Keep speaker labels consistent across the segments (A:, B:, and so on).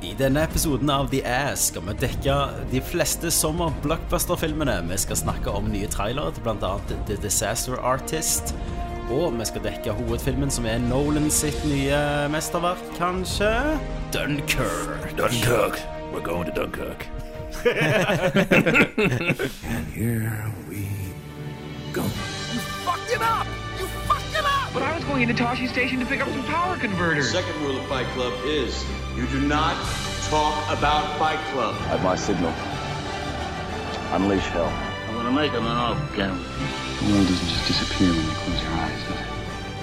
A: I denne episoden av The Ass skal vi dekke de fleste sommer-blockbuster-filmene. Vi skal snakke om nye trailere til bl.a. The Disaster Artist. Og vi skal dekke hovedfilmen som er Nolan sitt nye mesterverk, kanskje? Dunkerque.
B: Dunkirk. We're going to Dunkirk.
C: Here we go.
D: fucked it up! You fucked it up!
E: But I was going into Toshi Station to pick up some power converters.
F: Second rule of Fight Club is you do not talk about Fight Club.
G: At my signal, unleash hell.
H: I'm gonna make him an off camera.
G: The world doesn't just disappear when you close your eyes, does it?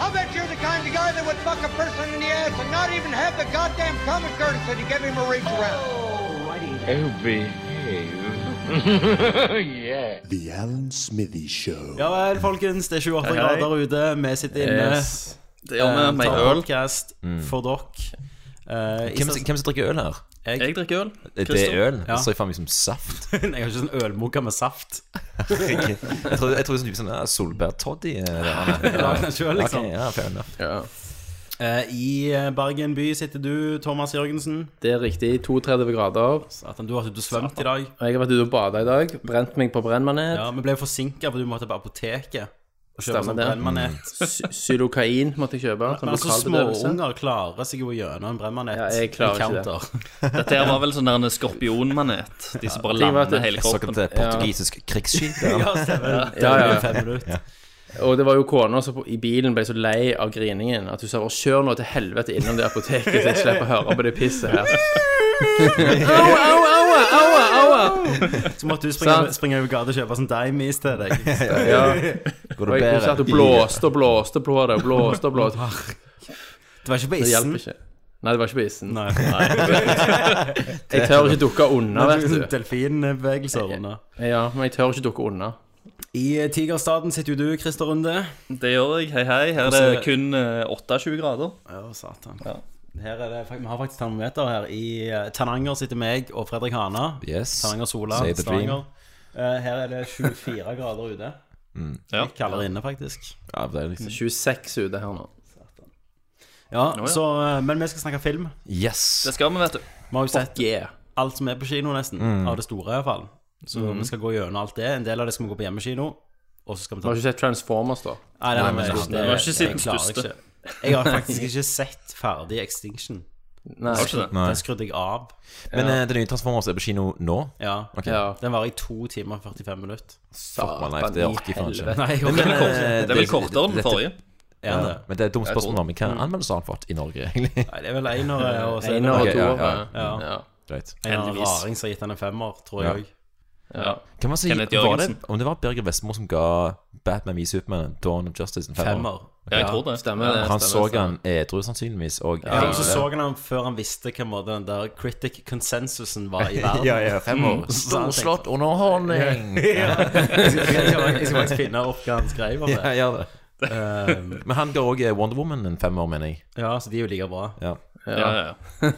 I: I bet you're the kind of guy that would fuck a person in the ass and not even have the goddamn common courtesy to give him a reach around.
H: Oh, behave. yeah.
C: The Alan Smithy Show.
A: Ja vel, folkens. Det er 28
B: Hei, hei.
A: grader ute. Vi sitter inne.
J: Det gjør vi
A: eh,
J: med
A: tar
J: øl.
A: podcast for dere. Eh, i
K: Hvem,
A: stedet-
K: hvem som drikker øl her?
A: jeg,
J: Jeg drikker øl.
K: Det
J: Christer.
K: er øl?
A: Ja.
K: Så jeg faen meg som saft.
A: jeg har ikke sånn ølmugger med saft.
K: Jeg tror jeg tror det er sånn type sånn ja, solbærtoddy. eh, det er det.
A: Lag den selv, liksom.
K: Ok, ja, fair enough.
J: Ja.
A: Eh, I eh, Bergen by sitter du, Thomas Jørgensen.
L: Det er riktig. 32 grader.
A: Satan, du har ikke svømt i dag.
L: Og jeg har vært ute og bada i dag. Brent meg på brennmanet.
A: Ja, Vi ble forsinka, for du måtte på apoteket og kjøpe
L: Stemmer
A: sånn
L: det. Mm.
A: brennmanet.
L: Sy- Xylokain måtte jeg kjøpe. sånn Som
A: Men altså,
L: lokalbedøvelse.
A: småunger klarer seg jo gjennom en brennmanet.
L: Ja, jeg klarer ikke det.
A: Encounter.
J: Dette her var vel sånn der en skorpionmanet. De som bare
L: Ja, det var
J: lander
L: det.
J: hele
K: Jeg så
J: kroppen.
K: det portugisisk krigsskip der.
A: Ja, stemmer. Det
L: Ja,
A: er
L: ja.
A: jo fem minutter.
L: Og det var jo kona som på- i bilen ble så lei av griningen at hun sa bare kjør nå til helvete innom det apoteket, så jeg slipper å høre på det pisset her. Aua, aua, aua, aua, aua.
A: Så måtte du springe,
L: Sant.
A: springe over gata og kjøpe sånn daimis til deg.
L: Ja.
K: Går
L: Og
K: det
L: jeg hun satt og
K: bedre?
L: blåste og blåste på det, og blåste og blåste.
A: Det var ikke på
L: Det hjalp
A: isen.
L: ikke. Nei, det var ikke på isen.
A: Nei.
L: Jeg tør ikke dukke
A: Det
L: unna, vet
A: er sånn
L: du.
A: Delfinbevegelser under.
L: Ja, men jeg tør ikke dukke unna.
A: I eh, Tigerstaden sitter jo du, Christer Runde.
J: Det gjør jeg. Hei, hei. Her er det kun eh, 28 grader.
A: Ja, satan.
J: Ja.
A: Her er det, fakt- vi har faktisk termometer her. I eh, Tananger sitter meg og Fredrik Hana.
K: Yes.
A: Stavanger Sola.
K: Say the
A: Stavanger.
K: dream.
A: Eh, her er det 24 grader ute.
J: Ja.
A: Litt kaldere inne, faktisk.
K: Ja, det er liksom
L: 26 ute her nå.
A: Ja,
J: ja.
A: Så, eh, men vi skal snakke film.
K: Yes!
J: Det skal vi, vet du.
A: Vi har jo sett
L: Yeah.
A: alt som er på kino, nesten. Av det store, i hvert fall. Så vi skal gå gjennom alt det. En del av det skal vi gå på hjemmekino. Og så skal vi
L: Du
A: ta
L: har ikke sett Transformers, da?
A: Nei, nei, nei, nei,
J: Det var ikke
A: jeg
J: siden
A: klarer
J: største.
A: ikke. Jeg har faktisk ikke sett ferdig Extinction.
L: Nei.
J: Har ikke det?
K: Nei.
A: Den skrudde jeg av.
K: Men eh, det nye Transformers er på kino nå?
A: Ja.
L: Ja.
A: Den var i to timer og 45 minutter.
K: Fuck my life, det orker jeg faen ikke.
A: Nei, jeg
J: Det
A: orker
J: er vel
A: ikke.
J: kortere- det er vel kortere enn den
K: dette-
J: forrige.
A: Er det?
K: Men det er et dumt spørsmål,
J: tror-
K: men hva anmeldelse har han fått i Norge, egentlig?
A: Nei, det er vel enere og så er det
L: Einer og
K: Ok, ja,
L: toer.
K: ja,
A: ja.
L: ja.
K: Greit.
A: en eller annen
J: Heldigvis.
A: raring som har gitt den en femmer, tror
K: Ja.
A: jeg.
L: Ja.
K: Kan man si,
J: Kenneth
K: var det,
J: Jørgensen.
K: om det var Birger Vestmo som ga Batman v Superman Dawn of Justice en femmer?
A: Femmer.
J: Ja, jeg tror det.
L: Stemmer det.
K: Han så
L: stemmer, stemmer.
K: han edru sannsynligvis, og
A: Ja, og så så han den før han visste hvilken måte den der critic consensusen var i verden.
K: ja, ja, fem år. Storslått underholdning!
A: Jeg skal, jeg, skal, jeg skal faktisk finne opp hva han skrev om det.
K: Ja, gjør det. Ehm, Men han ga òg Wonder Woman en femmer, mener jeg.
A: Ja, så de er jo like bra.
K: Ja.
J: Ja, ja, ja. Det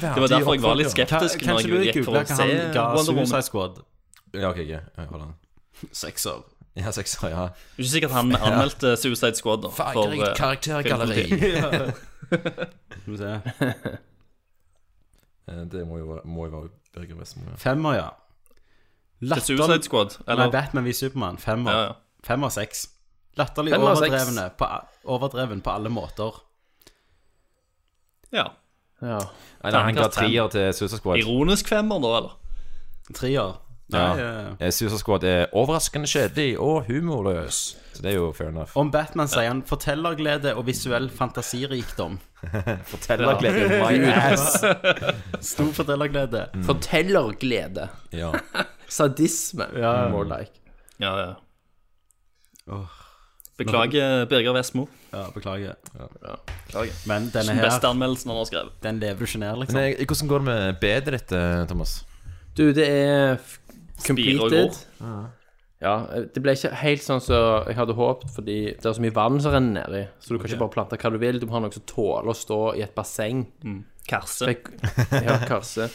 J: var derfor jeg var litt skeptisk
A: Kan-
J: når
A: Kanskje du
J: jeg gikk for
A: googler
J: å
A: hva
J: se
A: han ga
J: Wonder Woman.
A: Suicide Squad?
K: Ja, ok, ja. Hold an.
A: Sekser.
K: Ja, sekser, ja.
J: Det er ikke sikkert han anmeldte Suicide Squad da, for eh, filmpolitikk.
A: Skal vi se.
K: Eh, Det må jo være, må jo være Birger Vestmo. Ja.
A: Femmer, ja.
J: Til Suicide Squad.
A: Nei,
J: Eller
A: Batman vi Supermann. Femmer.
J: Ja, ja.
A: Femmer seks. Latterlig
L: Femmer, seks.
A: overdrevne på, a- overdreven på alle måter.
J: ja.
L: Ja.
K: Nei, nei, han ga
J: Terningkast fem.
K: trier til Suicide Squad.
J: Ironisk femmer, da, eller?
A: Trier.
K: Ja.
A: Nei, eh,
K: Eh, Suicide Squad er overraskende kjedelig og humorløs. Så det er jo fair enough.
A: Om Batman sier han 'fortellerglede og visuell fantasirikdom'.
K: Fortellerglede in my ass.
A: Stor fortellerglede.
L: Fortellerglede.
K: Ja.
L: Sadisme. More like.
J: Ja, ja. Beklager, Birger Vestmo.
A: Ja, beklager.
J: Beklager.
A: Men denne
J: Den beste
A: her,
J: anmeldelsen han har skrevet.
A: den lever du ikke ned, liksom.
K: Men eh, hvordan går det med bedet ditt, eh, Thomas?
L: Du, det er f-
J: Spirer og
L: completed. Ja, det ble ikke helt sånn som jeg hadde håpet, fordi det er så mye vann som renner nedi. Så du kan ikke bare plante hva du vil. Du må ha noe som tåler å stå i et basseng.
J: Karse.
L: Fikk, ja, karse.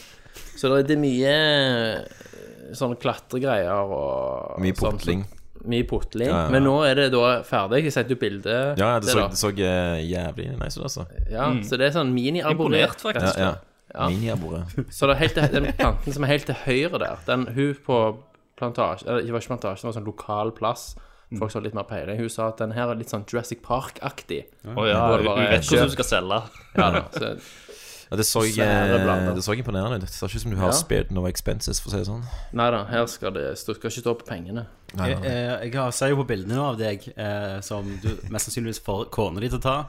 L: Så det er- det er mye eh, sånne klatregreier og
K: Mye
L: sånn som-
K: portling.
L: Mye potling.
K: Ja, ja, ja.
L: Men nå er det da ferdig. Jeg sendte jo bilde.
K: Ja, ja, det så,
L: da.
K: det så eh, jævlig nice ut, altså.
L: ja, Så det er sånn mini-abonnert.
J: Imponert, faktisk.
K: Ja, ja.
L: Ja.
K: Miniabordet.
L: Så det er helt, til- den planten som er helt til høyre der, den hun på plantasje Eller det var ikke plantasje, det var en sånn lokal plass. Folk som har litt mer peiling. Hun sa at den her er litt sånn Jurassic Park-aktig.
J: Å ja,
L: Hvor det
J: hun-
L: bare
J: hun vet
L: er
J: hvordan hun
L: kjøpt.
J: skal selge.
L: Ja, da, så,
K: Ja, det, så,
L: Svære blader.
K: eh, det så imponerende ut. Det ser ikke ut som du har
L: Ja.
K: spilt noe expenses, for å si det sånn.
L: Nei da, her skal det stå, skal ikke stå på pengene.
K: Nei, nei,
A: Jeg, Eh, jeg, jeg har- ser jo på bildene nå av deg eh, som du mest sannsynligvis får kona di til å ta.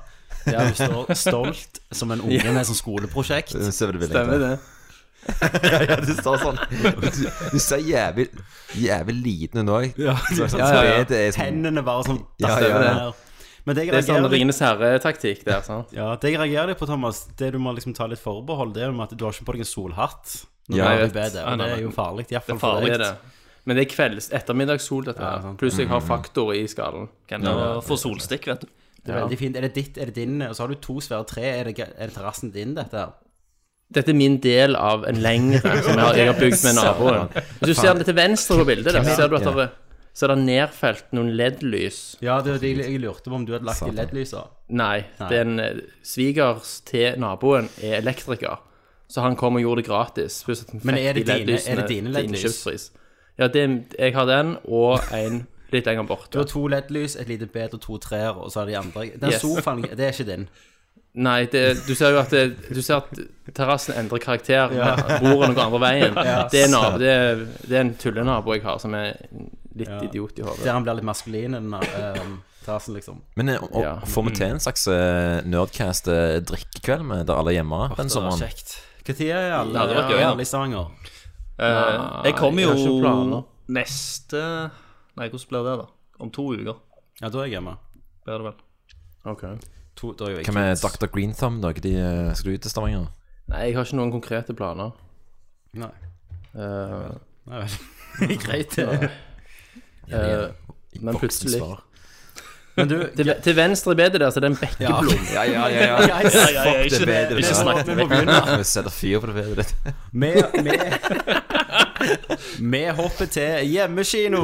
A: Der du står stolt som en unge
K: Ja.
A: med sånn skoleprosjekt.
K: Det ser veldig Stemmer billig ut. ja, ja, det står sånn. Du, du ser jævlig, jævlig liten ut òg.
A: Ja,
K: Så, sånn,
L: Ja, ja, ja.
K: så er det er sånn
A: Hendene bare sånn
K: Ja,
A: dasser
K: ja, ja.
A: ned. Men det jeg
L: Det er sånn
A: reagerer litt
L: Rines herre-taktikk der, sant?
A: Ja, det jeg reagerer litt på, Thomas, det du må liksom ta litt forbehold, det er jo med at du har ikke på deg en solhatt. Når
L: Ja,
A: du er i
L: jeg vet.
A: bedet, og
L: Nei, nei,
A: det er
L: nei.
A: jo farlig. i hvert
L: Det
A: fall
L: er
A: for
L: farlig,
A: deg.
L: det. Men det er kvelds ettermiddagssol, dette her. Pluss jeg har
A: Mm.
L: faktor i skallen.
J: Kan jo få solstikk, vet du.
A: Det er veldig fint. Er det ditt, er det din? Og så har du to svære tre. Er det, er det terrassen din, dette her?
L: Dette er min del av en lengre som jeg har, jeg har bygd med naboen. Hvis du ser det til venstre på bildet, der, så ser du at det er- så er det nedfelt noen LED-lys.
A: Ja, det, var det jeg, jeg lurte på om du hadde lagt i LED-lysa.
L: Nei,
A: Nei.
L: det er en eh, svigers til naboen er elektriker, så han kom og gjorde det gratis. pluss at han
A: Men
L: fikk
A: er det
L: de
A: dine-
L: LED-lysene
A: er det dine
L: til
A: LED-lys?
L: innkjøpspris. Ja, det, er- jeg har den, og en litt lenger
A: Du
L: borte.
A: har to LED-lys, et lite bed og to trær, og så har de andre Den
L: Yes.
A: sofaen, det er ikke din.
L: Nei, det, du ser jo at, det, du ser at terrassen endrer karakter.
A: Ja.
L: Bordet går andre veien.
A: Ja.
L: Det, er nabo, det, er, det er en tullenabo jeg har, som er litt idiot i hodet.
A: Der han blir litt maskulin, den eh, terrassen, liksom.
K: Men eh, og,
L: Ja.
K: får vi til en slags eh, nerdcast eh, drikkekveld med der alle er hjemme den
A: Det var
K: sommeren?
A: kjekt. Når er alle,
J: Ja, det var gøy, ja.
A: alle i Stavanger?
J: Eh, jeg kommer
L: jeg har ikke planer.
J: jo neste Nei, hvordan blir det, da? Om to uker
A: Ja, da er jeg hjemme.
J: blir det vel.
L: Ok.
A: To, da er jo jeg
K: Hva med Dr. Green Thumb? Da? De, eh, skal du ut til Stavanger?
L: Nei, jeg har ikke noen konkrete planer.
A: Nei.
L: Eh,
A: Nei vel. Greit, det.
L: eh, men
K: Voksen
L: plutselig
K: svar.
A: Men du,
L: til, til venstre i bedet der, så er det en bekkeblom.
K: Ja, ja, ja. ja.
A: Ja, ja, ja, ja,
K: Fuck
J: ikke-
K: det bedre.
J: ikke snakk
A: vi må begynne.
K: Vi setter fyr på det bedre ditt.
A: Vi vi- Vi hopper til hjemmekino.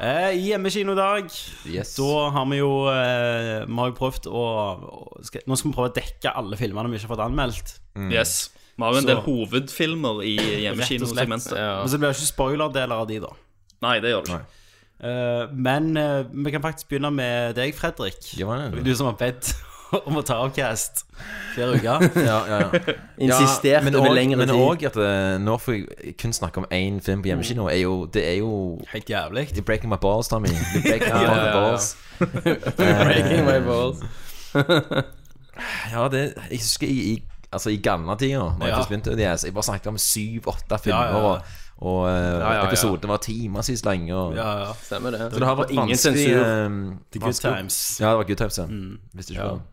A: Eh, hjemmekinodag.
K: Yes.
A: Da har vi jo eh, Vi har jo prøvd å å- skal, Nå skal vi prøve å dekke alle filmene vi ikke har fått anmeldt.
J: Yes. Vi har jo en del
A: Så-
J: hovedfilmer i
A: Rett og slett.
J: hjemmekinosegmentet.
A: Men så blir det ikke spoilerdeler av de, da.
J: Nei, det gjør det ikke.
A: Eh, men eh, vi kan faktisk begynne med deg, Fredrik.
K: Ja, men-
A: Du som har bedt om å ta avcast hver uke.
K: Ja, ja, ja.
L: Insisterte
K: men
L: over
K: og-
L: lengre
K: Men
L: tid.
K: òg at eh, nå får jeg kun snakke om én film på hjemmekino. Er jo, det er jo
A: Helt jævlig.
K: You're breaking my balls, Tommy. You're breaking my
L: Ja, ja, ja.
K: balls.
L: Breaking my balls.
K: Ja, det, jeg husker i, i, altså, i gamle tider, når jeg
A: Ja.
K: først begynte med DS, jeg bare snakket om syv-åtte filmer,
A: Ja, ja, ja.
K: og, og eh,
L: ja.
K: episodene var timevis lange. Og,
A: Ja, ja.
L: Stemmer det.
K: Så det har vært
L: ingen
K: vanskelig
L: sensur.
K: eh,
A: The good
K: vanskelig-
A: times.
K: Ja, det var good times, ja. Visste ikke på det.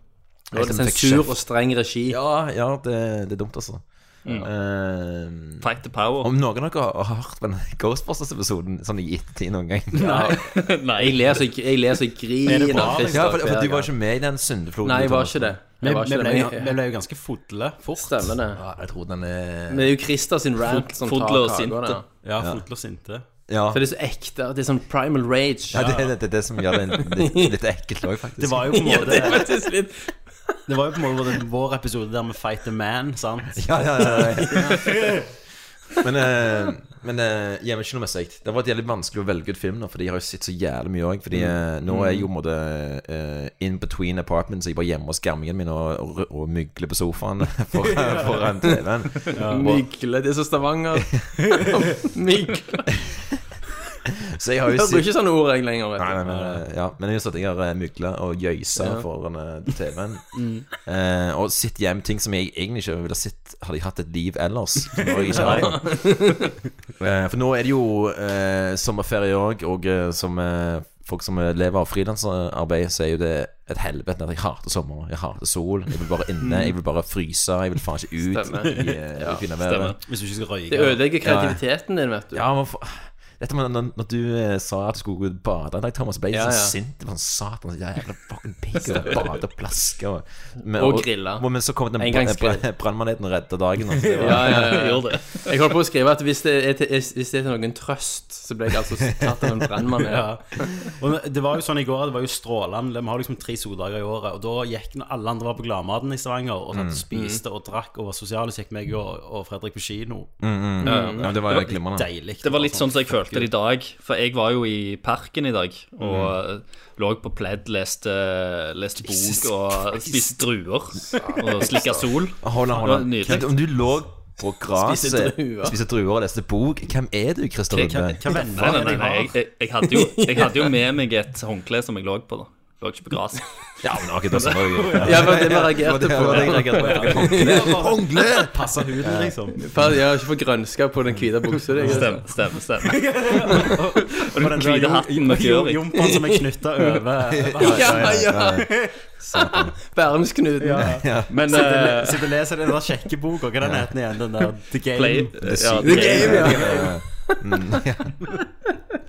L: Nå er det sensur og streng regi.
K: Ja, ja det, det er dumt, altså. Eh,
J: Fight the power.
K: om noen av dere har hørt på den Ghostbusters-episoden sånn i ettertid noen gang?
L: Jeg ler så jeg, jeg, ler så jeg griner. Christer,
K: Ja, for, for du
L: hver
K: var
L: gang.
K: ikke med i den syndefloden.
L: Nei, jeg var
K: Thomas.
L: ikke det.
A: Vi,
L: Jeg var
A: vi,
L: ikke det,
A: ble,
L: men
A: jo-
L: jeg-
A: vi ble jo ganske fodle fort.
L: Stemmer det.
K: Ja, jeg tror den er
L: Men det er jo Christer sin rant som tar
J: Fodler og
L: kakene.
J: sinte.
A: Ja, fodle og sinte.
K: Ja,
L: For det er så ekte. og Det er sånn primal rage.
K: ja det, det, det er det som gjør det litt, litt ekkelt òg, faktisk.
A: Det var jo på en måte
L: Det er faktisk litt
A: Det var jo på en måte vår- vår episode der vi fight the man, sant?
K: Ja, ja, ja, ja. Men, eh, men eh, hjemme er ikke noe med seg. Det har vært jævlig vanskelig å velge ut film nå, for de har jo sett så jævlig mye òg. Fordi eh, nå er jeg jo på en måte eh, in between apartments. Jeg bare hjemme hos gammingen min og, og, og mygler på sofaen foran, foran TV-en.
L: mygle. Det er så Stavanger. Mygle.
K: Så jeg har
L: Jeg
K: jo
L: bruker
K: sett
L: ikke sånne ord jeg lenger,
K: Nei, nei,
L: vet du.
K: men, eh, ja, men jeg har satt jeg har eh, mygla og jøysa foran eh, TV-en. Eh, og sett hjem ting som jeg egentlig ikke ville sett hadde jeg hatt et liv ellers. Når jeg ikke har det. Eh, For nå er det jo eh, sommerferie òg, og eh, som eh, folk som eh, lever av frilansarbeid, så er jo det et helvete at jeg hater sommer. Jeg hater sol. Jeg vil bare inne, jeg vil bare fryse, jeg vil faen ikke ut
L: Stemmer.
K: i, eh, i det fine
J: stemmer.
K: været.
A: Hvis du ikke skal
L: Det
A: røyke.
L: ødelegger kreativiteten din, vet du.
K: Ja, men for... Dette med når, når du eh, sa at du skulle gå ut og bade en dag, Thomas, ble jeg
L: Ja,
K: så
L: ja.
K: sint. Sånn satan, så jævla fucking pikk. Og bade og plaske og men-
L: Og grille.
K: Men så kom den
L: Engangsgrill.
K: bra- brannmaneten og redda dagen. altså. Det var-
L: Ja, ja, ja. Jeg holdt på å skrive at hvis det er til, hvis det er til noen trøst, så ble jeg altså tatt av en brennmann.
A: Ja. Og det var jo sånn i går, det var jo strålende. Vi har liksom tre soldager i året. Og da gikk når alle andre var på Gladmaten i Stavanger og satt og
K: Mm.
A: spiste og drakk og var sosiale, så gikk meg og, og Fredrik på kino.
K: Mm, mm. Ja, men det var glimrende.
A: Deilig.
J: Det var litt sånn som jeg
A: fuck
J: følte det i dag. For jeg var jo i parken i dag og lå på pledd, leste, leste bok og spiste druer og slikka sol.
K: Hold on, hold
J: Det var
K: on.
J: nydelig.
K: Men Om du lå på
J: Spiste
K: gresset,
J: druer.
K: spiste druer og leste bok, hvem er du, Christer
J: Hvem-
K: Rubbe?
J: hvem- hvem venner Nei, nei, nei, nei, jeg- jeg- jeg hadde jo- jeg hadde jo med meg et håndkle som jeg lå på, da. Lå ikke på gresset.
K: Ja, men akkurat det som var jo-
L: Ja, det var det vi reagerte på.
K: Det var det jeg reagerte på. Håndkle!
A: Passer huden, liksom.
L: Faen, Jeg har ikke fått grønska på den hvite buksa. det er greit.
J: Stemmer, stemmer. stemmer.
A: Og den
J: hvite
A: der
J: hatten med
A: jo- jo-
J: fjør i.
A: Jumpaen som er knytta over
L: Ja, ja.
K: Satan.
L: Bærumsknuten.
A: Ja.
K: Ja.
J: Men,
A: Sitter og le-
J: eh,
A: sitter og leser den der sjekkeboka, hva er den het igjen? Den der The Game?
J: Play- eh,
A: The
J: ja,
A: Secret.
J: The Game, ja.
K: Mm, ja.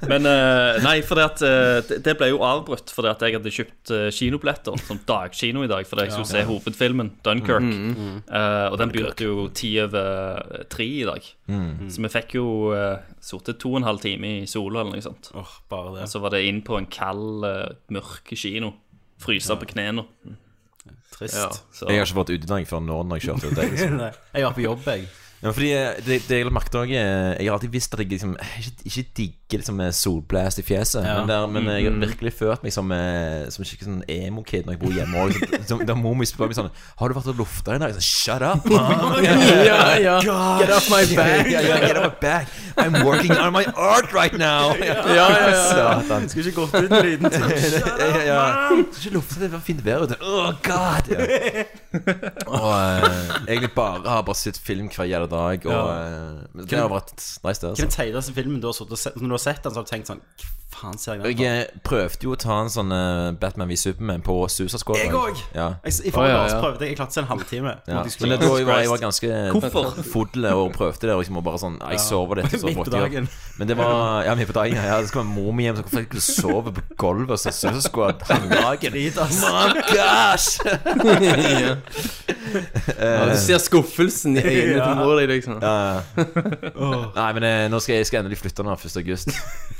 J: Men eh, nei, for det, at, eh, det- det ble jo avbrutt fordi at jeg hadde kjøpt uh, kinobilletter som dagkino i dag fordi jeg
A: Ja.
J: skulle se hovedfilmen, Dunkerque.
A: Mm, mm.
J: Eh, og den begynte jo ti over eh, tre i dag.
A: Mm.
J: Så vi fikk jo uh, sittet to og en halv time i sola eller noe sånt.
A: bare det.
J: Og så var det inn på en kald, eh, mørk kino. Fryse på knærne.
A: Trist.
J: så-
K: Jeg har ikke vært ute i dag før nå når jeg kjørte til deg. Liksom.
A: Nei, jeg var på jobb, jeg.
K: Ja, fordi eh, det, det jeg merket også, eh, Jeg har alltid visst at jeg liksom eh, ikke, ikke digger liksom eh, solblast i fjeset.
A: Ja.
K: Men, der, men jeg
L: Mm-hmm.
K: har
A: Mm.
K: virkelig følt meg som, eh, som en skikkelig sånn emo-kid når jeg bor hjemme. Og liksom, som- da mor mi spør meg sånn 'Har du vært og lufta i dag?' Jeg sånn, Shut up! man!»
L: Ja, ja. Get off my back.
K: Yeah, yeah, get off my back. I'm working on my art right now!
L: ja, ja.
K: Satan.
A: Skulle ikke gått ut med lyden til
K: Ja, ja. Skal ikke lufte det, det var fint vær ute. Oh god! Ja. Og eh, egentlig bare har bare sett film hver jævla dag, og eh, men det har vært nice, det.
A: Hva er den
K: altså.
A: teiteste filmen du har, suttet og sett, når du har sett den, så har du tenkt sånn Hva faen ser jeg den
K: Jeg eh, prøvde jo å ta en sånn eh, Batman v Superman på Susa Squad.
A: Jeg òg!
K: Ja.
A: I forrige dag så prøvde jeg. Jeg klarte ikke en halvtime.
K: Ja.
A: Måtte jeg
K: Men
A: skru
K: det,
A: av.
K: da jeg var jeg var ganske
A: Hvorfor?
K: fodle og prøvde det. Og liksom og bare sånn Jeg
A: Ja.
K: sover litt. og Så
A: Midt på
K: måtte jeg-
A: dagen.
K: Men det var Ja, midt på dagen. Ja, det skal være mor mi hjem, så hvorfor jeg skulle sove på gulvet og se Susa Squad halve dagen?
A: Drit, ass.
K: Mom, gosh!
L: Ja. Ja, du ser skuffelsen i øynene til mor di, liksom.
K: Ja, ja. Nei, men eh, nå skal jeg, jeg skal endelig flytte nå 1. august.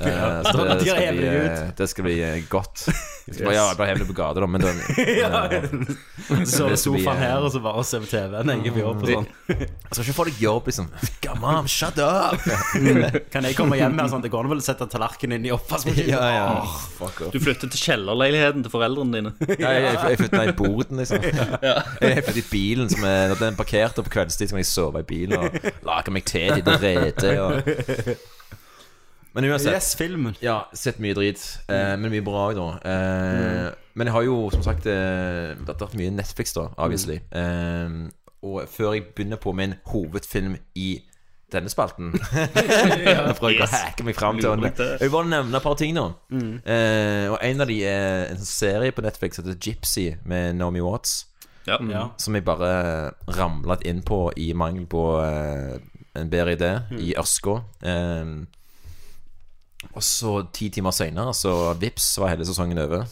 K: Eh,
A: Ja.
K: så
A: Da
K: det, det,
A: hever
K: skal bli,
A: jeg ut.
K: eh, det skal bli eh, godt. Jeg skal
A: Yes.
K: bare, ja, jeg bare hever det på gata, da, men den,
A: ja. Så sover
K: Det skal bli,
A: sofaen
K: eh,
A: her, og så bare se på TV-en. Jeg er på jobb og sånn.
K: Jeg skal ikke få deg jobb, liksom. Come on, shut up!
A: Kan jeg komme hjem her sånn? Det går an vel å sette tallerkenen inn i oppvaskmaskinen?
K: Ja, ja.
A: Åh.
K: Fuck off.
J: Du flytter til kjellerleiligheten til foreldrene dine.
K: Ja, jeg, jeg, jeg flytta i boden, liksom. Jeg flytta i bilen som er, når den er parkert, og på kveldstid så kan jeg sove i bilen og lage meg te til det rede. Og... Men uansett
A: Yes, filmen.
K: Ja, sett mye drit. eh, men mye bra òg, da. Eh, Men jeg har jo som sagt eh, Det har vært mye Netflix, da, obviously. Eh, og før jeg begynner på min hovedfilm i denne spalten Jeg prøver ikke å
J: Yes.
K: hacke meg fram til
J: Lurer
K: den.
J: litt der.
K: Jeg vil bare nevne et par ting nå. Eh, og en av de er en serie på Netflix som heter Gypsy, med Naomi Watts.
J: Ja.
A: Ja.
K: Som jeg bare ramlet inn på i mangel på eh, en bedre idé, i Ørskå. Eh, og så ti timer senere, så vips, var hele sesongen over.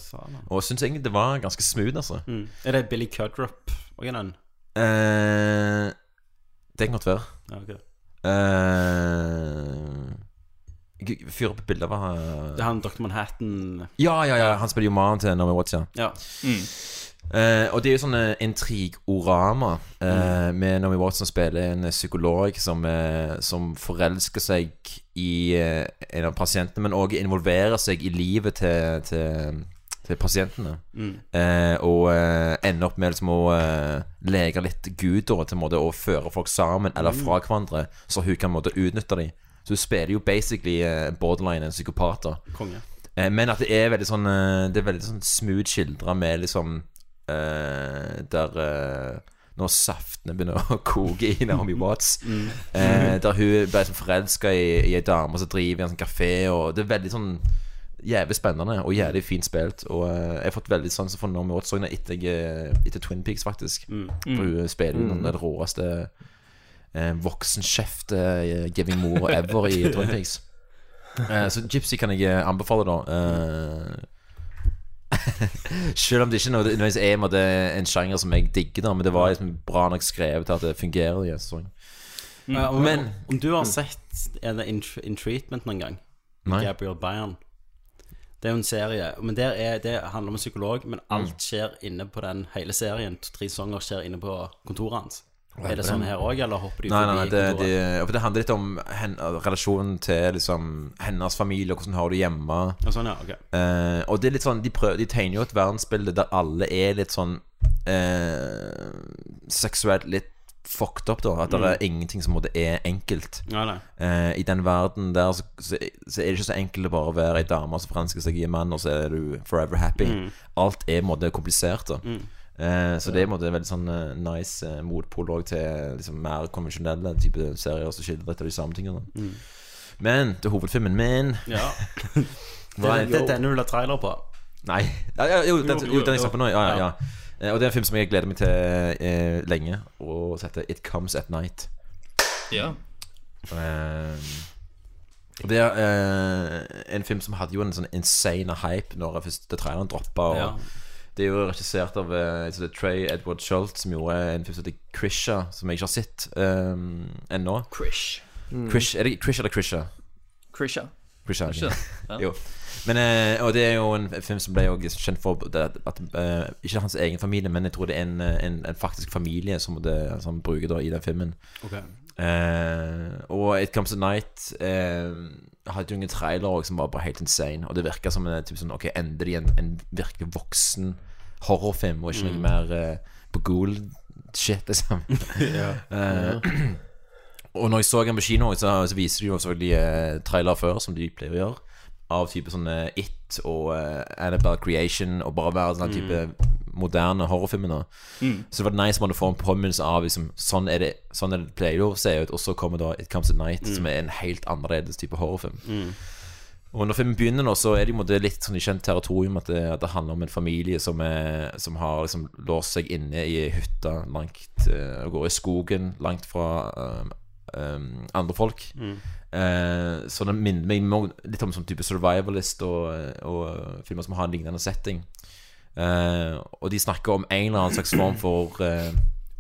K: Og jeg syns egentlig det var ganske smooth, altså.
A: Mm. Er det Billy Cudrup? Og den?
K: Eh, det kan godt være.
A: Ja, ok.
K: Uh, Fyr opp bilder av eh,
A: Det er han Dr. Manhattan
K: Ja, ja, ja, han spiller jo mannen til Naomi Watts, ja.
A: Ja.
K: Eh, og det er jo sånn eh, intrigorama eh, med Naomi Watts som spiller en psykolog som, eh, som forelsker seg i eh, en av pasientene, men òg involverer seg i livet til, til, til pasientene.
A: Mm.
K: Eh, og eh, ender opp med liksom, å eh, leke litt gud da, til en måte, å føre folk sammen eller fra hverandre, så hun kan på en måte, utnytte dem. Så hun spiller jo basically eh, borderline en psykopat. da
A: konge.
K: Eh, Men at det er veldig sånn eh, Det er veldig sånn smooth skildra med liksom eh, Der eh, Når saftene begynner å koke i Naomi Watts. Eh, der hun ble sånn forelska i, i ei dame som driver i en sånn kafé, og det er veldig sånn Jævlig spennende og jævlig fint spilt. Og eh, jeg har fått veldig sansen for Naomi Watts også nå etter, jeg, eh, etter Twin Peaks, faktisk. For hun spiller jo den råeste eh, voksenkjeft-giving mor ever i Twin Peaks. Eh, så Gypsy kan jeg eh, anbefale, da. Eh, selv om det ikke nødvendigvis er en måte, en sjanger som jeg digger, da, men det var liksom bra nok skrevet til at det fungerer i en sesong.
A: Eh, om,
K: Men
A: om du har sett en in, in Treatment noen gang?
K: Mm. Nei.
A: Gabriel Byrne. Det er jo en serie, men der er, det handler om en psykolog, men
K: Mm.
A: alt skjer inne på den hele serien. Tre sanger skjer inne på kontoret hans.
K: Ja,
A: Er det
K: det-
A: sånn her òg, eller hopper de
K: Nei, nei, nei
A: forbi
K: det, de,
A: kontoret?
K: for det handler litt om hen, eh, relasjonen til liksom, hennes familie, og hvordan har du hjemme.
A: Ja, sånn, ja, ok.
K: Eh, og det er litt sånn de, prøver, de tegner jo et verdensbilde der alle er litt sånn eh, seksuelt litt fucked up, da. At det
A: Mm.
K: er ingenting som på en måte er enkelt.
A: Nei, nei.
K: Eh, I den verden der så, så, så er det ikke så enkelt å bare være ei dame altså som forelsker seg i en mann, og så er du forever happy.
A: Mm.
K: Alt er på en måte komplisert. da
A: Mm.
K: Eh, så det er på en måte en veldig sånn eh, nice eh, motpol også til liksom, mer konvensjonelle type serier som skildrer dette og de samme tingene.
A: Mm.
K: Men til hovedfilmen min
A: Ja. Det
K: Hva
A: er
K: er-
A: det er denne du vil ha trailer på.
K: Nei. Ja, ja, jo, den,
A: Jo,
K: jo,
A: jo,
K: den jeg
A: jo.
K: snakker på nå. Ja, ja, ja. Eh, Og det er en film som jeg gleder meg til eh, lenge, og som heter It Comes At Night.
J: Ja.
K: Eh, og det er eh, en film som hadde jo en sånn insane hype når først traileren droppa.
A: Ja.
K: Det er jo regissert av eh, så det er Trey Edward Schultz, som gjorde en film som heter Krisha, som jeg ikke har sett eh, ennå.
J: Krish. Mm.
K: Krish. Er det Krish eller Krisha?
J: Krisha.
K: Krisha.
J: Krisha, ja.
K: jo. Men, eh, og det er jo en film som ble jo kjent for det at, at, eh, Ikke hans egen familie, men jeg tror det er en, eh, en, en faktisk familie som, det, som han bruker da, i den filmen.
A: Ok.
K: Eh, og It Comes a Night eh, hadde jo ingen trailer også, som var bare helt insane. Og det virka som en typ sånn Ok, endelig en, en virkelig voksen horrorfilm, og ikke noe
A: Mm.
K: mer eh, på Google-shit, liksom.
A: Ja.
K: Eh, og når jeg så den på kino, så, så viser de jo selvfølgelig eh, trailer før, som de pleier å gjøre. Av type sånne It og eh, Annabelle Creation, og bare være sånn type
A: Mm.
K: moderne horrorfilmer. nå.
J: Mm.
K: Så det var nice man å få en påminnelse av liksom, sånn er det Sånn er det pleier å se ut. Og så kommer da It Comes At Night,
A: Mm.
K: som er en helt annerledes type horrorfilm.
A: Mm.
K: Og når filmen begynner nå, så er det jo en måte litt sånn i kjent territorium at det, at det handler om en familie som, er, som har liksom låst seg inne i hytta langt eh, og går i skogen langt fra um, um, andre folk.
A: Mm.
K: Eh, så det minner meg mo- litt om sånn type survivalist og, og filmer som har en lignende setting. Eh, og de snakker om en eller annen slags form for eh,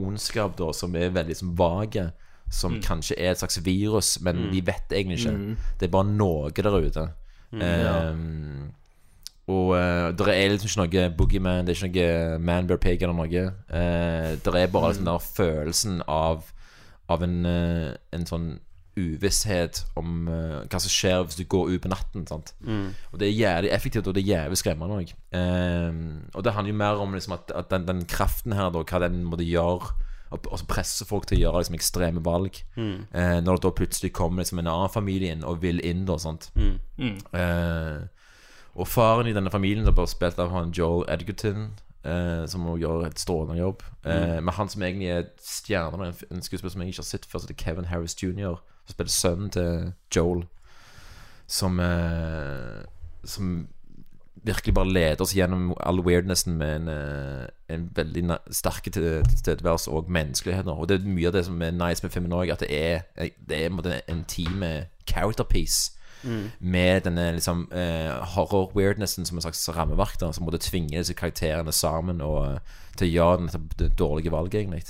K: ondskap da, som er veldig som vage. Som
A: Mm.
K: kanskje er et slags virus, men
A: Mm.
K: vi vet egentlig ikke.
A: Mm.
K: Det er bare noe der ute.
A: Mm,
K: Eh,
A: ja.
K: Og eh, det er liksom ikke noe boogeyman, det er ikke noe man bear pig eller noe. Uh, det er
A: Mm.
K: bare liksom den der følelsen av, av en, eh, en sånn uvisshet om eh, hva som skjer hvis du går ut på natten. Sant?
A: Mm.
K: Og det er jævlig effektivt, og det er jævlig skremmende òg. og det handler jo mer om liksom, at, at den, den kraften her, da, hva den måtte gjøre. Og og så presse folk til å gjøre liksom, ekstreme valg.
A: Mm.
K: Eh, når det da plutselig kommer liksom, en annen familie inn og vil inn, da. Sant?
A: Mm.
J: Mm.
K: Eh, og faren i denne familien er bare spilt av han Joel Edgerton, eh, som også gjør et strålende jobb. Eh,
A: Mm.
K: men han som egentlig er stjernen, en, f- en skuespiller som jeg ikke har sett før, som heter Kevin Harris jr., som spiller sønnen til Joel, som, eh, som virkelig bare leder oss gjennom all weirdnessen med en, eh, en veldig na- sterk til- tilstedeværelse og menneskelighet. nå. Og det er mye av det som er nice med filmen òg, at det er, eh, det er på en måte en intime character piece.
A: Mm.
K: Med denne liksom eh, horror-weirdnessen som en slags rammeverk, da, som måtte tvinge disse karakterene sammen og, eh, til å gjøre nettopp det dårlige valget, egentlig.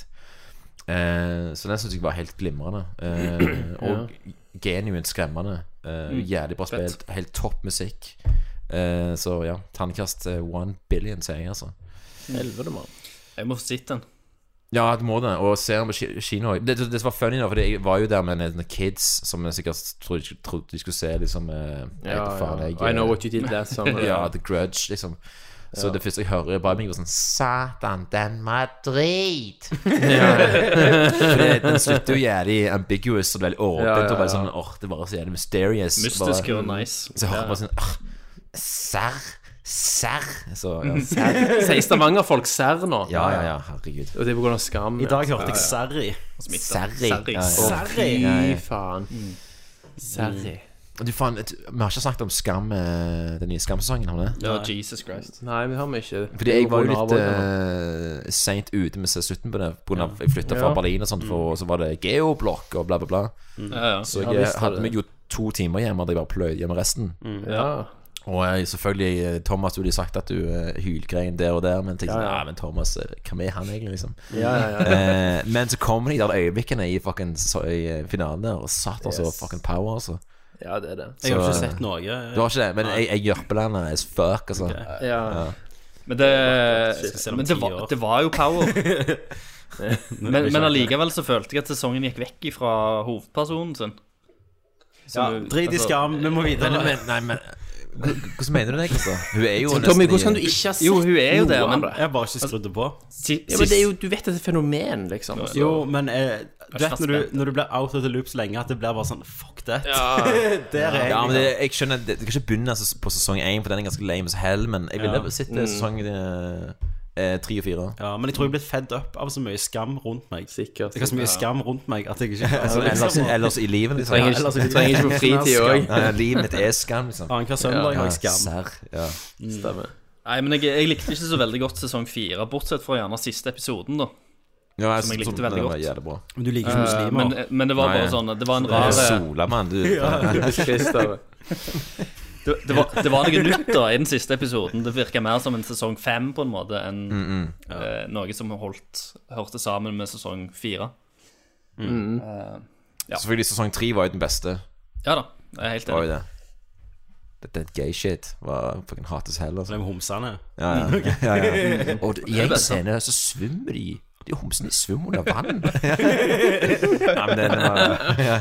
K: Eh, så den syns jeg var helt glimrende. Eh, og genuint skremmende. Eh,
J: Mm,
K: Jævlig bra
J: fett.
K: spilt. Helt topp musikk. Eh, så ja, tannkast eh, one billion, sier jeg, altså.
L: Helvete, mann.
J: Jeg må få sett den.
K: Ja, du må det. Og se den på ki- kino òg. Det, det, som var funny, da, for jeg var jo der med noen kids som jeg sikkert trodde, trodde de skulle se liksom eh, jeg
L: Ja,
K: vet faen,
L: ja.
K: jeg,
L: I know
K: eh,
L: what you did last summer.
K: ja, The Grudge, liksom. Så
L: Ja.
K: det første jeg hører, er bare meg og sånn Satan, den var drit! For det- den slutter jo jævlig ambiguous og veldig åpent.
J: Ja, ja,
K: Og bare
J: ja.
K: sånn, åh, det var så jævlig mysterious.
J: Mystisk
K: bare,
J: og nice.
K: Så jeg hører
J: Ja.
K: bare sånn «Åh, Serr, serr. Så ja,
L: Serr. Sier stavangerfolk serr nå?
K: Ja, ja, ja, herregud.
L: Og det er på grunn av skam.
K: I dag hørte jeg
A: Serri.
K: Serri. sånn Ja, ja.
L: Serri.
K: Ja, ja. Mm.
L: Fy faen. Serri.
K: Du, faen, et- vi har ikke snakket om Skam, eh, den nye Skam-sesongen, har vi det?
J: Ja, Jesus Christ.
L: Nei, vi har vi ikke.
K: Fordi jeg var jo litt eh,
L: uh,
K: uh, seint ute med slutten på det. På grunn av Jeg flytta fra
L: Ja.
J: Mm.
K: Berlin og sånt, for, og så var det geoblokk og bla, bla, bla.
J: Ja, ja.
K: Så
L: Ja,
K: jeg
L: visst er
K: hadde
L: det.
K: meg
L: Mm.
K: jo to timer hjemme der jeg bare pløyer gjennom resten.
L: Ja.
K: Og jeg, selvfølgelig, eh, Thomas ville sagt at du eh, hylgrein der og der, men tenkte
L: Ja, ja.
K: sånn, nei, men Thomas, eh, hvem er han egentlig, liksom?
L: Ja, ja, ja.
K: Eh, men så kommer de der øyeblikkene i, fucking, så, i eh, finalen der, og satt altså
L: Yes.
K: fucking power, altså.
L: Ja, det er det.
A: Jeg har
K: Så,
A: ikke
K: eh,
A: sett noe.
K: Du har ikke det, men jeg, jeg jørpelanda as fuck, altså.
L: Ja.
J: Men det,
A: Skal se om
J: men
A: ti
J: det, var,
A: år.
J: det var jo power. men, men allikevel så følte jeg at sesongen gikk vekk fra hovedpersonen sin.
A: Ja, drit i skam, vi må videre.
K: altså, Men, men, nei, men Hvordan mener du det, Christer? Hun er jo
L: Tommy,
K: nesten i-
L: hvordan kan du ikke ha sett
J: Jo, hun er jo
L: noe
J: der,
L: av
J: men-
L: Oh, det?
A: Jeg har bare ikke
K: Altså-
A: skrudd det på.
J: Si-
L: Ja, men det er jo,
J: sist-
L: du vet at det er et fenomen, liksom. så-
A: Jo, men eh, du
J: Jeg er
A: vet når
J: spent.
A: du, når du blir out of the loop så lenge at det blir bare sånn Fuck that.
L: Ja.
A: Der er jeg.
K: Ja, men det, jeg skjønner det- Du kan ikke begynne altså, på sesong 1 For den er ganske lame som hell Men jeg ville
A: Ja.
K: sett
L: Mm.
K: eh, sesong 3 og 4
A: Ja, men jeg tror jeg er blitt fed up av så mye skam rundt meg.
L: Sikkert.
A: Jeg har så mye skam rundt meg at jeg ikke altså,
K: ellers, ellers i livet liksom.
L: trenger
K: ja,
L: ikke-
K: ellers i
L: du
K: livet.
L: trenger ikke på fritid også.
K: Nei, nei, Livet mitt er skam liksom.
A: Annenhver søndag har jeg skam.
K: Serr ja.
L: Stemmer.
J: Nei, men jeg, jeg likte ikke så veldig godt sesong fire, bortsett fra gjerne siste episoden, da.
K: Ja,
J: Som
K: synes
J: jeg likte
K: den
J: veldig
K: var
J: godt.
K: jævlig bra.
A: Men du liker ikke
J: Eh,
A: muslimer.
J: Men, men det var
K: Nei.
J: bare sånn Det var en
K: Eh,
J: rar det,
K: Sola, mann du,
L: Christer.
J: det, var, det var noe nytt da i den siste episoden. Det virka mer som en sesong fem på en måte enn
K: Mm,
J: eh, noe som holdt, hørte sammen med sesong fire.
K: Selvfølgelig sesong 3 var jo den beste
J: Ja da, jeg er helt
K: Var jo
J: enig.
K: det Dette er gay shit Var fucking hates hell altså.
A: De homsene.
K: Ja, ja, ja, ja. Og i en scene så svømmer de De homsene de svømmer under vann Nei, men den var ja.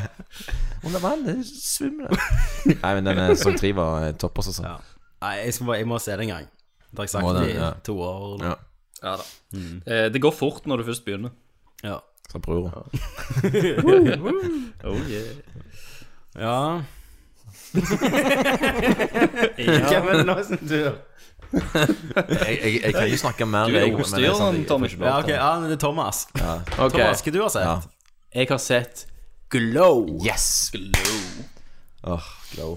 K: Under vann, det svømmer de Nei, men den eh, sesong 3 var eh, topp også sånn.
A: Nei, jeg, skal bare, jeg må se det en gang. Det har jeg sagt
K: Må det,
A: i
K: ja.
A: to år.
K: Ja,
J: Ja, da. Eh, det går fort når du først begynner.
A: Ja.
K: sa broren
J: Oh, yeah.
A: ja. Ikke med noen tur.
K: jeg, jeg, jeg kan ikke snakke mer
J: Du
K: jeg-
J: er
K: men det
J: ordstyrer,
K: sånn at jeg-
J: Tommy.
K: jeg får ikke
A: Ja,
K: lov til
A: ok,
K: det.
A: ja, men det er Thomas.
L: Ok,
A: Thomas, hva du har
K: Ja.
A: sett?
L: jeg har sett Glow.
K: Yes
J: Glow.
K: Åh, glow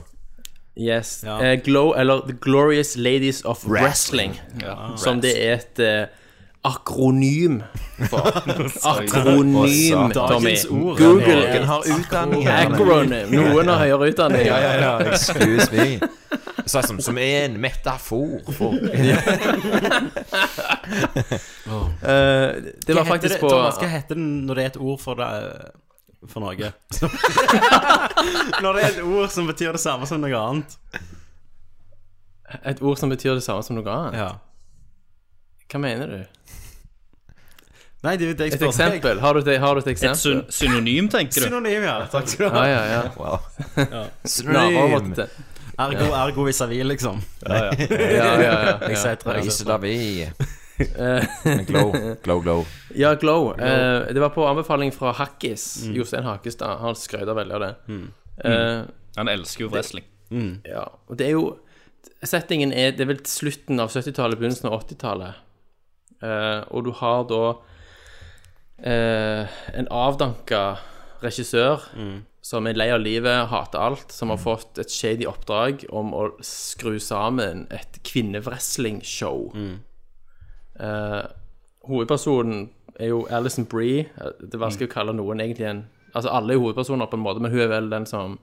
L: Yes.
A: Ja.
L: Eh, Glow, eller The Glorious Ladies of Wrestling, som det er et eh, akronym for. akronym, Tommy.
A: Dagens ord.
L: Google
K: Noen
L: it.
K: har utdanning her
L: Acronym. Noen har høyere utdanning.
K: Excuse me Så jeg som, som er en metafor for
L: Eh, det
A: Hva
L: var
A: heter
L: faktisk
A: det,
L: på
A: Thomas, hva heter det når det er et ord for det eh, For noe? når det er et ord som betyr det samme som noe annet.
L: et ord som betyr det samme som noe annet.
A: Ja.
L: Hva mener du?
A: Nei, det er jo det jeg
L: Et
A: spør deg.
L: eksempel? Har du et, har du et
J: Et
L: eksempel?
J: syn synonym, tenker du?
A: Synonym, ja. Takk skal du
L: Ja,
A: ha.
L: ja, ja.
K: Wow
L: Snarere måtte.
A: Ergo, ergo vis à vis, liksom.
L: Ja, ja, ja. altså.
A: Jeg sier tre.
K: Reise da vi Men Glow, glow, glow
L: Ja, Glow. Eh, det var på anbefaling fra Hakkis. Jostein Hakestad. Han skrøter veldig av det. Eh,
J: Han elsker jo wrestling.
L: ja. Og det er jo Settingen er Det er vel slutten av 70-tallet, begynnelsen av 80-tallet. Eh, og du har da eh, en avdanka regissør som er lei av livet, hater alt, som har fått et shady oppdrag om å skru sammen et kvinnewrestling-show. Eh, hovedpersonen er jo Alison Bree. Det er vanskelig å kalle noen egentlig en Altså alle er jo hovedpersoner på en måte, men hun er vel den som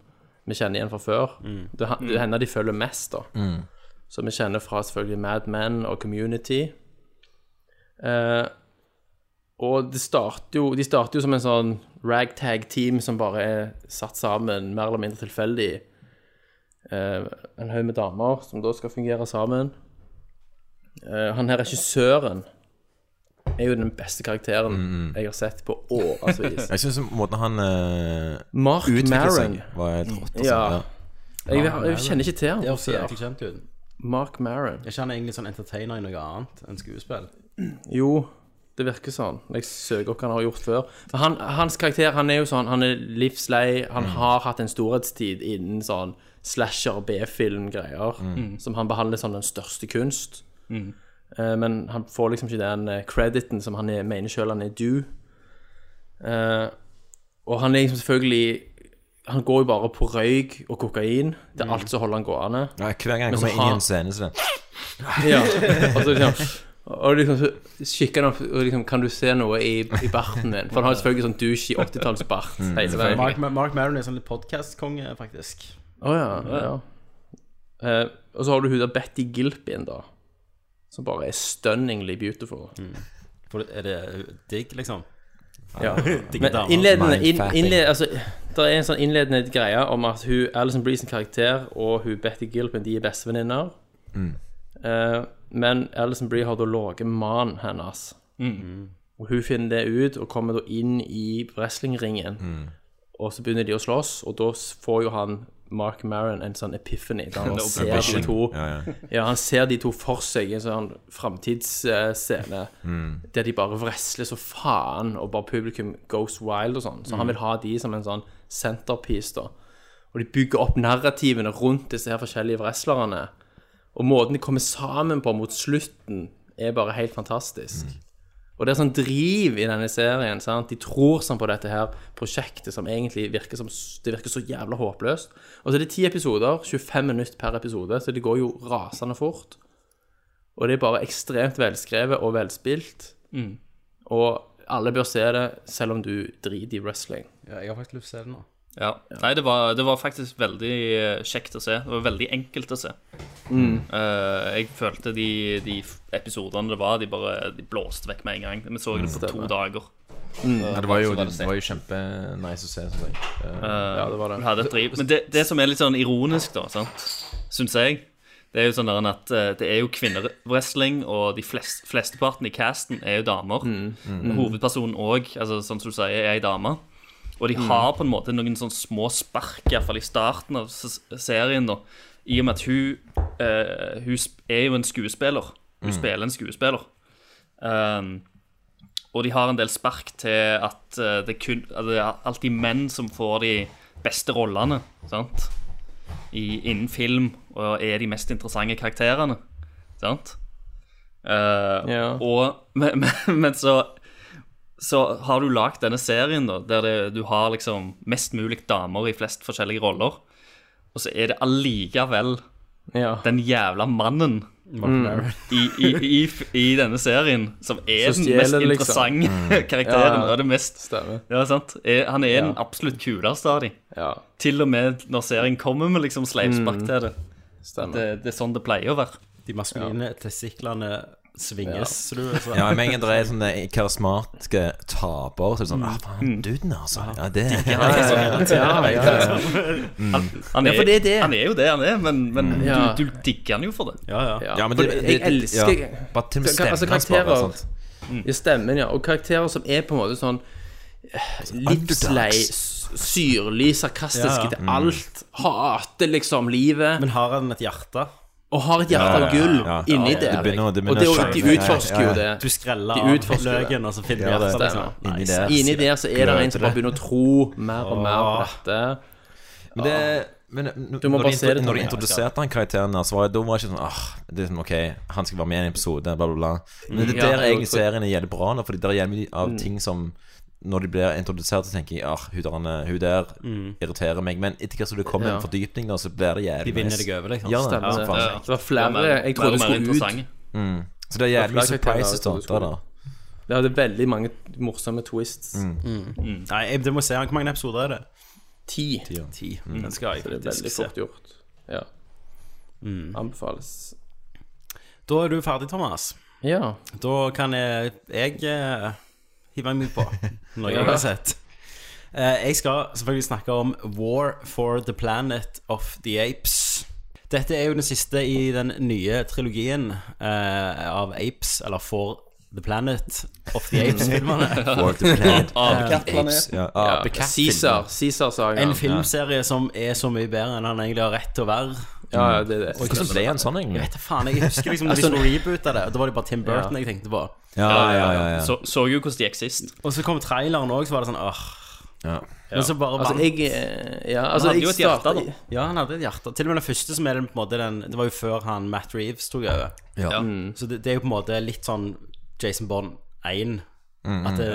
L: vi kjenner igjen fra før. Det er han- det er henne de følger mest, da. Som vi kjenner fra selvfølgelig Mad Men og Community. Eh, og det starter jo, de starter jo som en sånn ragtag-team som bare er satt sammen mer eller mindre tilfeldig. Eh, en haug med damer som da skal fungere sammen. Eh, han her regissøren er jo den beste karakteren jeg har sett på årevis.
K: Jeg synes måten han eh,
L: Mark
K: utviklet seg
L: Maron.
K: Var helt rått altså.
L: sånn. Ja. Jeg, jeg, jeg kjenner ikke til
A: Det
L: han
A: høres
L: før.
A: jævlig kjent ut.
L: Mark Maron.
A: Er ikke han egentlig sånn entertainer i noe annet enn skuespill?
L: Jo, det virker sånn. når Jeg søker opp hva han har gjort før. For han, hans karakter han er jo sånn, han er livslei. Han har hatt en storhetstid innen sånn slasher, B-film-greier, som han behandler som den største kunst. Eh, men han får liksom ikke den eh, crediten som han er, mener sjøl han er due. Eh, og han er liksom selvfølgelig Han går jo bare på røyk og kokain. Det er alt som holder han gående.
K: ja. Hver gang jeg
L: Men så
K: kommer inn i
L: har-
K: en scene så det
L: Ja, og så liksom Og liksom så kikker han opp og liksom Kan du se noe i, i barten din? For han har selvfølgelig sånn douche i 80-tallsbart
A: Mm.
L: hele veien.
A: Mark, Mark Maron er sånn litt podkastkonge, faktisk.
L: Å ja. ja. Eh, og så har du hun der Betty Gilpin, da. Som bare er stunningly beautiful.
A: For er det digg, liksom?
L: Ja.
A: Digge
L: Men
A: damer.
L: innledende, inn,
A: Mindfatting.
L: innled, altså, Det er en sånn innledende greie om at hun, Alison Breeze sin karakter og hun Betty Gilpin de er bestevenninner.
K: Mm.
L: Eh, men Alison Bree har da ligget mannen hennes.
J: Mm.
L: Og hun finner det ut og kommer da inn i wrestlingringen. Og så begynner de å slåss, og da s- får jo han Mark Maron en sånn epiphany. Da han
K: En
L: ser
K: opplevelse.
L: de to
K: Ja, ja.
L: han ser de to for seg i en sånn framtidsscene
K: Mm.
L: der de bare wrestler så faen, og bare publikum goes wild og sånn. Så han
J: Mm.
L: vil ha de som en sånn centerpiece, da. Og de bygger opp narrativene rundt disse her forskjellige wrestlerne. Og måten de kommer sammen på mot slutten, er bare helt fantastisk. Og det er sånn driv i denne serien. sant? De tror sånn på dette her prosjektet som egentlig virker som Det virker så jævla håpløst. Og så er det ti episoder, 25 minutter per episode, så det går jo rasende fort. Og det er bare ekstremt velskrevet og velspilt.
J: Mm.
L: Og alle bør se det, selv om du driter i wrestling.
A: Ja, jeg har faktisk lyst til å se det nå.
J: Ja. Nei, det var, det var faktisk veldig eh, kjekt å se. Det var veldig enkelt å se.
L: Mm.
J: Eh, jeg følte de, de f- episodene det var, de bare de blåste vekk med en gang. Vi så det på to
K: Stemmer.
J: dager. Eh,
K: Ja, det var jo,
J: så
K: det
J: sett.
K: var jo kjempenice å se. Sånn.
J: Eh, du Hadde et driv. Men det, det som er litt sånn ironisk, da, sant? syns jeg, det er jo sånn der at eh, det er jo kvinnewrestling, og de flest, flesteparten i casten er jo damer.
K: Mm.
J: Hovedpersonen òg, altså, sånn som du sier, er ei dame. Og
K: Mm.
J: de har på en måte noen sånn små spark, iallfall i starten av s- serien, da, i og med at hun, eh, hun sp- er jo en skuespiller. Hun
K: Mm.
J: spiller en skuespiller. Um, og de har en del spark til at eh, det, kun, at det er alltid menn som får de beste rollene sant? I, innen film, og er de mest interessante karakterene. Sant? Eh, og, men, men, men så så har du lagd denne serien da, der det, du har liksom mest mulig damer i flest forskjellige roller, og så er det allikevel den jævla mannen
L: Mm.
A: Mark Maron.
J: i, i, i, i denne serien som er
L: Som
J: den
L: stjeler
J: mest
L: det, liksom.
J: interessante
L: Mm.
J: karakteren.
L: Ja, ja.
J: Og det mest Ja, sant? Er, han er den absolutt kuleste av dem. Til og med når serien kommer med liksom sleivspark
A: Mm.
J: til det.
L: Stemmer.
J: det. Det er sånn det pleier å være.
A: De maskuline testiklene svinges,
J: Ja.
A: så du sånn. så.
K: Ja, men jeg er sånne karismatiske taper. Så det er sånn, ah, faen, duden, altså. Ja, det Mm.
J: Han, han,
K: Ja,
J: er,
K: for det er det.
J: han er jo det han er, men, men
K: Mm.
J: du,
K: Ja.
J: du digger han jo for det.
K: Ja, men det- det-
L: For jeg
K: det-
L: elsker
K: ja. Bare til og med
L: Ka- altså,
K: stemmen hans bare,
L: karakterer-
K: sant?
L: Ja, stemmen, ja. Og karakterer som er på en måte sånn eh,
A: Altså,
L: Livslei,
A: underdogs.
L: s- syrlig, sarkastiske
A: Ja.
L: til
A: Mm.
L: alt. Hater liksom livet.
A: Men har han et hjerte?
L: Og har et hjerte av gull inni
A: Ja,
L: der.
A: det begynner- det begynner
L: og det,
A: å
L: er jo- de
A: skjønne.
L: utforsker jo
A: Ja, ja.
L: det.
A: Du skreller
L: De
A: av
L: utforsker det.
A: løken, og så finner du
L: Ja, det
A: hjertet,
L: stemmer.
A: liksom.
L: Inni
A: Nice.
L: der, inni der så er det en som bare begynner å tro mer og mer på
K: Åh.
L: dette.
K: Men det men n-
L: Du må
K: når,
L: bare
K: de,
L: se det,
K: når
L: Tommy.
K: de introduserte han karakteren der, så var jeg, da var jeg ikke sånn ah, det er sånn, Ok, han skal være med i en episode, bla, bla, bla. Men det er
L: Mm. Ja,
K: der
L: jeg
K: egentlig
L: tror-
K: serien er jævlig bra nå, fordi det er jævlig mye av
L: Mm.
K: ting som når de blir introdusert, så tenker jeg ah, hun der, han- hun der
L: Mm.
K: irriterer meg. Men etter hvert som det kommer
L: Ja.
K: en fordypning, da, så blir det jævlig
A: De vinner
K: nice.
A: deg over, liksom.
K: Ja,
A: Stemmer
K: ja,
A: det.
K: faen.
A: Ja.
L: Det var flere jeg trodde skulle ut.
K: Mm. Så det er jævlig mye
L: Det var flere
K: surprises da.
L: karakterer jeg trodde
K: da, da.
L: skulle ut. Det hadde veldig mange morsomme twists.
K: Mm.
A: Nei, jeg, det må jeg se. Hvor mange episoder er det?
L: Ti.
A: Ti.
L: Mm.
A: Den skal jeg
L: Så det er
A: faktisk Mm.
L: veldig
A: se.
L: fort gjort. Ja. Anbefales.
A: Da er du ferdig, Thomas.
L: Ja.
A: Da kan jeg, jeg eh, hive meg på noe jeg
L: Ja.
A: har sett. Eh, jeg skal selvfølgelig snakke om War for the Planet of the Apes. Dette er jo den siste i den nye trilogien eh, av Apes, eller For the Planet of the Apes-filmene.
K: For the Planet of the
A: Eh,
K: Apes. Ja, apekatt-filmer.
L: Caesar. Caesar-sagaen.
A: En filmserie som er så mye bedre enn han egentlig har rett til å være.
L: Ja, ja, det er det.
A: Og
K: Hvordan ble han sånn, egentlig?
A: Jeg vet da faen, jeg husker liksom når de
L: Altså,
A: skulle reboote det, og da var det bare Tim Burton
L: Ja.
A: jeg tenkte på.
K: Ja, ja, ja, ja.
J: Så, så jo hvordan de gikk sist.
A: Og så kom traileren òg, så var det sånn åh.
K: Ja.
A: Men så bare
L: Altså,
A: vant.
L: jeg, eh, ja, altså,
A: han hadde
L: jeg
A: jo et hjerte,
L: startet-
A: da. Ja, han hadde et hjerte. Til og med den første som er den, på en måte, den Det var jo før han Matt Reeves tok over.
K: Ja. Ja.
A: Så det, det er jo på en måte litt sånn Jason Bond 1.
K: Mm,
A: At det,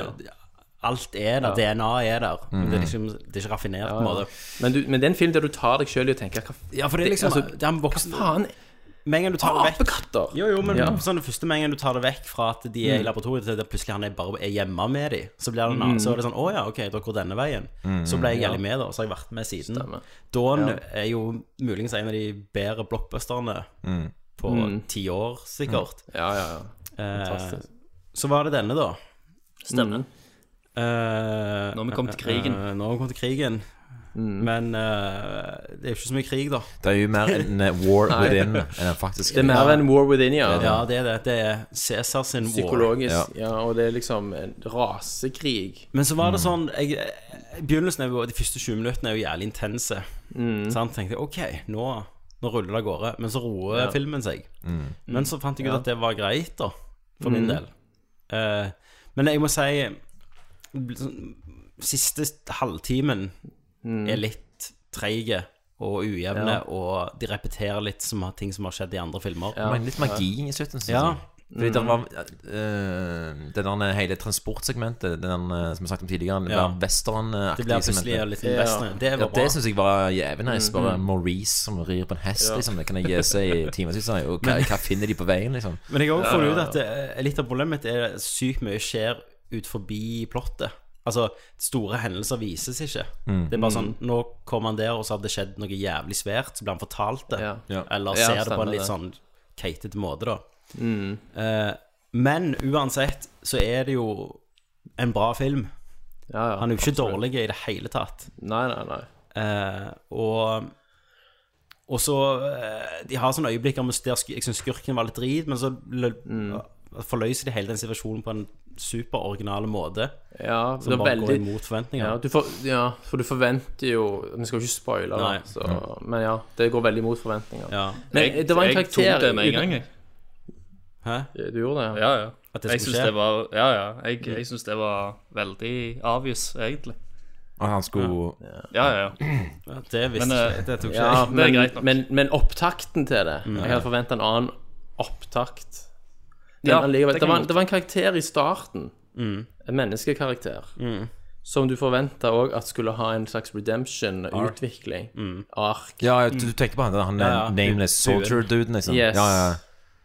A: alt er der.
L: Ja.
A: DNA er der. Men det er
L: Mm.
A: liksom Det er ikke raffinert,
L: Ja,
A: på en
L: ja.
A: måte.
L: Men, du, men det er en film der du tar deg sjøl i å tenke hva,
A: Ja, for det er liksom- det er en voksen-
L: Hva faen
A: altså, Med en gang du tar det vekk
L: Apekatter!
A: Jo, jo, men
L: Ja.
A: sånn det første med en gang du tar det vekk fra at de er i
L: Mm.
A: laboratoriet, til at plutselig han er bare er hjemme med dem, så blir det en annen.
L: Mm.
A: Så er det sånn Å ja, ok, da går denne veien.
L: Mm,
A: Så ble jeg
L: ja.
A: gjerne med, da, og så har jeg vært med siden. Dawn
L: Ja.
A: er jo muligens en av de bedre blockbusterne
K: Mm.
A: på
L: Mm.
A: ti år, sikkert.
L: Ja, ja, ja.
A: Eh,
L: Fantastisk.
A: så var det denne, da.
J: Stemmer.
L: Mm.
A: Eh,
J: Når vi kom til krigen.
A: eh, når vi kom til krigen.
L: Mm.
A: Men eh, det er jo ikke så mye krig, da.
K: Det er jo mer en eh, war
L: Nei.
K: within enn en faktisk
L: Det er mer enn War Within, ja.
A: Ja, det er det. Det er Cæsar sin war.
L: Psykologisk. Ja. og det er liksom en rasekrig.
A: Men så
L: Mm.
A: var det sånn jeg, jeg- Begynnelsen er jo, De første 20 minuttene er jo jævlig intense.
L: Mm.
A: Så han tenkte jeg, OK, nå, nå ruller det av gårde. Men så roer
L: Ja.
A: filmen seg.
K: Mm.
A: Men så fant jeg ut
L: Ja.
A: at det var greit, da. For
L: Mm.
A: min del. Eh, men jeg må si bl- sånn, Siste halvtimen er litt treige og ujevne,
L: Mm. Ja.
A: og de repeterer litt som, har- ting som har skjedd i andre filmer.
L: Ja.
K: Men litt magi i slutten, synes
A: Ja. Mm.
K: jeg. Fordi det var eh, Det der hele transportsegmentet, den der, eh, som jeg snakket om tidligere, det
A: Ja.
K: der westernaktige
A: Det blir plutselig litt
L: Ja.
A: western. Det var
K: ja,
A: bra. Mm,
K: det syns jeg var jævlig nice. Bare Maurice som rir på en hest,
L: Ja.
K: liksom. Det kan jeg gi seg i timevis. liksom. Og hva,
A: Men-
K: hva finner de på veien, liksom?
A: Men jeg har også
L: Ja,
A: funnet
L: ja,
A: ut at eh, litt av problemet mitt er at sykt mye skjer ut forbi plottet. Altså, store hendelser vises ikke.
L: Mm.
A: Det er bare sånn Nå kom han der, og så hadde det skjedd noe jævlig svært, så ble han fortalt det.
L: Ja.
K: Ja.
A: Eller
L: Ja,
A: ser det på
L: stemmer
A: en litt
L: det. Mm.
A: sånn keitete måte, da. Eh, men uansett så er det jo en bra film.
L: Ja, ja.
A: Han er jo ikke dårlig i det hele tatt.
L: Nei, nei, nei.
A: Eh, og Og så eh, De har sånne øyeblikker med der sk- jeg syns skurken var litt drit, men så lø-
L: Mm.
A: forløser de hele den situasjonen på en superoriginal måte.
L: Ja,
A: Som
L: det er
A: bare går
L: veldig
A: imot forventninger.
L: ja, du får, ja, for du forventer jo Vi skal jo ikke spoile, da,
A: Nei.
L: så, men ja, det går veldig mot forventninger.
A: Ja.
L: Men
J: Jeg-
L: Eh, det var en karakter
J: Jeg tok det med en
L: uten-
J: gang, jeg.
A: Hæ?
L: Du gjorde det?
J: Ja, ja.
A: At det
J: Jeg
A: skulle
J: syns
A: skje?
J: det var Ja, ja. Jeg, jeg syns det var veldig obvious, egentlig.
K: Og han skulle
J: Ja, ja. ja.
A: Ja, det visste
J: Men, eh,
A: ikke jeg. Det tok ikke
L: Ja,
A: jeg.
J: Det er
L: men,
J: greit nok.
L: men, men opptakten til det
K: Mm.
L: Jeg hadde forventa en annen opptakt. Men
J: Ja,
L: allikevel,
J: det
L: det,
J: kan
L: var,
J: godt.
L: det var en karakter i starten,
K: Mm.
L: en menneskekarakter, som du forventa òg at skulle ha en slags redemption-utvikling.
K: Mm.
L: Ark.
K: Ja, du, du tenkte på han, han
A: Mm. Ja, ja.
K: nameless
A: Buen.
K: soldier-duden, liksom?
L: Yes.
K: Ja, ja.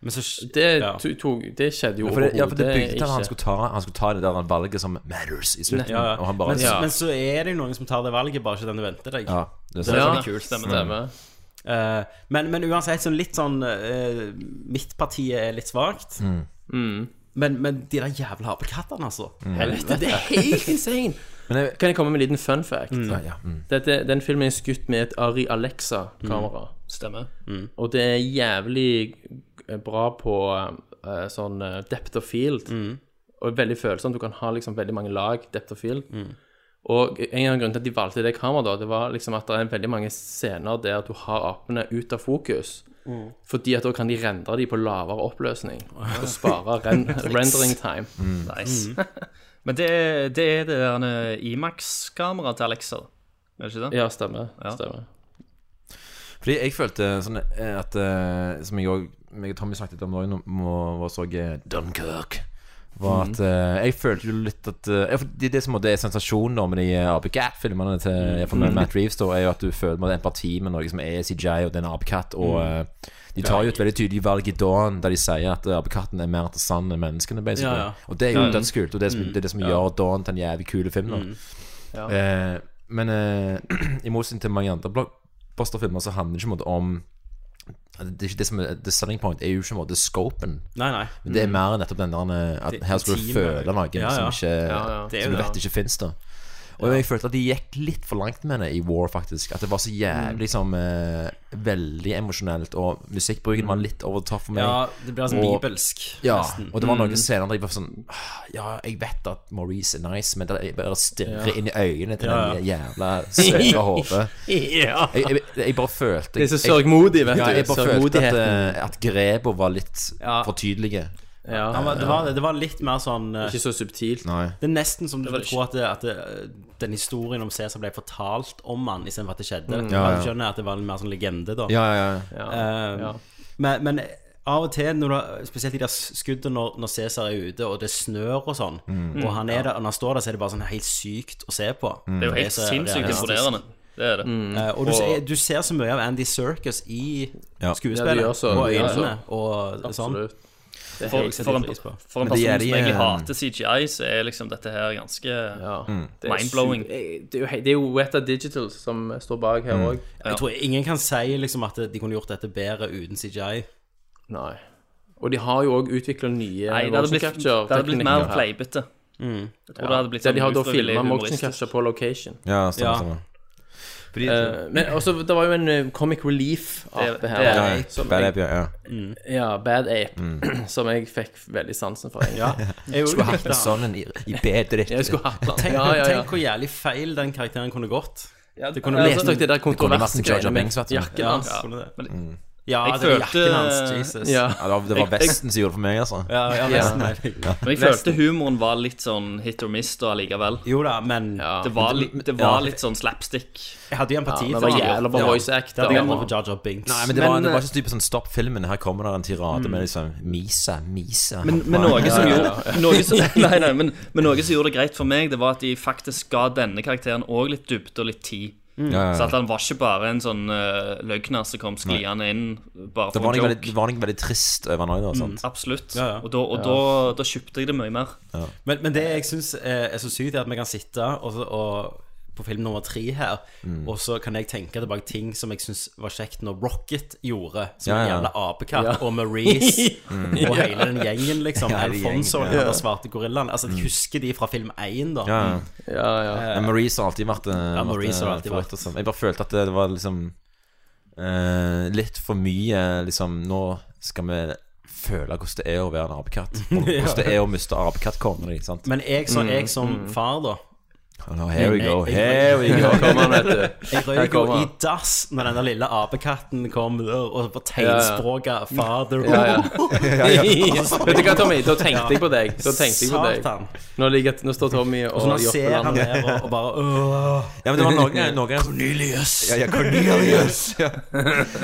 A: Men så
L: Det,
A: ja.
L: to- tok, det skjedde jo
K: Ja, for det, ja, for det
L: overhodet
K: bygde til at han
L: ikke.
K: skulle, ta, han skulle ta det der valget som matters i slutten.
A: ja, ja.
K: Og han bare
A: men,
L: Ja.
A: men så er det jo noen som tar det valget, bare ikke den du venter deg.
K: Ja, det er sant.
L: Ja,
J: sånn kult, stemmer det.
L: stemmer.
A: Eh, men, men uansett, sånn litt sånn eh, Midtpartiet er litt svakt.
L: Mm.
J: Mm.
A: Men, men de der jævla apekattene, altså.
L: Mm.
A: Helvete,
L: Det er helt insane!
K: Men jeg,
L: Kan jeg komme med en liten fun fact?
K: ja, ja, mm.
L: Dette, den filmen er skutt med et Ari Alexa-kamera.
J: Mm. Stemmer.
L: Og det er jævlig bra på eh, sånn eh, depth of field. Og veldig følsomt. Du kan ha liksom veldig mange lag depth of field. Og en av grunnene til at de valgte det kameraet, da, det var liksom at det er veldig mange scener der du har apene ut av fokus.
J: Mm.
L: Fordi at da kan de rendre de på lavere oppløsning. Og spare ren rendering time.
J: Nice. Men det, er- det er det der Imax-kameraet til Alexa, er det ikke det?
L: Ja, stemmer.
J: Ja.
L: stemmer.
K: Fordi jeg følte sånn eh, at eh, Som jeg òg meg og Tommy snakket om òg, når vi så eh, Dunkirk Var at eh, Jeg følte jo litt at eh, ja, for Det er det som på en måte er sensasjonen nå med de eh, apekatt-filmene til
A: Mm.
K: jeg får med Matt Reeves, da, er jo at du føler med empati med noe som er CJI, og det er en apekatt. Og
A: Mm.
K: eh, de tar jo et veldig tydelig valg i Dawn, der de sier at eh, apekatten er mer interessant enn menneskene. basically.
A: Ja, Mm. ja.
K: Og det er jo dødskult, og det er, som- det er det som gjør Dawn til en jævlig kul film. da
A: Mm.
K: Eh, men eh, i motsetning til mange andre blockbuster-filmer så handler det ikke på en måte om det, er ikke det som er the selling point, er jo ikke på en måte scopen.
A: Nei, nei.
K: Men
L: Mm.
K: det er mer nettopp den der eh, at
A: Det
K: her skal du
A: intime.
K: føle noe
A: Ja, ja.
K: som ikke
L: Ja, ja. Det er
K: Som du
L: jo det.
K: vet ikke fins, da. Og jeg følte at de gikk litt for langt med det i War, faktisk. At det var så
L: Mm.
K: jævlig som eh, Veldig emosjonelt, og musikkbruken
L: Mm.
K: var litt over the top for meg.
A: Ja, det blir sånn
K: Og-
A: bibelsk.
K: Ja,
A: nesten.
K: og det var noen
L: Mm.
K: scener der jeg var sånn «Ah, Ja, jeg vet at Maurice er nice, men det er bare å stirre inn i øynene til
A: Ja,
K: den jævla søte hodet.
L: Ja.
K: Jeg, jeg, jeg bare følte
L: Det er så
K: jeg-
L: sørgmodig, vet
K: ja,
L: du.
K: jeg bare følte at,
L: Sørgmodigheten.
K: eh, at grepa var litt
A: Ja.
K: for tydelige.
L: Ja.
A: Han var, det, var, det. det var litt mer sånn eh,
L: Ikke så subtilt.
K: Nei.
A: Det er nesten som du
J: var
A: skulle tro at, det, at det, den historien om Cæsar ble fortalt om han istedenfor at det skjedde.
K: Ja, ja.
A: Du skjønner at det var en mer sånn legende, da.
K: Ja, ja, ja.
L: Ja.
A: Eh,
L: ja.
A: Men, men av og til, når du, spesielt i de der skuddene når, når Cæsar er ute, og det snør og sånn, og han er der, og når han står der, så er det bare sånn helt sykt å se på.
J: Det er jo helt
A: så
J: sinnssykt
A: realistisk.
J: imponerende. Det er det.
A: Eh, og du, ser- du ser så mye av Andy Serkis i skuespillet
L: Ja, de gjør så-
A: og
L: de gjør
A: øynene
L: så.
A: og sånn.
L: Absolutt.
A: Det
J: For,
A: jeg setter
J: for, en,
A: pris på.
J: for
A: Men
J: en
A: det
J: person
A: gjør
J: som
A: de,
J: egentlig
A: eh,
J: hater CGI, så er liksom dette her ganske
L: Det er
J: Mm. mindblowing.
L: su- Det er jo, he- det er jo Weta Digital som står bak her
J: Mm.
L: òg.
A: Jeg tror ingen kan si liksom, at de kunne gjort dette bedre uten CGI.
L: Nei. Og de har jo òg utvikla nye
J: Nei, det
L: motion
J: hadde blitt, det hadde blitt
L: capture-teknikker
J: mer
L: her.
J: fleipete.
L: Mm.
J: Jeg tror det hadde blitt
L: Der de
J: sånn
L: har da
J: ufrivillig
L: filma motion
J: humoristisk.
L: capture på location.
K: Ja, stemmer, stemmer. Fordi-
L: Eh, men også, det var jo en eh, Comic Relief-ape
J: Det-
L: her.
J: det er Mm.
K: Ja,
L: som jeg-
K: Bad Ape, ja, ja.
L: Mm. Ja, Bad Ape, som jeg fikk veldig sansen for. egentlig.
A: Jeg
K: Skulle hatt en sånn en i, i bedet ditt.
L: Jeg skulle hatt den.
A: Tenk,
L: Ja, ja, ja.
A: tenk hvor jævlig feil den karakteren kunne gått.
J: Ja,
A: Det kunne
L: altså,
A: blitt-
L: leste dere det der kontroversen-
K: Jar Jar
L: greiene med
K: Binks, vet du.
L: jakken hans?
A: Ja, kunne det.
K: Mm.
A: Ja,
J: Jeg
A: det var
J: følte-
A: jakken hans. Jesus.
K: Ja,
L: Ja.
K: det var- det var
J: Jeg- jeg-
K: Vesten som gjorde det for meg, altså.
A: Ja, ja, Vesten,
K: Ja.
A: mener jeg.
K: Ja.
J: Men jeg følte humoren var litt sånn hit or miss da allikevel.
A: Jo da, men
J: Det var,
A: Men-
J: litt- det
A: ja.
J: var litt sånn slapstick.
A: Jeg hadde jo empati
L: Ja, det
A: for
L: var
A: han.
L: jævla bra voice
A: Det
L: act,
A: hadde
L: da.
A: jeg aldri for Jar Jar Binks.
K: Nei, men det var,
J: Men,
K: det var
J: eh, Mm.
K: ikke så type sånn stopp filmen. Her kommer det en tirade med liksom Misa, Misa.
J: Men, men
K: Faen.
J: noe som
K: Ja, ja,
J: gjorde
K: ja.
J: noe som, nei, nei, men, men noe som gjorde det greit for meg, det var at de faktisk ga denne karakteren òg litt dybde og litt tid.
K: Mm. Ja, ja, ja.
J: Så at han var ikke bare en sånn uh, løgner som kom skliende inn bare
K: Det
J: for
K: var
J: en
K: noe
J: joke. Mm.
K: veldig, det var noe veldig trist over noe, da. Sant?
J: Absolutt.
A: Ja, ja.
J: Og, da, og da, da kjøpte jeg det mye mer.
A: Men, men det jeg syns eh, er så sykt, er at vi kan sitte og, og, på film nummer tre her,
L: Mm.
A: og så kan jeg tenke tilbake ting som jeg syns var kjekt når Rocket gjorde, som
K: Ja,
A: en
K: ja.
A: jævla apekatt,
L: Ja.
A: og Maurice
K: Mm.
A: og hele den gjengen, liksom.
K: Ja, hele
A: Alfonso og
K: gjengen,
A: den
K: ja.
A: der svarte gorillaen. Altså, jeg husker de fra film én, da.
K: Ja,
J: Mm.
K: ja.
L: Mm. Ja, ja.
K: Men Maurice har alltid vært Ja,
A: Maurice har alltid vært.
K: Jeg bare følte at det, det var liksom eh, Litt for mye liksom Nå skal vi føle hvordan det er å være en apekatt. Og Hvordan det er å miste apekattkornet ditt. sant?
A: Men jeg,
L: Mm.
A: så, jeg som far, da
K: Oh, no, here we go,
A: Jeg-
K: here we go.
L: Her kommer han, vet du.
A: Jeg
L: Her
A: røyk jo
L: kommer
A: i
L: han.
A: dass når den der lille apekatten kom der, og på
L: ja.
A: tegnspråket 'father'
L: Ja, ja. Vet du hva, Tommy? Da
A: Ja.
L: tenkte jeg på deg. Da tenkte jeg på
A: Satan.
L: deg. Nå, ligger, nå står Tommy og,
A: Og så nå
L: Joppe
A: ser han
L: lander.
A: ned og, og bare Åh.
K: Ja, men det var noe, noe
A: Cornelius!
K: Ja, ja, Cornelius! Ja.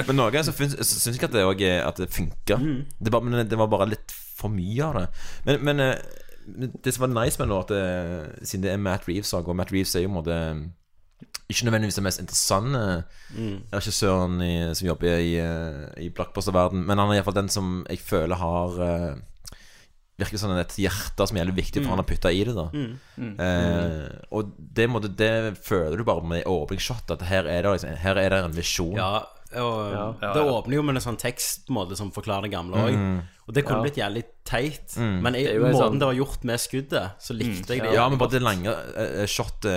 K: Men noe så syns så syns jeg at det, også er- at det funka. Det, var- men det var bare litt for mye av det. Men, men eh, det som var nice med nå, at det, siden det er Matt Reeves og Matt Reeves er jo på en måte ikke nødvendigvis den mest interessante eh, regissøren i, som jobber i, eh, i blockbuster-verden, men han er iallfall den som jeg føler har eh, Virker som et hjerte som er jævlig viktig for han har putta i det. da Eh, og det, måtte, det føler du bare med åpningsshot, at her er det, liksom, her er det en visjon.
A: Ja, og det åpner jo med en sånn tekst på en måte som forklarer det gamle òg.
K: Mm.
A: Og det kunne blitt jævlig teit, men jeg,
L: er jo en
A: måten
L: sånn-
A: det var gjort med skuddet, så likte jeg det.
K: Ja, men bare det lange uh, shotet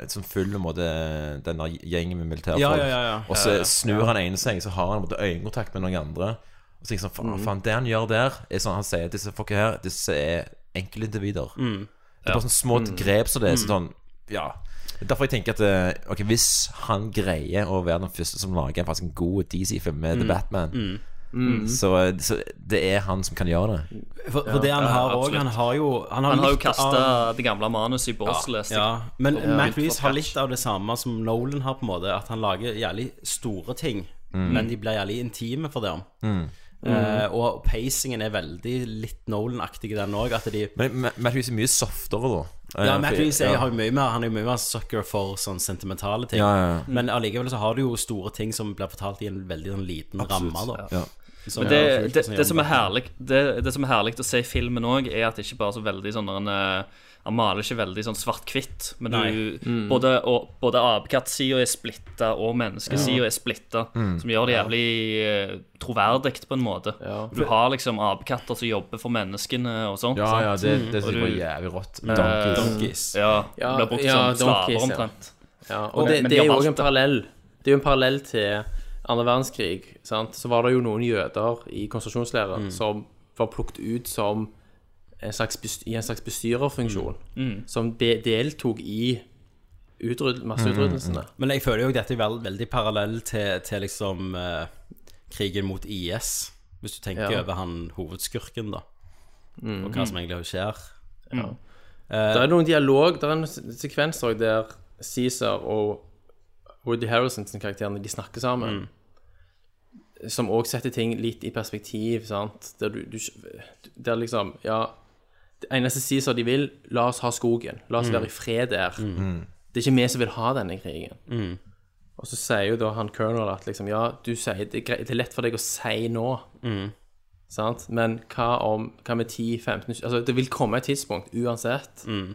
K: eh, som følger måte eh, denne gjengen med militærfolk.
A: Ja, ja, ja, ja.
K: Og så snur han ene seg, så har han måte, øyekontakt med noen andre. Og så tenker jeg sånn,
A: Mm.
K: faen, faen, det han gjør der, er sånn han sier disse folka her, disse er enkeltindivider.
A: Mm.
K: Det er bare sånne små grep som det er så sånn, ja. Det er Derfor jeg tenker at eh, ok, hvis han greier å være den første som lager en faktisk en god DC-film med
A: Mm.
K: The Batman, Så, eh, så det er han som kan gjøre det.
A: For, for det han har òg Han har jo Han har,
J: Han har jo
A: litt
J: kasta
A: av-
J: det gamle manuset i bås, leste jeg.
A: Ja, men
J: Og begynt
A: Matt
J: fra
A: Reeves har
J: scratch.
A: litt av det samme som Nolan har, på en måte. At han lager jævlig store ting,
K: Mm.
A: men de blir jævlig intime for dem. Eh, og pacingen er veldig litt Nolan-aktig, den òg. At de
K: Men Ma- Matt Reeves er mye softere, da.
A: Ja,
K: Eh,
A: Matt
K: for-
A: Reeves er,
K: ja.
A: har jo mye mer Han er jo mye mer sucker for sånn sentimentale ting.
K: Ja, ja, ja.
J: Mm.
A: Men allikevel så har du jo store ting som blir fortalt i en veldig sånn liten ramme. Da.
K: Ja.
A: Som
J: Men
A: er
J: det,
A: kult,
J: det,
A: sånn
J: det, som er
A: jævlig.
J: herlig, det, det som er herlig å se i filmen òg, er at det ikke bare er så veldig sånn når han, eh, han maler ikke veldig sånn svart-hvitt. Men du, både, og, både apekattsida er splitta, og menneskesida er splitta.
K: Mm.
J: Som gjør det jævlig eh, troverdig, på en måte. Du har liksom apekatter som jobber for menneskene og sånt.
K: Ja, ja,
J: sant?
K: det, det synes jeg var
J: Og du-
K: jævlig rått.
J: Eh,
A: Donkeys.
J: Ja,
L: Ja,
J: blir brukt
L: ja,
J: som slaver,
L: donkeys, ja.
J: omtrent.
L: Ja, og
J: Men-
L: det,
J: men
L: det
J: de
L: er
J: har
L: jo også en
J: valgt det.
L: parallell. Det er jo en parallell til andre verdenskrig. Sant? Så var det jo noen jøder i konsentrasjonsleirer som var plukket ut som en slags, best- i en slags bestyrerfunksjon. Som de, deltok i utrydd, masseutryddelsene.
A: Men jeg føler jo dette er vel- veldig parallell til, til liksom eh, krigen mot IS, hvis du tenker
L: Ja.
A: over han hovedskurken, da.
J: Mm.
A: Og hva som egentlig skjer.
L: Det er noen dialog, det er en se- sekvens også der Caesar og Woody Harrisons karakterene, de snakker sammen.
A: Mm.
L: Som også setter ting litt i perspektiv, sant. Der du, du Der liksom, ja Det eneste Caesar de vil,
A: Mm. Mm.
L: la oss ha skogen. La oss være i fred der. Det er ikke vi som vil ha denne krigen. Og så sier jo da han colonel at liksom Ja, du sier det er, greit, det er lett for deg å si nå,
A: Mm.
L: sant? men hva om Hva med 10-15 Altså, det vil komme et tidspunkt uansett
A: Mm.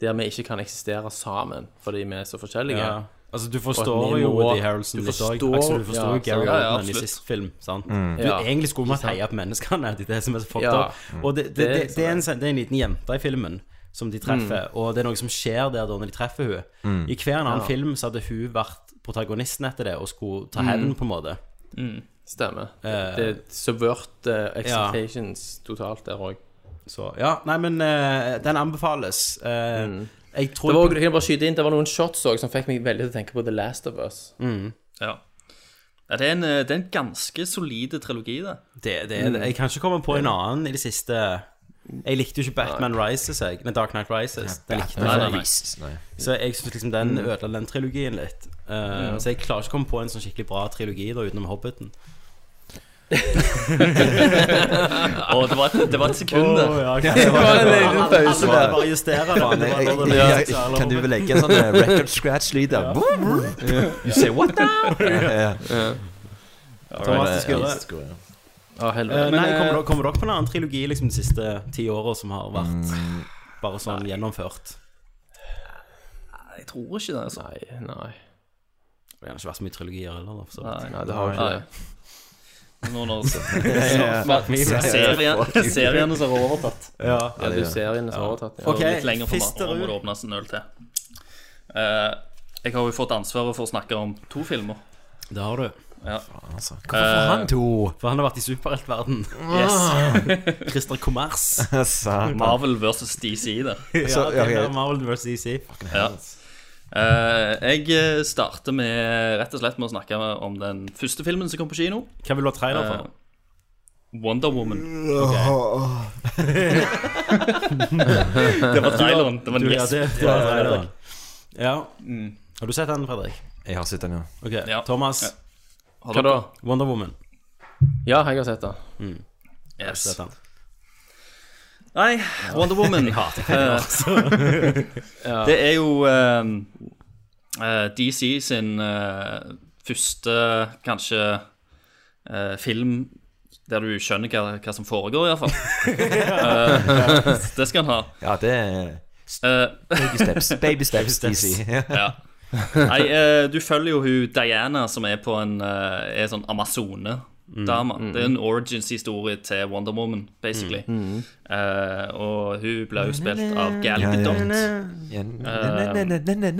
L: der vi ikke kan eksistere sammen fordi vi er så forskjellige.
A: Ja. Altså, du
L: Og at vi
A: forstår jo
L: må-
A: Woody Harrelson
L: du
A: litt òg.
L: forstår-
A: Altså, du forstår jo
L: ja,
A: Gary
L: sant. Ja, ja,
A: Oldman i
L: absolutt.
A: sist film. Sant?
L: Mm.
A: Du,
L: Ja.
A: Egentlig skulle man
L: Ikke sant?
A: heie på menneskene. Det er det som er så fucked
L: Ja.
A: up. Og det, det,
L: Det er
A: det,
L: liksom
A: det, er en, det er en liten jente i filmen som de treffer, og det er noe som skjer der da når de treffer hun
K: Mm.
A: I hver annen
L: Ja.
A: film så hadde hun vært protagonisten etter det og skulle ta
L: Mm.
A: hevn, på en måte.
J: Mm.
L: Stemmer.
A: Eh,
L: det subverter expectations totalt der òg.
A: Så ja, nei, men eh, den anbefales. Eh, Jeg tror
L: Mm. Det var, jeg kan bare skyte inn, det var noen shots også, som fikk meg veldig til å tenke på The Last of Us.
A: Mm.
J: Ja. ja det, er en, eh, det er en ganske solid trilogi, det.
A: Det, det,
L: Mm.
A: er- Jeg kan ikke komme på en annen i det siste. Jeg likte jo ikke Batman Rises, jeg. Nei, Dark Knight Rises. Den likte
K: Batman
A: jeg ikke.
K: Rises, sånn nei.
A: Så jeg synes liksom den ødela den trilogien litt. Eh,
K: Ja.
A: Så jeg klarer ikke å komme på en sånn skikkelig bra trilogi da utenom Hobbiten.
J: Og det var, det var et sekund der.
A: Åh, ja, ok.
J: Det var en liten
A: Alle-
J: pause
A: alle bare-
J: der.
A: bare justerer hverandre.
K: Jeg-
A: Det var
K: jeg-
A: det
K: jeg-
A: som var
K: Kan du
A: Hobbiten.
K: legge en sånn eh, record scratch-lyd der?
A: Ja.
K: Vroom, vroom. You say what now? Ja, ja.
A: Thomas, det skulle
K: Ja,
A: det.
K: skulle det.
L: Å, helvete.
A: Eh,
L: Men,
A: Nei,
L: eh,
A: kommer dere, kommer dere på en annen trilogi liksom, de siste ti åra som har vært bare sånn gjennomført?
J: Jeg tror ikke det. altså.
L: Nei, nei.
A: Det har gjerne ikke vært så mye trilogier heller. da, for så
J: Nei.
A: vidt.
L: Nei, det har jo ikke det.
J: Noen år
A: Ja, ja.
J: siden. Seriene som har overtatt.
A: Ja,
L: Ja, det er jo seriene som har overtatt. Ja.
J: Og
A: Ok,
J: litt lenger
A: fister
J: fra meg,
A: ut.
J: må det åpnes en øl til. Eh, jeg har jo fått ansvaret for å snakke om to filmer.
A: Det har du.
J: Ja.
K: Altså, Hvorfor får han to?
A: For han har vært i superheltverden.
J: Mm. Eh, Yes.
A: Christer Kommers.
K: Eh, Satan.
J: Marvel versus DC der.
A: Ja,
K: ja,
A: det er
K: ok.
A: Marvel vs. DC.
J: Ja. Eh, jeg starter med rett og slett med å snakke om den første filmen som kom på kino.
A: Hva vil du ha trailer for?
J: Eh, Wonder
K: Mm.
J: Woman. Det var traileren. Det var en
A: Du, ja,
J: gjesp.
A: det, det var traileren. Ja. Har du sett den, Fredrik?
K: Jeg har sett den, ja.
A: Ok,
J: Ja.
A: Thomas,
J: Har
L: Hva da?
J: dere-
A: Wonder Woman.
L: Ja, jeg har sett det.
J: Yes.
A: Sett den.
J: Nei, Wonder Woman. Eh, Det er jo ehm, eh, DC sin eh, første, kanskje, eh, film der du skjønner hva, hva som foregår, iallfall. uh, det skal han ha.
K: Ja, det er
J: Eh,
K: Baby steps. Baby steps, Eh, DC.
J: ja. Nei, eh, du følger jo hun Diana, som er på en eh, er sånn amazone-dame. Det er en origins-historie til Wonder Woman, basically. Eh, og hun ble jo spilt av Gal Gadot.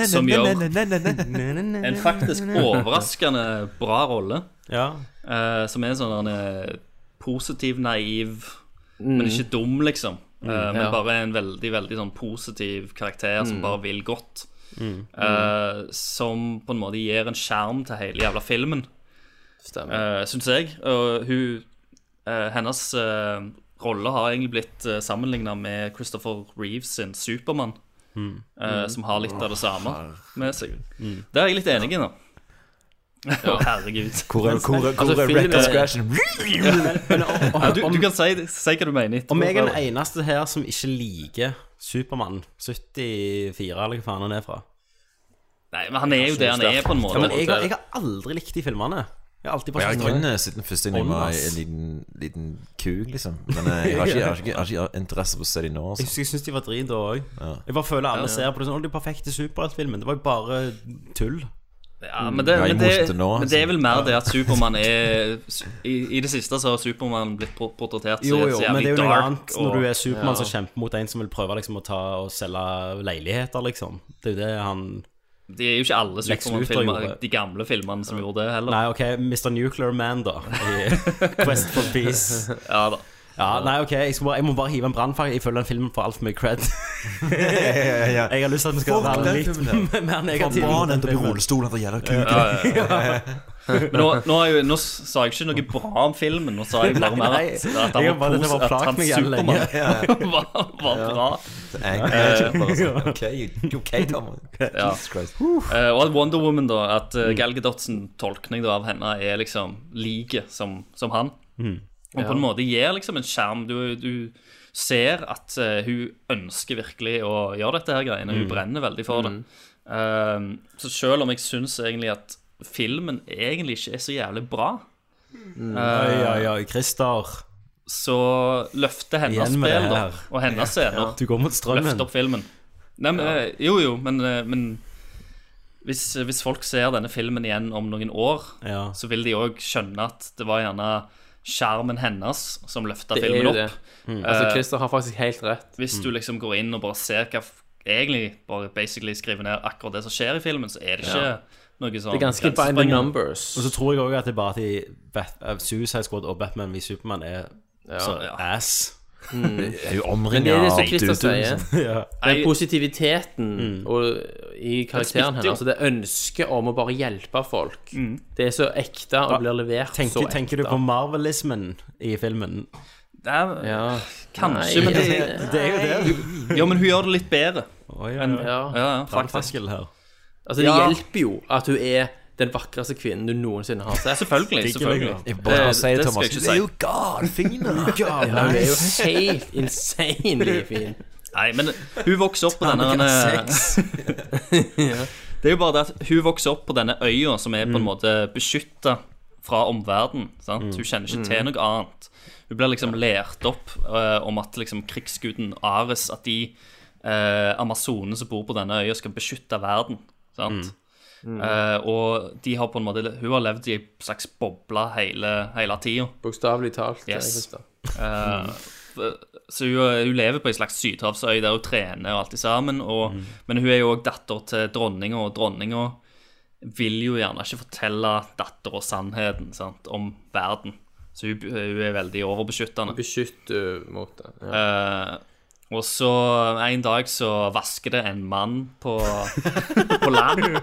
J: som
K: gjør
J: En faktisk overraskende bra rolle.
A: Ja.
J: eh, som er en sånn eh, positiv, naiv, men ikke dum, liksom. Eh, men
L: ja.
J: bare en veldig veldig sånn positiv karakter som bare vil godt. Eh, som på en måte gir en skjerm til hele jævla filmen,
L: Stemmer.
J: uh, syns jeg. Og hun, eh, hennes eh, rolle har egentlig blitt uh, sammenligna med Christopher Reeves sin Supermann. eh, som har litt av det samme med seg. Der er jeg litt enig i, da. Herregud.
K: Hvor er, hvor er, hvor
L: Altså,
K: er
L: filmen-
K: record scratchen?
J: Ja, du, du kan si, si hva du mener etterpå.
A: Om jeg er den eneste her som ikke liker Supermann 74, eller hva faen han er fra
J: Nei, men han er jo det han er, på en måte.
A: Ja, men jeg, har- jeg har aldri likt de filmene. Jeg har alltid
K: Jeg
A: bare
K: har
A: syntes
K: kun
A: det var-
K: eh, sett den første gang jeg var en liten, liten kuk, liksom. Men eh, jeg har ikke, jeg har ikke, jeg har ikke interesse for å se dem nå.
A: Jeg
K: Altså.
A: husker jeg syns de var drit da òg. Jeg bare føler alle ser på det sånn Å, de perfekte superheltfilmen. Det var jo bare tull.
J: Ja, men, det,
K: Ja, jeg
J: men, det,
K: måtte nå,
J: men det
A: altså.
J: er vel mer det at Supermann er I, I det siste så har Supermann blitt por- portrettert
A: Jo,
J: så-
A: jo,
J: så
A: men det er
J: jævlig
A: jo noe
J: dark.
A: annet når du er
L: Ja.
A: Supermann som kjemper mot en som vil prøve liksom å ta og selge leiligheter, liksom. Det er jo det han
J: Det er jo ikke alle
A: Lex Luthor
J: Supermann-filmer,
A: gjorde.
J: de gamle filmene, som gjorde det heller.
A: Nei, OK, Mr. Nuclear Man, da. I Quest for Peace.
J: Ja da.
A: Ja, nei, OK, jeg, skal bare, jeg må bare hive en brannfakkel. Jeg føler den filmen får altfor mye cred. Jeg har lyst til at vi skal
K: Fuck
A: være
K: den filmen
A: litt mer negative. mot
K: Forbannet
A: den
K: opp i
A: filmen.
K: rullestolen etter jævla kuk.
J: Men nå, nå, er jo, nå sa jeg ikke noe bra om filmen. Nå sa jeg bare mer
A: Nei,
J: at,
A: jeg
J: at han
A: har
J: var
A: bare- det
J: pos-
A: var
J: at
A: plagt
J: han
A: meg jævlig lenge.
J: Supermann var, var bra.
K: Angry. Bare sånn, Ok, ok, Tom. Jesus Christ.
J: Eh, og at Wonder Woman, da, at
A: Mm.
J: eh, Gal Gadotsen tolkning da, av henne er liksom like som, som han.
A: Mm.
J: Og på en måte gir liksom en skjerm. Du, du ser at eh, hun ønsker virkelig å
A: Mm.
J: Ehm, gjøre dette her greiene. Hun brenner veldig for det. Eh, så selv om jeg syns egentlig at filmen egentlig ikke er så jævlig bra.
A: Mm. Oi, oi, oi, Christer.
J: Så løfter hennes
A: Igjen med
J: spill
A: det
J: da,
A: her.
J: og hennes scener.
A: Ja. Du går mot strømmen.
J: Løfter opp filmen. Nei, men, eh, Jo, jo, men, eh, men hvis, hvis folk ser denne filmen igjen om noen år, så vil de òg skjønne at det var gjerne skjermen hennes som løfta
L: Det er
J: filmen
L: jo
J: opp.
L: det. Mm.
J: Eh,
L: Altså, Christer har faktisk helt rett.
J: Hvis
L: Mm.
J: du liksom går inn og bare ser hva f- egentlig bare basically skriver ned akkurat det som skjer i filmen, så er det ikke
A: Ja.
J: noe sånn grensesprengende.
A: numbers. Og så tror jeg òg at det er bare at de Bat eh, Suicide Squad og Batman v Supermann er så ass.
L: Mm.
A: Det er jo
L: Men
A: omringet
L: det er det som
A: av
L: Christer
A: dudes,
L: sier.
A: liksom. ja.
L: Den positiviteten og, i karakteren
A: smitter jo.
L: hennes. Altså det ønsket om å bare hjelpe folk.
A: Mm.
L: Det er så ekte og blir levert
A: tenker,
L: så ekte.
A: tenker du på marvelismen i filmen?
J: ja. Kanskje,
A: Nei,
J: men det,
A: det- det er jo det.
J: Jo, men hun gjør det litt bedre.
A: Oi, oi,
J: enn-
A: oi.
J: ja, ja, faktisk.
A: Brannfakkel her.
L: Altså, det
J: Ja.
L: hjelper jo at hun er den vakreste kvinnen du noensinne har sett.
J: Selvfølgelig, selvfølgelig.
K: Jeg bare sier
L: det
K: det, Thomas.
L: skal
K: Det er
L: jeg
K: jo
L: ikke si.
K: galfin!
L: Ja, hun er jo helt insanely fin.
J: Nei, men hun vokser opp på
L: Ta
J: denne
L: med
J: Ja. Det er jo bare det at hun vokser opp på denne øya som er på en måte beskytta fra omverdenen. sant? Hun kjenner ikke til
L: Mm. Mm.
J: noe annet. Hun blir liksom lært opp eh, om at liksom krigsguden Ares At de uh, amazonene som bor på denne øya, skal beskytte verden. sant?
L: Mm. Mm.
J: Eh, og de har på en måte hun har levd i en slags boble hele, hele tida.
L: Bokstavelig talt. det er
J: Yes.
L: Christer.
J: Eh, f- så hun, hun lever på en slags sydhavsøy der hun trener og alt det sammen. Og, Men hun er jo òg datter til dronninga, og dronninga vil jo gjerne ikke fortelle dattera sannheten sant, om verden. Så hun, hun er veldig overbeskyttende.
L: Beskytter uh, mot det. Ja.
J: Eh, og så en dag så vasker det en mann på, på land.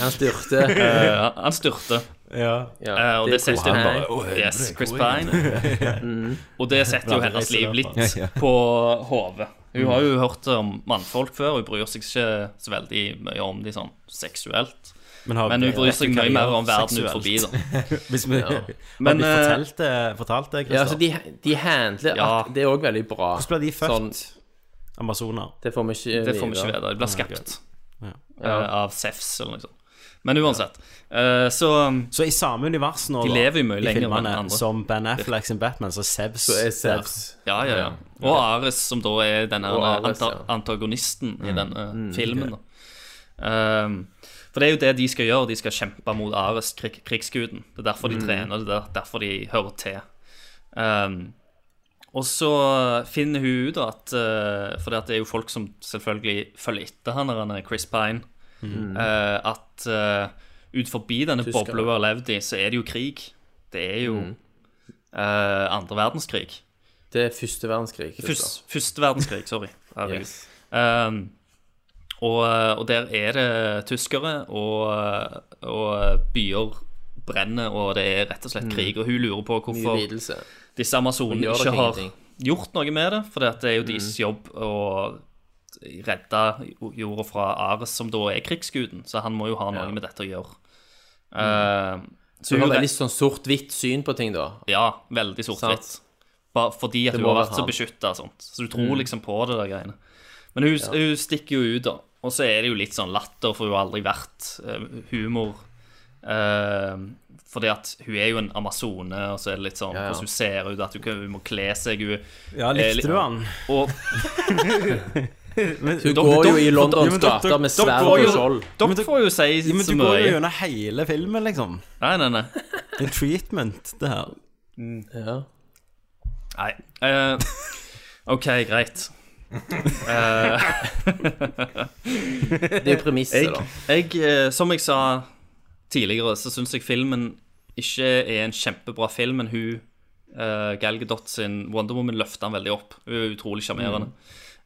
L: Han styrte.
J: Eh, han styrte.
A: Ja.
J: Eh, og
L: Det
J: det,
L: er Chris
J: setter jo bare
L: Pine. Å, helvete,
J: Yes, Chris
L: hvor er det?
J: Pine.
L: Mm.
J: Og det setter jo
L: Bra,
J: hennes
L: reiser
J: liv
L: der,
J: litt
L: da. Ja, ja.
J: på hodet. Hun har jo hørt om mannfolk før, hun bryr seg ikke så veldig mye om de sånn seksuelt.
A: Men
J: Men,
A: har-
J: hun bryr seg mye
A: karriere
J: mer om verden
A: seksuelt.
J: ut forbi, da.
A: Hvis vi- har de
J: Men, eh,
A: fortalt det, fortalt det
L: Ja,
A: Christer?
L: altså de, de handler
J: Ja.
L: at Det er òg veldig bra.
A: Hvordan ble de født?
L: Sånn,
A: Amazoner.
L: det får vi ikke
J: Det får vi ikke vite. De blir skapt
A: Ja.
J: eh, av Sefs eller noe sånt. Men uansett. eh, så
A: Så i samme univers nå,
J: De
A: da,
J: lever jo mye
A: i
J: lenger enn
A: filmene,
J: andre.
A: Som Ben Affleck sin Batman, så Sevs.
L: Så er Sevs.
J: Ja, ja, ja. Og Ares, som da er denne
L: Og Ares,
J: anta
L: ja.
J: antagonisten i denne
L: Mm,
J: filmen. Da. Ehm, for det er jo det de skal gjøre, de skal kjempe mot Ares, krig krigsguden. Det er derfor de
L: Mm.
J: trener, det er derfor de hører til. Ehm, og så finner hun ut da at eh, For det, at det er jo folk som selvfølgelig følger etter han der, han er Chris Pine.
L: Mm.
J: eh, at eh, ut forbi denne
L: Tyskere.
J: bobla hun har levd i, så er det jo krig. Det er jo
L: Mm.
J: eh, andre verdenskrig.
L: Det er første verdenskrig. Christer.
J: Først, første verdenskrig, sorry. Herregud.
L: Yes.
J: Ehm, og, eh, og der er det tyskere, og, eh, og byer brenner, og det er rett og slett
L: Mm.
J: krig. Og hun lurer på hvorfor
L: Mye lidelse.
J: disse
L: Hun
J: amazonene
L: gjør
J: ikke
L: dere
J: har
L: ingenting.
J: gjort noe med det, for det er jo
L: Mm.
J: deres jobb å redde jorda fra Ares, som da er krigsguden, så han må jo ha noe med dette å gjøre. Ehm,
L: Så Mm. hun har
J: hun
L: veldig sånn sort-hvitt syn på ting, da.
J: ja, veldig sort-hvitt.
L: Sant.
J: Bare Fordi
L: Det
J: at hun
L: må
J: har
L: være
J: vært så
L: han.
J: beskytta og sånt. Så du tror
L: Mm.
J: liksom på det der greiene. Men hun,
L: Ja.
J: hun stikker jo ut, da. Og så er det jo litt sånn latter, for hun har aldri vært eh, humor. Eh, fordi at hun er jo en amazone, og så er det litt sånn
A: ja.
J: hvordan hun ser ut, at hun, kan- hun må kle seg hun,
A: Ja, likte
J: eh, litt-
A: du han?
J: Og
A: Men-
L: Hun går jo i Londons
A: Ja, men dere-
L: gater med
A: dere
L: sverd
A: går
L: og
A: jo-
L: skjold.
J: Dere får jo si
A: Ja, men
J: så
A: du går jo
J: mye.
A: gjennom hele filmen, liksom.
J: Nei, nei, nei.
A: Det er en treatment, det her.
L: Ja.
J: Nei. eh, OK, greit. det
L: er jo premisset, da.
J: Jeg, eh, som jeg sa tidligere, så syns jeg filmen ikke er en kjempebra film, men hun uh, Gal Gadot sin Wonder Woman løfter han veldig opp. Hun er utrolig sjarmerende.
A: Mm.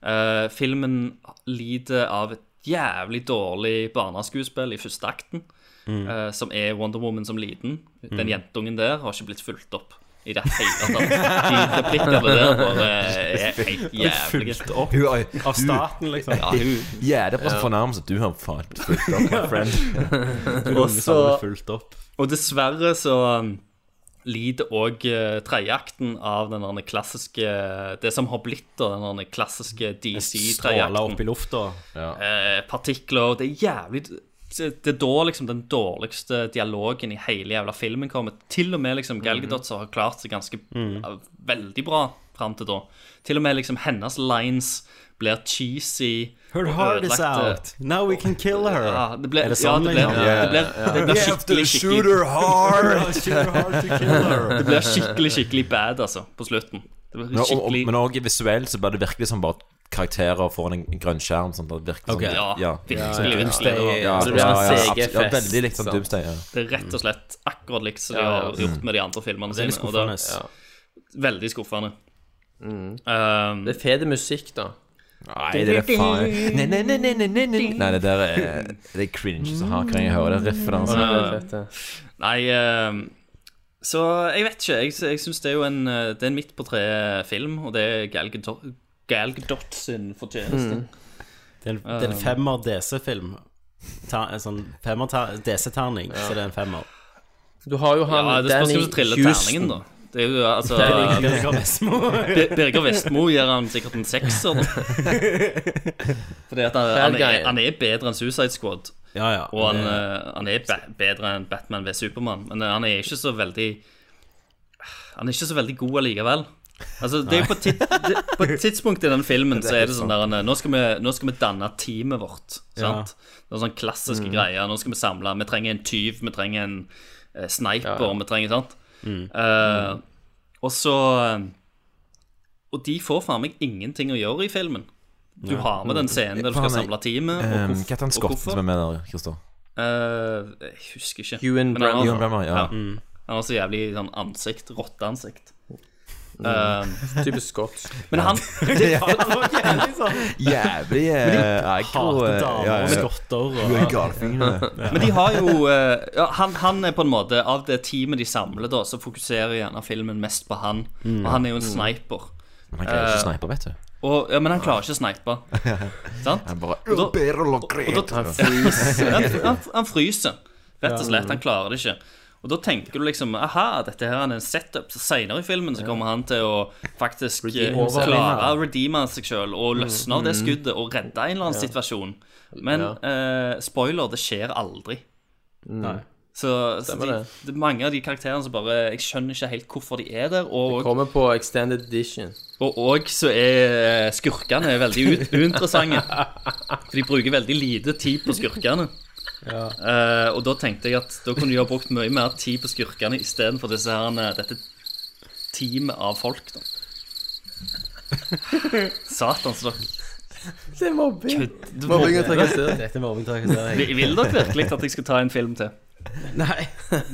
J: Eh, filmen lider av et jævlig dårlig barneskuespill i første akten,
A: Mm.
J: eh, som er Wonder Woman som liten. Den
A: Mm.
J: jentungen der har ikke blitt fulgt opp i det hele tatt. De replikkene der bare er helt
A: Blitt
J: jævlige.
A: fulgt opp
K: Hun er-
A: av staten, liksom.
J: Ja, hun
K: Ja, det er bare
J: Ja.
K: så fornærmelse. Du har faen ikke fulgt opp, my friend.
A: Du
J: Og
A: som har
J: så-
A: fulgt opp.
J: Og dessverre så um, lider òg tredjeakten av den derne klassiske Det som har blitt da, den derne klassiske
A: Stråler
J: DC-tredjeakten.
A: opp i lufta.
J: Eh, partikler. Det er jævlig det er da liksom den dårligste dialogen i hele jævla filmen kommer. Til og med liksom
A: Mhm.
J: Gal Gadot som har klart seg ganske
M: Mhm.
J: ja, veldig bra fram til da. Til og med liksom hennes lines blir cheesy.
A: Her
J: og
A: heart is
J: ødelagte.
A: out. Now we can kill her.
J: Ja, det ble,
A: Er
J: ja,
A: det
J: det
A: sånn
J: ble,
A: den handler?
J: det ble, det ble
A: We have to
J: skikkelig,
A: shoot her
J: skikkelig
A: hard. Shoot her hard to kill her.
J: Det ble skikkelig, skikkelig bad, altså, på slutten. Det
K: Men
J: ble
K: og- og-
J: skikkelig
K: Men òg visuelt så blir det virkelig som bare karakterer foran en grønn skjerm. Sånn, at det virker
J: Ok.
K: som,
J: Ja, virkelig,
K: Sånn
J: virkelig.
K: Doomsday,
J: Det var-
K: ja,
J: Så det blir
K: ja,
J: sånn
K: ja,
J: CG-fest,
K: ja, veldig likt som
J: sant?
K: Doomsday. Ja.
J: Det er rett og slett akkurat likt som de
K: Ja, ja,
J: har
K: ja.
J: gjort med de andre
L: Det er
J: filmene sine.
L: litt
J: og det-
L: skuffende. Mm.
J: Veldig skuffende. Ehm,
L: det er fede musikk, da.
K: Nei, det er faen Nei, nei, nei, nei, nei, nei, nei. nei det der er, det er cringe som har kan jeg høre det riffet der.
J: Ja,
K: Altså.
J: det er Nei eh, Så jeg vet ikke. Jeg, jeg syns det er jo en eh, Det er en midt på treet-film, og det er Gal Gadot, Gal Gadot sin fortjeneste.
A: Mm. Det er en, det er en femmer DC-film. Ta, en sånn femmer ta- DC-terning, så det er en femmer.
L: Du har jo han
J: ja, det spørs
L: Danny
J: hvem som triller
L: Houston.
J: terningen, da. Det er jo altså
L: Det er Birger Vestmo.
J: Bir- Birger Vestmo gir han sikkert en sekser. da. Fordi at han, han,
L: Bad
J: er,
L: guy.
J: han er bedre enn Suicide Squad. Og han,
L: Det-
J: eh, han er ba- bedre enn Batman ved Supermann, men eh, han er ikke så veldig Han er ikke så veldig god allikevel. Altså, det er jo på, et tid, det, på et tidspunkt i den filmen
L: Det er
J: så er
L: helt
J: det sånn der eh, nå skal, vi, nå skal vi danne teamet vårt. Sant? Det er sånn klassiske
L: Mm.
J: greier. Nå skal vi samle Vi trenger en tyv, vi trenger en eh, sniper,
L: Ja, ja.
J: vi trenger sant?
L: Mm.
J: Eh, Og så eh, Og de får faen meg ingenting å gjøre i filmen. Du
K: Ja.
J: har med den scenen der du skal
K: Faen, jeg-
J: samle teamet. og
L: eh,
K: Ehm,
J: hvorf-
K: Hva heter han
J: og
K: skotten
J: hvorfor?
K: som er med der, Christer?
J: Eh, jeg husker ikke.
K: Ewan
J: Men han har-
K: Bremmer. Ewan Bremmer, ja.
J: Han har så jævlig sånn ansikt, rotteansikt.
L: Mm.
J: Eh,
L: Typisk skotsk.
J: Men han
K: Ja.
J: Jævlig
K: Jævlig eh, aggro. eh, ja, ja. Du er galfinger.
J: Men de har jo eh, ja, han, han er på en måte Av det teamet de samler, da så fokuserer gjerne filmen mest på han.
K: Mm.
J: Og han er jo en
K: Mm.
J: sniper.
K: Men han klarer ikke
J: Eh,
K: sniper, vet du.
J: Og, ja, men han klarer ikke å snipe. Sant?
K: Han bare,
J: Og da-
K: «Bedre
J: og-
K: logrert».
J: og da-
K: Han fryser.
J: Han- han, han fryser, rett og
K: Ja.
J: slett. Han klarer det ikke. Og da tenker du liksom Aha, dette her er en setup. Så Senere i filmen så kommer han til å faktisk
L: Redeem
J: eh,
L: seg.
J: klare å redeeme seg sjøl og løsne av det
L: Mm.
J: skuddet og redde en eller annen
L: Ja.
J: situasjon. Men eh, spoiler, det skjer aldri.
L: Nei.
J: Så, så
L: Stemmer
J: de,
L: det.
J: det er mange av de karakterene som bare Jeg skjønner ikke helt hvorfor de er der. Og
L: Det kommer på extended edition.
J: og òg så er eh, skurkene er veldig ut- uinteressante. For de bruker veldig lite tid på skurkene.
L: Ja.
J: Eh, og da tenkte jeg at da kunne de ha brukt mye mer tid på skurkene istedenfor disse her, eh, dette teamet av folk. da Satans dere.
L: Det er mobbing.
J: Kødd-
L: Mobbing og
A: Dette er
L: trakassering.
A: mobbing og trakassering.
J: Vi- Vil dere virkelig at jeg skal ta en film til?
A: Nei.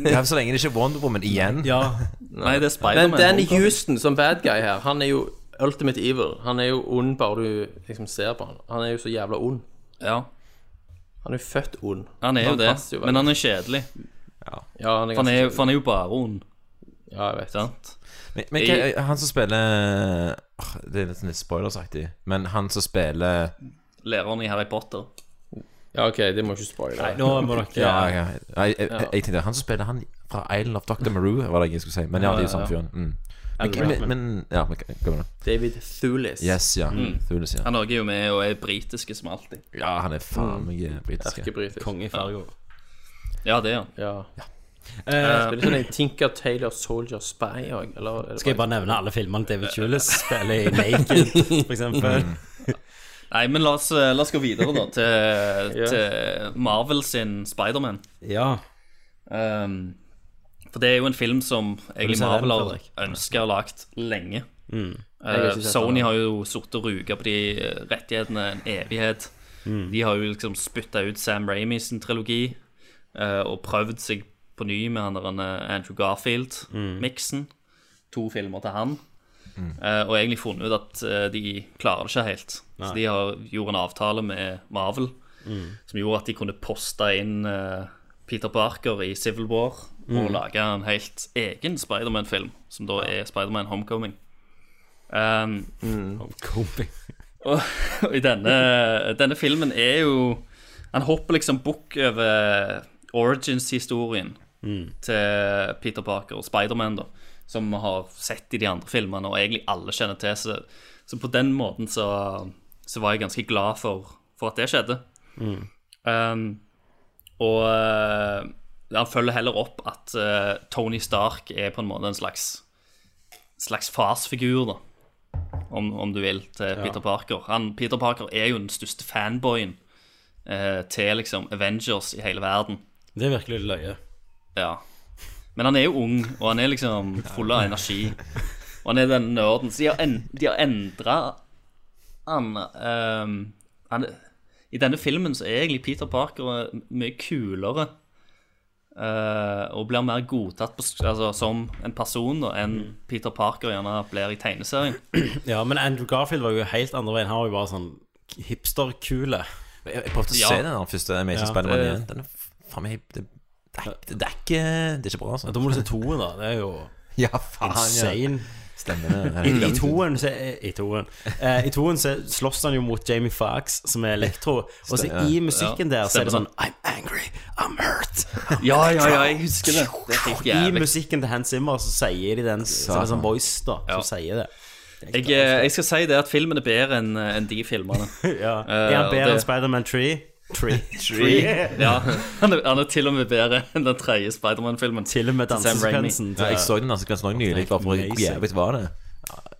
K: Ja, så lenge det ikke er Wonder Woman igjen.
J: Nei, det er Spider-Man.
L: Men Danny Houston som bad guy her, han er jo ultimate evil. Han er jo ond bare du liksom ser på han. Han er jo så jævla ond.
J: Ja.
L: Han er jo født ond.
J: Han er jo det,
L: passer
J: men
L: veldig.
J: han er kjedelig.
L: Ja, han er
J: for, han
L: ganske
J: er, for han er jo bare ond.
L: Ja, jeg vet.
J: Sant?
K: Men, men
J: Jeg-
K: hva, han som spiller åh, Det er litt, litt spoilersaktig, men han som spiller
J: Læreren i Harry Potter.
L: Ja, OK, det må ikke spoile.
J: Nei, nå må dere-
K: ja, ja. Jeg, jeg, jeg, jeg tenkte han som spiller han fra Island of Dr. Maru, var det jeg skulle si. Men ja, det er jo samme fyren. Mm. Men,
J: Alan
K: men,
J: Rickman.
K: men Ja, men hva var det?
L: David Thulis.
K: Yes, ja.
J: Mm.
K: Thulis, ja.
J: Han er også jo med og er britiske som alltid.
K: Ja, han er faen meg britisk. ja.
L: Erkebritisk.
A: Konge i fargo.
J: Ja, det er han.
L: Ja.
A: Eh,
L: spiller sånn en Tinker Taylor Soldier Spy òg, eller er det
A: Skal jeg bare nevne alle filmene David Julius spiller i Naked, for eksempel?
K: Mm.
J: Nei, men la oss, eh, la oss gå videre, da, til, til Marvel sin Spiderman.
A: Ja.
J: Um, for det er jo en film som
A: du
J: egentlig
A: sett den,
J: Marvel har
A: Fredrik?
J: ønska og lagd lenge.
A: Mm.
J: Eh,
A: Jeg har ikke sett
J: Sony
A: den.
J: har jo sittet og ruga på de eh, rettighetene en evighet.
A: Mm.
J: De har jo liksom spytta ut Sam Ramy sin trilogi eh, og prøvd seg på ny med han der eh, Andrew
A: Mm.
J: Garfield-miksen. To filmer til han. Eh, og egentlig funnet ut at eh, de klarer det ikke helt.
A: Nei.
J: Så de har gjorde en avtale med Marvel
A: Mm.
J: som gjorde at de kunne poste inn eh, Peter Parker i Civil War og
A: Mm.
J: lage en helt egen Spiderman-film, som da er Spiderman Homecoming. Um,
A: Homecoming.
J: og, og i denne, denne filmen er jo Han hopper liksom bukk over origins-historien
A: Mm.
J: til Peter Parker og Spiderman, da, som vi har sett i de andre filmene, og egentlig alle kjenner til. Så, så på den måten så, så var jeg ganske glad for, for at det skjedde.
A: Mm.
J: Um, Og eh, han følger heller opp at eh, Tony Stark er på en måte en slags Slags farsfigur, da. Om, om du vil, til
L: Ja.
J: Peter Parker. Han, Peter Parker er jo den største fanboyen eh, til liksom Avengers i hele verden.
A: Det er virkelig løye.
J: Ja. Men han er jo ung, og han er liksom full av energi. Og han er den nerden. Så de har, en, de har endra han, ehm, han I denne filmen så er egentlig Peter Parker eh, mye kulere. eh, og blir mer godtatt på, sk- altså, som en person da, enn Peter Parker gjerne blir i tegneserien.
A: Ja, men Andrew Garfield var jo helt andre veien. Han var jo bare sånn hipsterkule.
K: Jeg, jeg prøvde å se den der første Amazing Spider-Man igjen. Den er f- faen meg det, det, er- det, er ikke Det er ikke bra, altså.
A: Da må du se toen, da. Det er jo
K: Ja, faen, ja.
A: insane.
K: Stemmer det.
A: I, i toeren så I toeren eh, I toeren så slåss han jo mot Jamie Foxx, som er elektro. Og så i musikken der så er det sånn I'm angry, I'm hurt. I'm
J: Ja, ja, ja,
A: electro.
J: jeg husker det. Det er helt
A: I
J: jævlig.
A: musikken til Hans Zimmer så sier de den Så er det sånn voice, da, som sier det.
J: Jeg, eh, jeg skal si det at filmen er bedre enn eh, enn de filmene.
A: ja.
J: Eh,
A: Er han
J: og
A: bedre enn
J: det-
A: Spiderman 3? 3.
J: Ja, han er, han er til og med bedre enn den tredje Spiderman-filmen.
A: Til og med dansesekvensen
K: Ja, jeg så den altså ganske nok nylig, bare for hvor
A: Amazing.
K: jævlig var det.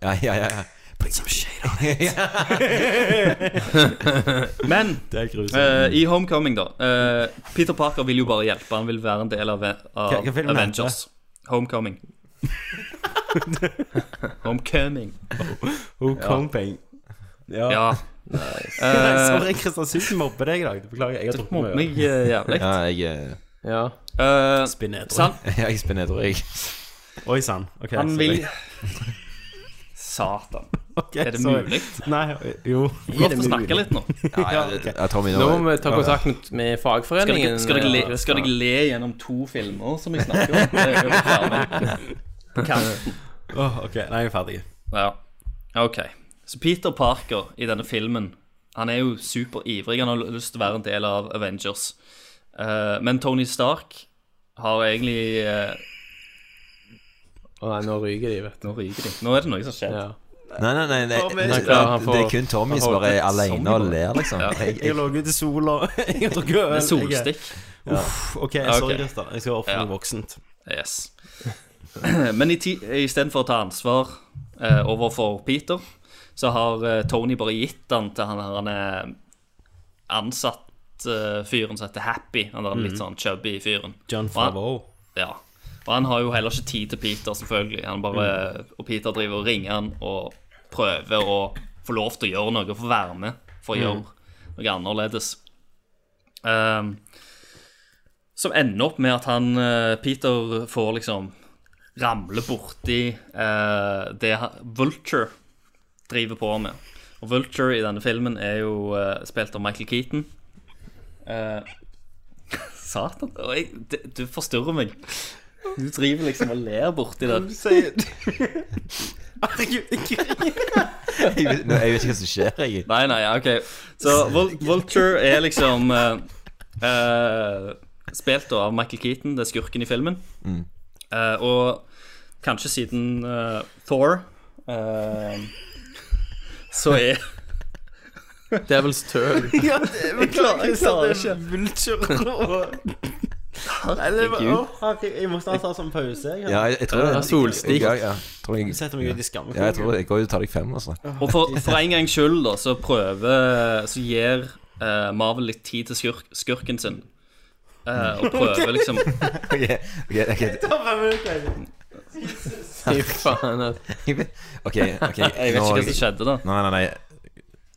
K: Ja, ja, ja. ja.
A: Put some shade on
J: Men
A: Det er grusomt.
J: eh, i Homecoming, da eh, Peter Parker vil jo bare hjelpe. Han vil være en del av, av
A: Hva- hva filmen
J: Avengers. Homecoming. Homecoming.
A: Homecoming. Ja.
J: ja.
A: Nei,
J: Eh,
A: Sorry, Kristiansund mobber deg i dag. Beklager. Jeg har drukket
J: mobber meg, eh, jævlig.
K: Ja, jeg
L: Ja.
J: Eh,
A: Spinner.
J: sant?
K: Ja, jeg spinner edru, jeg.
A: Oi sann. Ok,
J: Han
A: sorry.
J: vil Satan.
A: Ok,
J: er det
A: sorry.
J: mulig?
A: Nei, jo.
J: Få lov til å snakke litt nå.
K: Ja, det- jeg tar mine
L: Nå må
K: over.
L: vi ta kontakt med, med
J: Skal
L: fagforeningen.
J: dere, skal, dere le, skal dere le gjennom to filmer som jeg snakker om? Det er jo bare på kanten.
A: Åh, ok, nei, jeg er ferdig.
J: Ja, ok Så Peter Parker i denne filmen Han er jo super ivrig Han har lyst til å være en del av Avengers Eh, Men Tony Stark Har egentlig eh,
L: Å nei, nå ryker de, vet du.
J: Nå ryker de Nå er det noe som skjer
L: Ja.
K: Nei, nei, nei, nei,
A: Tommy.
K: nei, nei
L: Ja, han får-
K: det er kun Tommy
L: han
K: som
L: får-
K: bare er alene og
J: Tommy.
K: ler, liksom.
J: Ja.
K: Jeg,
A: Jeg
K: jeg,
A: lå ute i sola. Jeg har drukket øl.
J: Det er solstikk
A: Uff, ok, sorry,
J: Ok.
A: Christer. Jeg skal oppføre
J: Ja.
A: meg voksent.
J: Yes. Men i, ti, i stedet for å ta ansvar eh, overfor Peter, så har eh, Tony bare gitt den til han, her, han er ansatt eh, fyren som heter Happy. Han er litt sånn chubby fyren.
A: John
J: Og han-
A: Favreau.
J: Ja. Og han har jo heller ikke tid til Peter, selvfølgelig. Han bare, Og Peter driver og ringer han og prøver å få lov til å gjøre noe, få være med, for å gjøre noe annerledes. Ehm, som ender opp med at han eh, Peter får liksom ramle borti eh, det han- Vulture driver på med. Og Vulture i denne filmen er jo eh, spilt av Michael Keaton. Eh, satan. og Jeg, det- du forstyrrer meg. Du driver liksom og ler borti der.
K: jeg, vet- nå, jeg vet ikke hva som skjer, jeg.
J: Nei, nei, ja, ok. Så Vul Vulture er liksom eh, eh, Spilt da av Michael Keaton, det er skurken i filmen. Eh, og kanskje siden eh, Thor eh, Så er
L: Devils tøl.
J: Jeg klarer, jeg klarer ikke.
A: Herregud. Jeg må snart ta sånn pause. Jeg
K: Ja, jeg, jeg tror
L: Ja, solstikk.
K: Ja, ja. Tror jeg,
A: setter meg ut i skam.
K: ja, jeg tror jeg går ut og tar deg fem, altså.
J: Og for, for en gangs skyld da, så prøver Så gir eh, Marvel litt tid til skurk, skurken sin. Eh, og prøver liksom
K: Ok, ok, ok.
L: Fy faen. at-
K: Ok, ok.
J: Jeg vet ikke hva som skjedde, da.
K: Nei, nei, nei.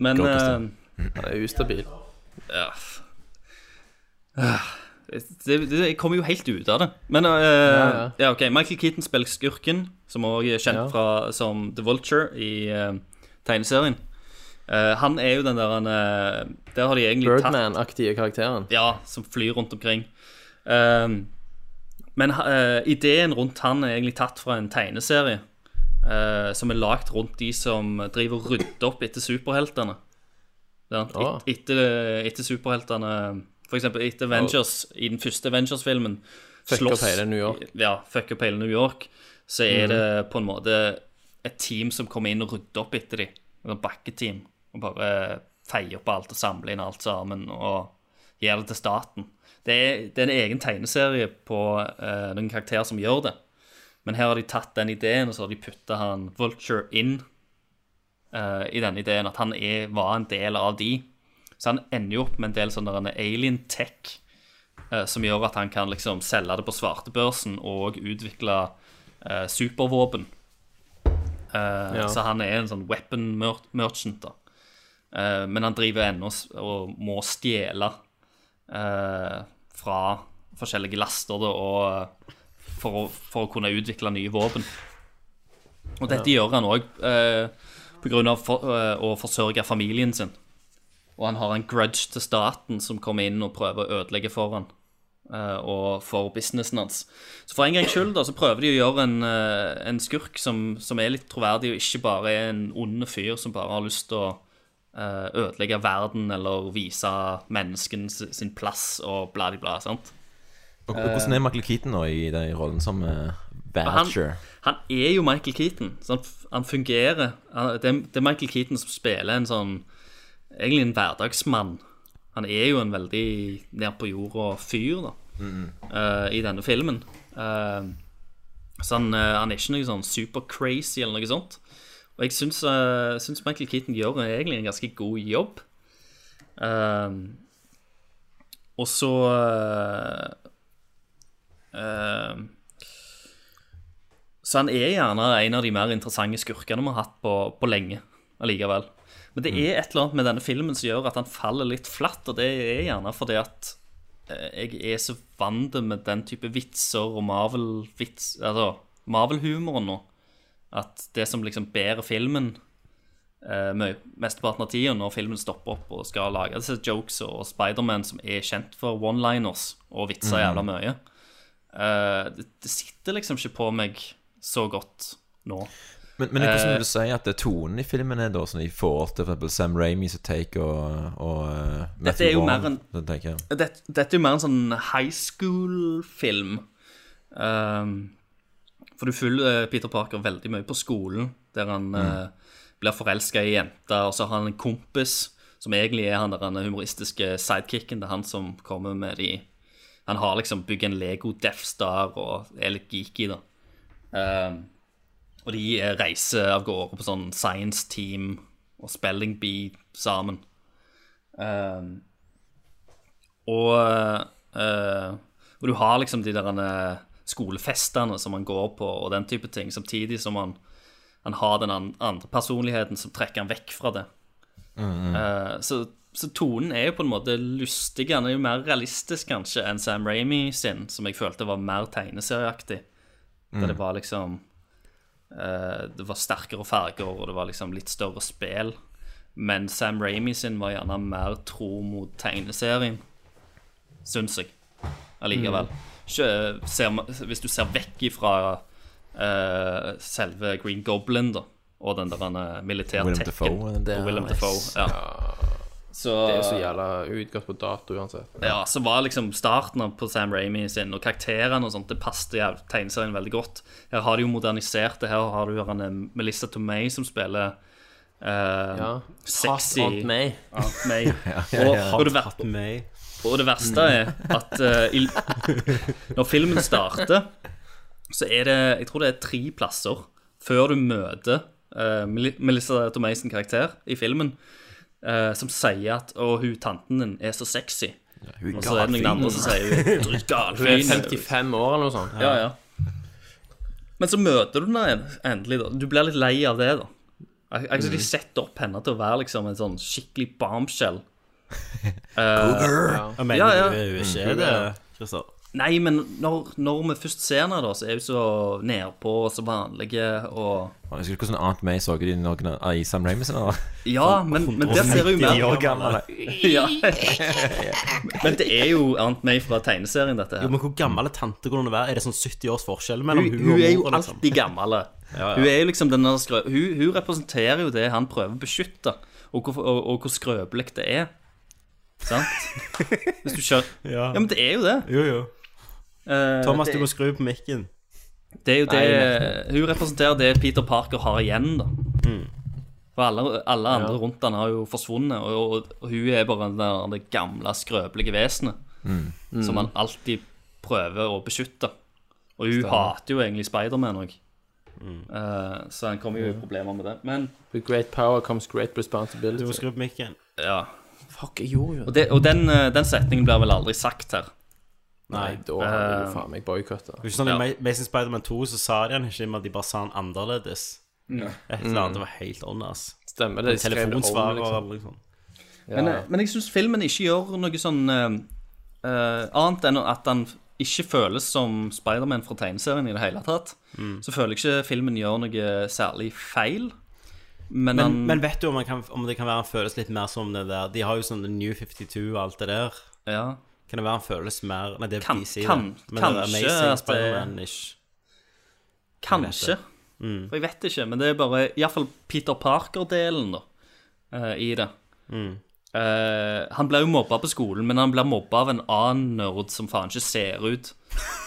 J: Men
K: Gå,
J: eh,
K: Kristian.
L: Han er ustabil.
J: ja. Ah, det, det, Jeg kommer jo helt ut av det. Men eh, ja,
L: ja.
J: ok, Michael Keaton spiller skurken, som også er kjent
L: Ja.
J: fra som The Vulture i eh, tegneserien. Eh, han er jo den der han eh, Der har de egentlig tatt
L: Birdman-aktige karakteren.
J: Ja, som flyr rundt omkring. Ehm, men eh, ideen rundt han er egentlig tatt fra en tegneserie eh, som er lagd rundt de som driver og rydder opp etter superheltene. Sant?
L: Ah.
J: Et, etter, etter superheltene For eksempel etter Avengers, i den første Avengers-filmen
L: Fuck opp hele New York. Mhm.
J: Ja, fuck up hele New York. Så er det på en måte et team som kommer inn og rydder opp etter dem. Et bakketeam. Og bare feier opp alt og samler inn alt sammen. Og gir det til staten. Det er, det er en egen tegneserie på eh, noen karakterer som gjør det. Men her har de tatt den ideen, og så har de putta han Vulture inn eh, i denne ideen. At han er, var en del av de. Så han ender jo opp med en del sånn der en alien tech eh, som gjør at han kan liksom selge det på svartebørsen og utvikle eh, supervåpen. Eh,
L: Ja.
J: Så han er en sånn weapon mer- merchant, da. Eh, men han driver ennå s- og må stjele eh, fra forskjellige laster da, og, eh, for, å, for å kunne utvikle nye våpen. Og dette
L: Ja.
J: gjør han òg eh, pga. For, eh, å forsørge familien sin. Og han har en grudge til staten som kommer inn og prøver å ødelegge for han. eh, og for businessen hans. Så for en gangs skyld da, så prøver de å gjøre en, eh, en skurk som, som er litt troverdig, og ikke bare er en ond fyr som bare har lyst til å eh, ødelegge verden eller vise mennesken s- sin plass og bla, bla, bla. sant?
K: Og, og hvordan er Michael Keaton nå i den rollen som uh,
J: han,
K: Badger?
J: han er jo Michael Keaton. Så han, f- han fungerer han, det, er- det er Michael Keaton som spiller en sånn Egentlig en hverdagsmann. Han er jo en veldig ned på jorda-fyr, da,
K: Mm.
J: eh, i denne filmen. Eh, så han, eh, han er ikke noe sånn super-crazy eller noe sånt. Og jeg syns, eh, syns Michael Keaton gjør egentlig en ganske god jobb. Eh, og så eh, eh, Så han er gjerne en av de mer interessante skurkene vi har hatt på, på lenge allikevel. Men det er et eller annet med denne filmen som gjør at han faller litt flatt, og det er gjerne fordi at eh, jeg er så vant med den type vitser og Marvel-vits Altså Marvel-humoren nå. At det som liksom bærer filmen eh, mø- mesteparten av tida, når filmen stopper opp og skal lage disse jokes, og Spiderman som er kjent for one-liners og vitser
K: Mhm.
J: jævla mye eh, det, det sitter liksom ikke på meg så godt nå.
K: Men, men hvordan
J: Eh,
K: vil du si at det er tonen i filmen er da, som de får til for eksempel Sam Ramis take og, og eh,
J: Dette er
K: Matthew
J: jo mer
K: Vaughn?
J: en
K: det tenker jeg.
J: dette, dette er jo mer en sånn high school-film. Ehm, for du følger eh, Peter Parker veldig mye på skolen, der han eh, blir forelska i ei jente, og så har han en kompis som egentlig er han der han humoristiske sidekicken. Det er han som kommer med de Han har liksom bygd en Lego Death Star og er litt geeky, da. Ehm, og de eh, reiser av gårde på sånn science team og spelling bee sammen. Ehm, og, eh, og du har liksom de der eh, skolefestene som han går på, og den type ting, samtidig som han, han har den an- andre personligheten som trekker han vekk fra det.
K: Mm, mm.
J: Eh, så, så tonen er jo på en måte lystig. Han er jo mer realistisk kanskje enn Sam Ramy sin, som jeg følte var mer tegneserieaktig. Der
K: Mm.
J: det var liksom eh, Det var sterkere farger, og det var liksom litt større spill. Men Sam Ramy sin var gjerne mer tro mot tegneserien, syns jeg. Allikevel.
K: Mm.
J: Ikke, ser, ma- hvis du ser vekk ifra eh, selve Green Goblin, da, og den der eh,
K: Willem Dafoe,
J: militærtekken
K: det er
J: og Willem
K: nice.
J: Dafoe, ja. Så,
L: Det er jo så jævla utgått på dato uansett.
J: ja, så var liksom starten av- på Sam Raimi sin, og karakterene og sånt, det passet jæv- tegneserien veldig godt. Her har de jo modernisert det. Her har du han eh, Melissa Tomei som spiller eh, sexy
L: Hot Aunt May.
J: Aunt May.
L: Ja, ja, ja.
J: Og, og, det,
L: Hot
J: ver- og det verste er at eh, i, når filmen starter, så er det Jeg tror det er tre plasser før du møter eh, Mel- Melissa Tomei sin karakter i filmen, eh, som sier at 'Å, hun tanten din er så sexy'.
K: hun er
J: og så er det noen
L: gal
J: andre som sier 'Hun er dritgal
L: Hun er
J: fin'.
L: 55 år eller noe sånt.
J: Ja, ja. Men så møter du henne en- endelig, da. Du blir litt lei av det, da. Al- Altså, De
L: Mhm.
J: setter opp henne til å være liksom en sånn skikkelig bombshell.
A: Cougar.
J: ja.
A: Jeg mener,
J: Ja, ja.
A: hun er- hun er ikke
J: Mm.
A: det, Christer.
J: Nei, men når, når vi først ser henne, da, så er hun så nedpå og så vanlige og
K: Og Husker du hvordan Aunt May så ut i, Norge- ah, i Sam Ramis? eller?
J: Ja, men, men der ser
K: 190
J: hun mer
K: år gammel.
J: Ja. Men det er jo Aunt May fra tegneserien, dette her.
A: Jo, men Hvor gammel er tante kunne hun være? Er det sånn 70 års forskjell mellom
J: Hun,
A: hun,
J: hun
A: og
J: er jo
A: mora, liksom?
J: alltid gammel.
A: ja.
J: Hun er jo liksom den der skrø... Hun, hun representerer jo det han prøver å beskytte, og hvor, og, og hvor skrøpelig det er. Sant? Hvis du skjønner. Ja. men det er jo det.
A: Jo, jo.
J: Eh,
A: Thomas,
J: det-
A: du må skru på mikken.
J: Det er jo
A: Nei,
J: det Hun representerer det Peter Parker har igjen, da. For alle, alle andre
L: Ja.
J: rundt han har jo forsvunnet, og, og, og hun er bare den der, det gamle, skrøpelige vesenet
K: Mm.
J: som
L: Mm.
J: han alltid prøver å beskytte. Og hun
L: Stemmer.
J: hater jo egentlig Spiderman òg, Eh, så han kommer jo i problemer med det. Men
L: With great power comes great responsibility.
A: Du må skru på mikken.
J: ja.
L: Fuck, jeg gjorde jo
J: Og, det, og den, eh, den setningen blir vel aldri sagt her.
A: Nei.
L: Da har jeg jo
J: Eh,
L: faen meg boikotta.
A: Det er ikke sånn
J: Ja.
A: I Ma- Amazing Spider-Man 2 så sa de han ikke, men de bare sa han annerledes.
J: Ja.
A: Et eller annet. Det var helt on, ass.
L: Stemmer det. de skrev det om,
A: Telefonsvarer
L: liksom.
A: eller liksom.
J: Men, eh, men jeg syns filmen ikke gjør noe sånn eh, eh, annet enn at han ikke føles som Spiderman fra tegneserien i det hele tatt. Så føler jeg ikke filmen gjør noe særlig feil. Men,
A: Men,
J: han
A: men vet du om, han kan, om det kan være han føles litt mer som det der De har jo sånn New 52 og alt det der.
J: ja,
A: Kan det være han føles mer Nei, det er
J: Kan-
A: DC. det.
J: kan-
A: men det er
J: kanskje
A: Amazing
J: at det-
A: Spider-Man-ish.
J: Kanskje. For jeg vet ikke, men det er bare iallfall Peter Parker-delen da, eh, i det. Eh, han blir jo mobba på skolen, men han blir mobba av en annen nerd som faen ikke ser ut.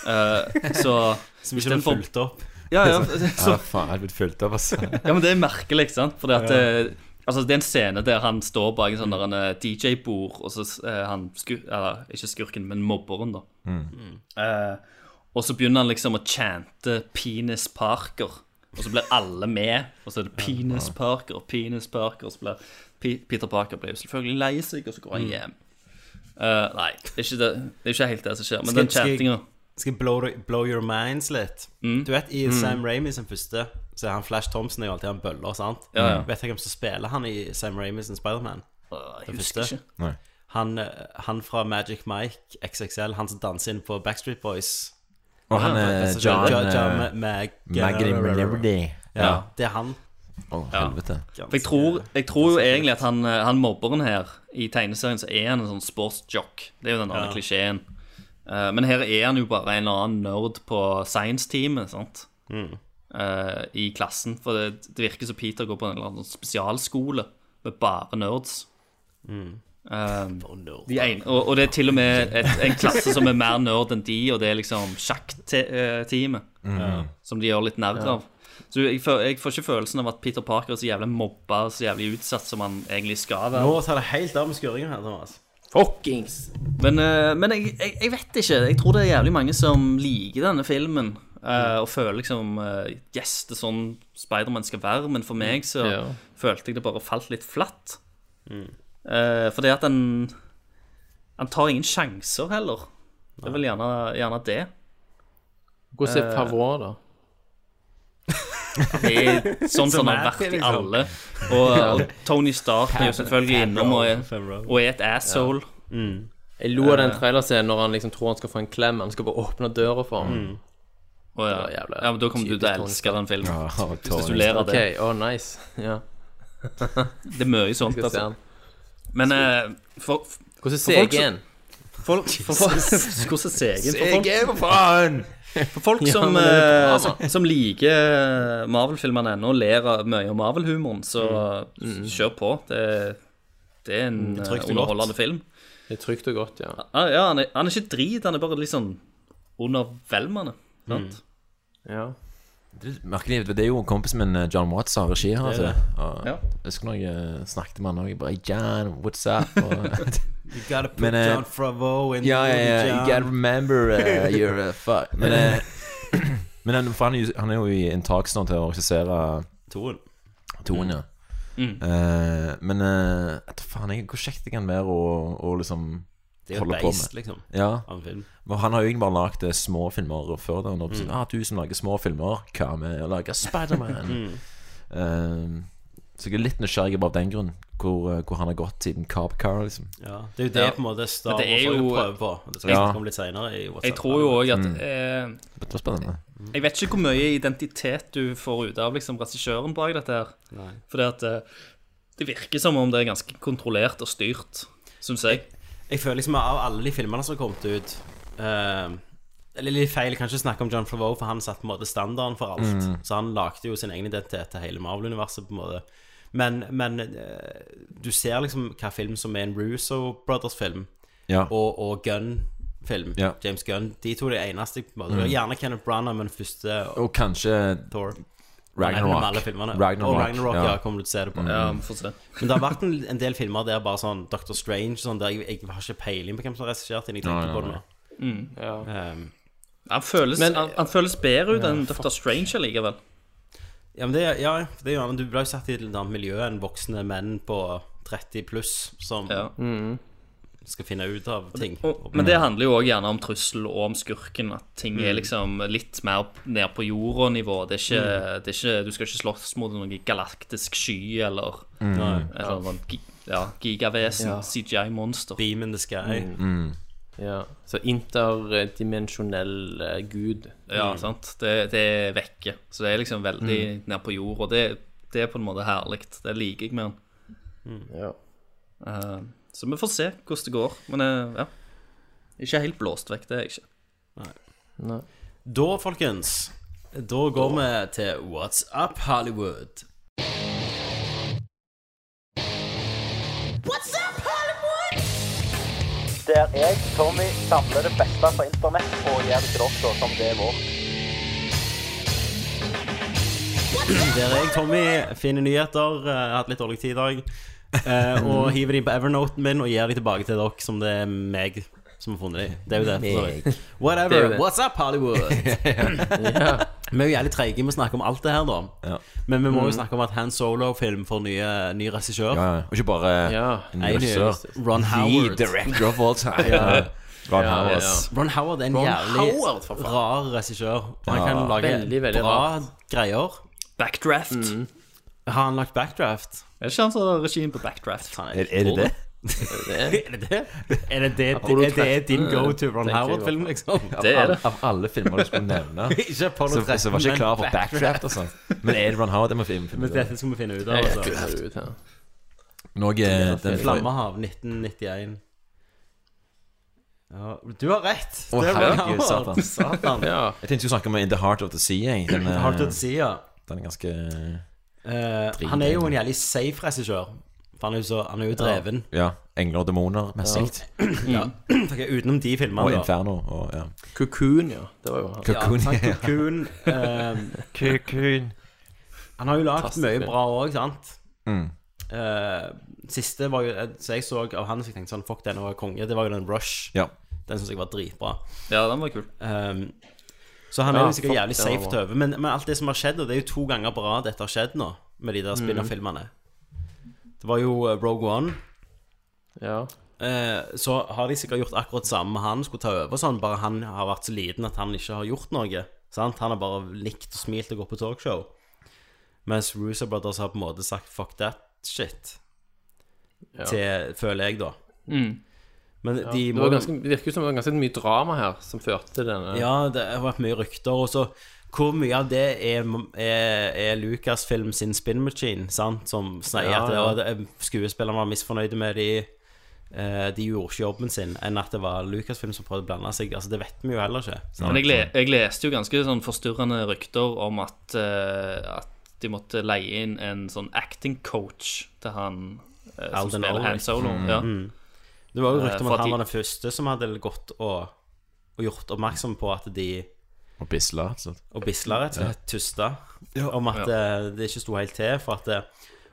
J: Eh, så
A: Som ikke ble
J: istedenfor-
A: fulgt opp.
J: Ja, ja,
K: Ja,
J: så,
K: faen, jeg hadde blitt fulgt opp, altså.
J: ja, men det er merkelig, ikke sant? Fordi at eh, altså, Det er en scene der han står bak en sånn der en, eh, DJ-bord, og så eh, han skur, Eller ikke skurken, men mobberen, da.
A: Mm.
J: Eh, og så begynner han liksom å chante 'Penis Parker', og så blir alle med. Og så er det 'Penis Parker', 'Penis Parker', og så blir P Peter Parker blir jo selvfølgelig lei seg, og så går han hjem. Eh, nei, det er, ikke det, det er ikke helt det som skjer, men
A: Skal-
J: den
A: skal jeg-
J: chantinga
A: Skal jeg blow, blow your minds litt?
K: Mm.
A: Du vet i Sam Raimi sin første, så er han Flash Thompson er jo alltid han bøller, sant?
J: Ja, ja.
A: Vet du hvem som spiller han i Sam Raimi sin Spider-Man?
J: uh, Jeg
A: Den
J: husker
A: første?
J: ikke.
K: Nei.
A: Han, eh, han fra Magic Mike XXL, han som danser inn på Backstreet Boys.
K: Og han er
A: Altså,
K: Eh, John
A: Ja, John
K: eh,
A: Mag-
K: Maggie Minerdy.
A: Ja, det er han.
K: Å, helvete.
J: For jeg tror, jeg tror jo egentlig at han, eh, han mobberen her i tegneserien så er han en sånn sportsjock. Det er jo den andre
A: Ja.
J: klisjeen. Eh, men her er han jo bare en eller annen nerd på science-teamet, sant? Eh, I klassen. For det, det virker som Peter går på en eller annen sånn spesialskole med bare nerds. Eh, de en, og, og det er til og med et, en klasse som er mer nerd enn de, og det er liksom sjakkteamet. Som de gjør litt narr av. Så jeg, får- jeg får ikke følelsen av at Peter Parker er så jævlig mobba og så jævlig utsatt som han egentlig skal være.
A: Nå tar det helt av med skuringen her, Thomas.
L: Fuckings!
J: Men, eh, men jeg, jeg, jeg vet ikke. Jeg tror det er jævlig mange som liker denne filmen. eh, og føler liksom eh, Yes, det er sånn Spiderman skal være. Men for meg så
L: Ja. Mm.
J: følte jeg det bare falt litt flatt. Eh, fordi at han Han tar ingen sjanser heller. Det er vel gjerne, gjerne det.
L: Hvordan er Pavot, da?
J: Det er sånn som
A: Som
J: han har
A: er,
J: vært i
A: liksom.
J: alle. Og, og Tony Stark er jo selvfølgelig innom og er, og er et asshole.
L: Jeg lo av den trailerscenen når han liksom tror han skal få en klem, men han skal bare åpne døra for ham.
J: Og ja.
L: var jævlig
J: ja, men Da kommer du til å
L: typisk Tony
J: elske den filmen.
K: Ja,
J: Hvis du
K: Tony.
J: ler av
L: OK,
J: det.
L: å nice. Ja,
J: Det er mye sånt.
L: skal se
J: Altså.
L: han.
J: Men eh, for,
L: Hvordan er
J: folk
L: CG-en?
J: for, for, for, hvordan ser jeg inn? For folk,
K: for faen!
J: for folk
L: Ja,
J: som,
L: men det er bra,
J: eh, som, som liker Marvel-filmene ennå og ler av mye av Marvel-humoren, så så kjør på. Det, det er en eh,
A: trygt og
J: underholdende film.
L: Det er trygt og godt, ja.
J: Ah, ja, han er, han er ikke drit, han er bare litt sånn undervelmende. Sant?
L: ja.
K: Merkelig, det er jo kompisen min eh, John Watts som har regi her. Altså. Og
J: Ja.
K: Jeg husker når jeg eh, snakket med han òg. Bare John, what's up? Og,
A: You gotta put
K: Men, eh,
A: John Fravo in
K: ja, ja, ja, you
A: John.
K: gotta remember uh, you're a fuck. Men, eh, men han, for han, er jo- han er jo i inntaksnå til å regissere
A: Toen.
K: toen,
A: Mm.
K: ja. Eh, men eh, vet du faen, jeg, hvor kjekt det kan være å, å liksom
A: Det er jo
K: holde
A: et
K: på
A: beist,
K: med.
A: liksom.
K: Ja,
A: Av en film.
K: men Han har jo egentlig bare lagd eh, små filmer før. Da, og mm. ah, 'Du som lager små filmer, hva med å lage Spiderman?'
A: Mm.
K: Eh, så jeg er litt nysgjerrig bare av den grunn, hvor, eh, hvor han har gått siden Cop Car. liksom
A: Ja. Det er jo det
J: Ja.
A: på en måte Star
J: Men det
A: Wars
J: er
A: har jo
J: jo-
A: prøvd på. Det skal vi
K: Ja.
A: snakke om litt senere i WhatsApp.
J: Jeg tror jo òg at eh,
K: Det var spennende.
J: Jeg vet ikke hvor mye identitet du får ut av liksom, regissøren bak dette. her
A: Nei.
J: Fordi at eh, det virker som om det er ganske kontrollert og styrt, syns jeg.
A: Jeg føler liksom av alle de filmene som har kommet ut eh, Eller litt feil, jeg kan ikke snakke om John Favreau, for han satte på en måte standarden for alt.
K: Mm.
A: Så han lagde jo sin egen identitet til hele Marvel-universet, på en måte. Men, men eh, du ser liksom hva film som er en Russo Brothers-film,
K: Ja.
A: og, og Gunn-film.
K: Ja. Mm.
A: James Gunn. De to er det eneste. På en måte. Det var Gjerne Kenneth Branagh, men første
K: Og kanskje
A: Thor. Ragnarok. Alle filmene.
K: Ragnarok,
A: og Ragnarok, ja.
K: ja.
A: kommer du til å se det på.
K: Mm. Ja,
J: vi får se.
A: Men det har vært en, en del filmer der bare sånn Doctor Strange sånn, der jeg, jeg har ikke peiling på hvem som har regissert den. Jeg tenker
J: Nei, nei,
A: på det nå.
J: Mm.
A: Um,
J: Han føles,
A: Men-
J: han, han føles bedre ut
A: Ja,
J: enn
A: fuck.
J: Dr. Strange likevel.
A: ja, men det, er- ja, det er jo gjerne Du ble jo satt i et eller annet miljø enn voksne menn på 30 pluss som skal finne ut av ting.
J: Men det handler jo òg gjerne om trussel og om skurken. At ting er
A: Mm.
J: liksom litt mer ned på jorda-nivå. Det er ikke,
A: Mm.
J: det er ikke, du skal ikke slåss mot noen galaktisk sky eller
K: Mm. Nei.
J: eller noen gi- ja, gigavesen,
L: Ja.
J: CGI-monster.
A: Beam in the sky.
K: Mm.
L: Ja. Så interdimensjonell eh, gud.
J: Ja,
A: mm.
J: sant. Det, det er vekke. Så det er liksom veldig ned på jord, og det, det er på en måte herlig. Det liker jeg med han. Eh, så vi får se hvordan det går. Men eh, ja. Ikke helt blåst vekk, det er jeg ikke.
L: Nei.
A: Da, folkens, da går vi til What's Up Hollywood.
D: What's up, Hollywood?
M: Der jeg, Tommy, samler det beste fra internett og gjør det til dere som det er vårt.
A: Der er jeg, Tommy, finner nyheter. eh, Jeg har hatt litt dårlig tid i dag. eh, og hiver de på Evernoten min og gir de tilbake til dere som det er meg som har funnet de. Det er jo det. for så vidt.
K: Meg.
A: Whatever.
K: Det er jo det.
A: What's up, Hollywood? Vi er jo jævlig treige med å snakke om alt det her, da. Men vi må jo
K: Mm.
A: snakke om at Han Solo-film får nye, ny regissør.
K: Ja, ja. Og ikke bare en
A: Nei,
K: regissør.
A: Ron Howard.
K: The director of all time.
A: Ja.
K: Ron
A: Ja,
K: Howard.
A: ja. Ron Howard er en
L: Ron
A: jævlig
L: Howard, for faen.
A: rar regissør. Og Han
K: Ja.
A: kan lage
L: Veldig, veldig
A: bra
L: rart.
A: greier.
J: Backdraft.
A: Har han lagt backdraft?
J: Er det ikke han som har regien på backdraft?
A: Er- er det det? Er det det? Er det, det, er det din go to Ron Howard-film, liksom?
K: Av alle- Av alle filmer du skulle nevne,
A: Ikke Apollo
K: så,
A: 13,
K: så var jeg ikke klar for
A: men
K: Backdraft og sånn. Men er det Ron Howard? Det må filmen finne
A: Men
K: ut av.
A: dette skal vi finne ut av.
K: Ja, ja,
A: altså.
K: det finner vi ut av. Noe den forrige-
A: Flammehav 1991. Ja, du har rett!
K: Å,
A: Det er Ron
K: herregud,
A: Howard.
K: satan.
A: Satan.
K: Ja. Jeg tenkte vi skulle snakke om In the Heart of the Sea. Jeg. Den, er-
A: Heart of the Sea, ja.
K: Den er ganske
A: Eh, han er jo en jævlig safe regissør. For han er jo, så, han er jo dreven.
K: Ja. Engler og demoner, mest sikt.
A: Ja. Ok, utenom de filmene,
K: Og
A: da.
K: Inferno. Og, ja.
L: Cocoon, ja. Det var jo han.
K: Cocoon,
A: ja.
K: ja.
A: sant, Cocoon, ehm, Han har jo lagd
K: Fantastisk
A: mye
K: film.
A: bra òg, sant?
K: Mm.
A: Eh, siste var jo Så jeg så av han som jeg tenkte sånn Fuck, den var konge. Det var jo den Rush.
K: Ja.
A: Den syns jeg var dritbra.
J: Ja, den var kul.
A: Ehm, så han er jo
J: Ja,
A: sikkert
J: fuck,
A: jævlig
J: den var
A: safe
J: bra.
A: til over. Men, men alt det som har skjedd, og det er jo to ganger på rad dette har skjedd nå, med de
J: Mhm.
A: der spinnerfilmene. Det var jo eh, Rogue One. Eh, så har de sikkert gjort akkurat samme med han, skulle ta over sånn, bare han har vært så liten at han ikke har gjort noe. Sant? Han har bare likt og smilt og gått på talkshow. Mens Russo Brothers har på en måte sagt 'fuck that shit'
L: Ja.
A: til Føler jeg, da.
L: Mm.
A: Men
L: Ja,
A: de
L: det,
A: må
L: var ganske, det virker jo som det var ganske mye drama her som førte til denne.
A: Ja, det har vært mye rykter. Og så hvor mye av det er, er, er Lucasfilm sin spin machine, sant? som sier
L: Ja,
A: at det
L: ja.
A: var- det- skuespillerne var misfornøyde med de eh, De gjorde ikke jobben sin, enn at det var Lucasfilm som prøvde å blande seg. Altså, Det vet vi jo heller ikke. sant?
J: Men jeg, le, jeg leste jo ganske sånn forstyrrende rykter om at, eh, at de måtte leie inn en sånn acting coach til han eh, som
A: Alden
J: spiller
A: Ulrich.
J: Han Solo.
A: Mm.
J: Ja.
A: Mm. Det var jo
J: Eh,
A: rykter om
J: for
A: at han
J: de-
A: var den første som hadde gått og, og gjort oppmerksom på at de
K: Og Bisla. Så.
A: Og Bisla rett og slett tusta om at eh, det ikke sto helt til. For at eh,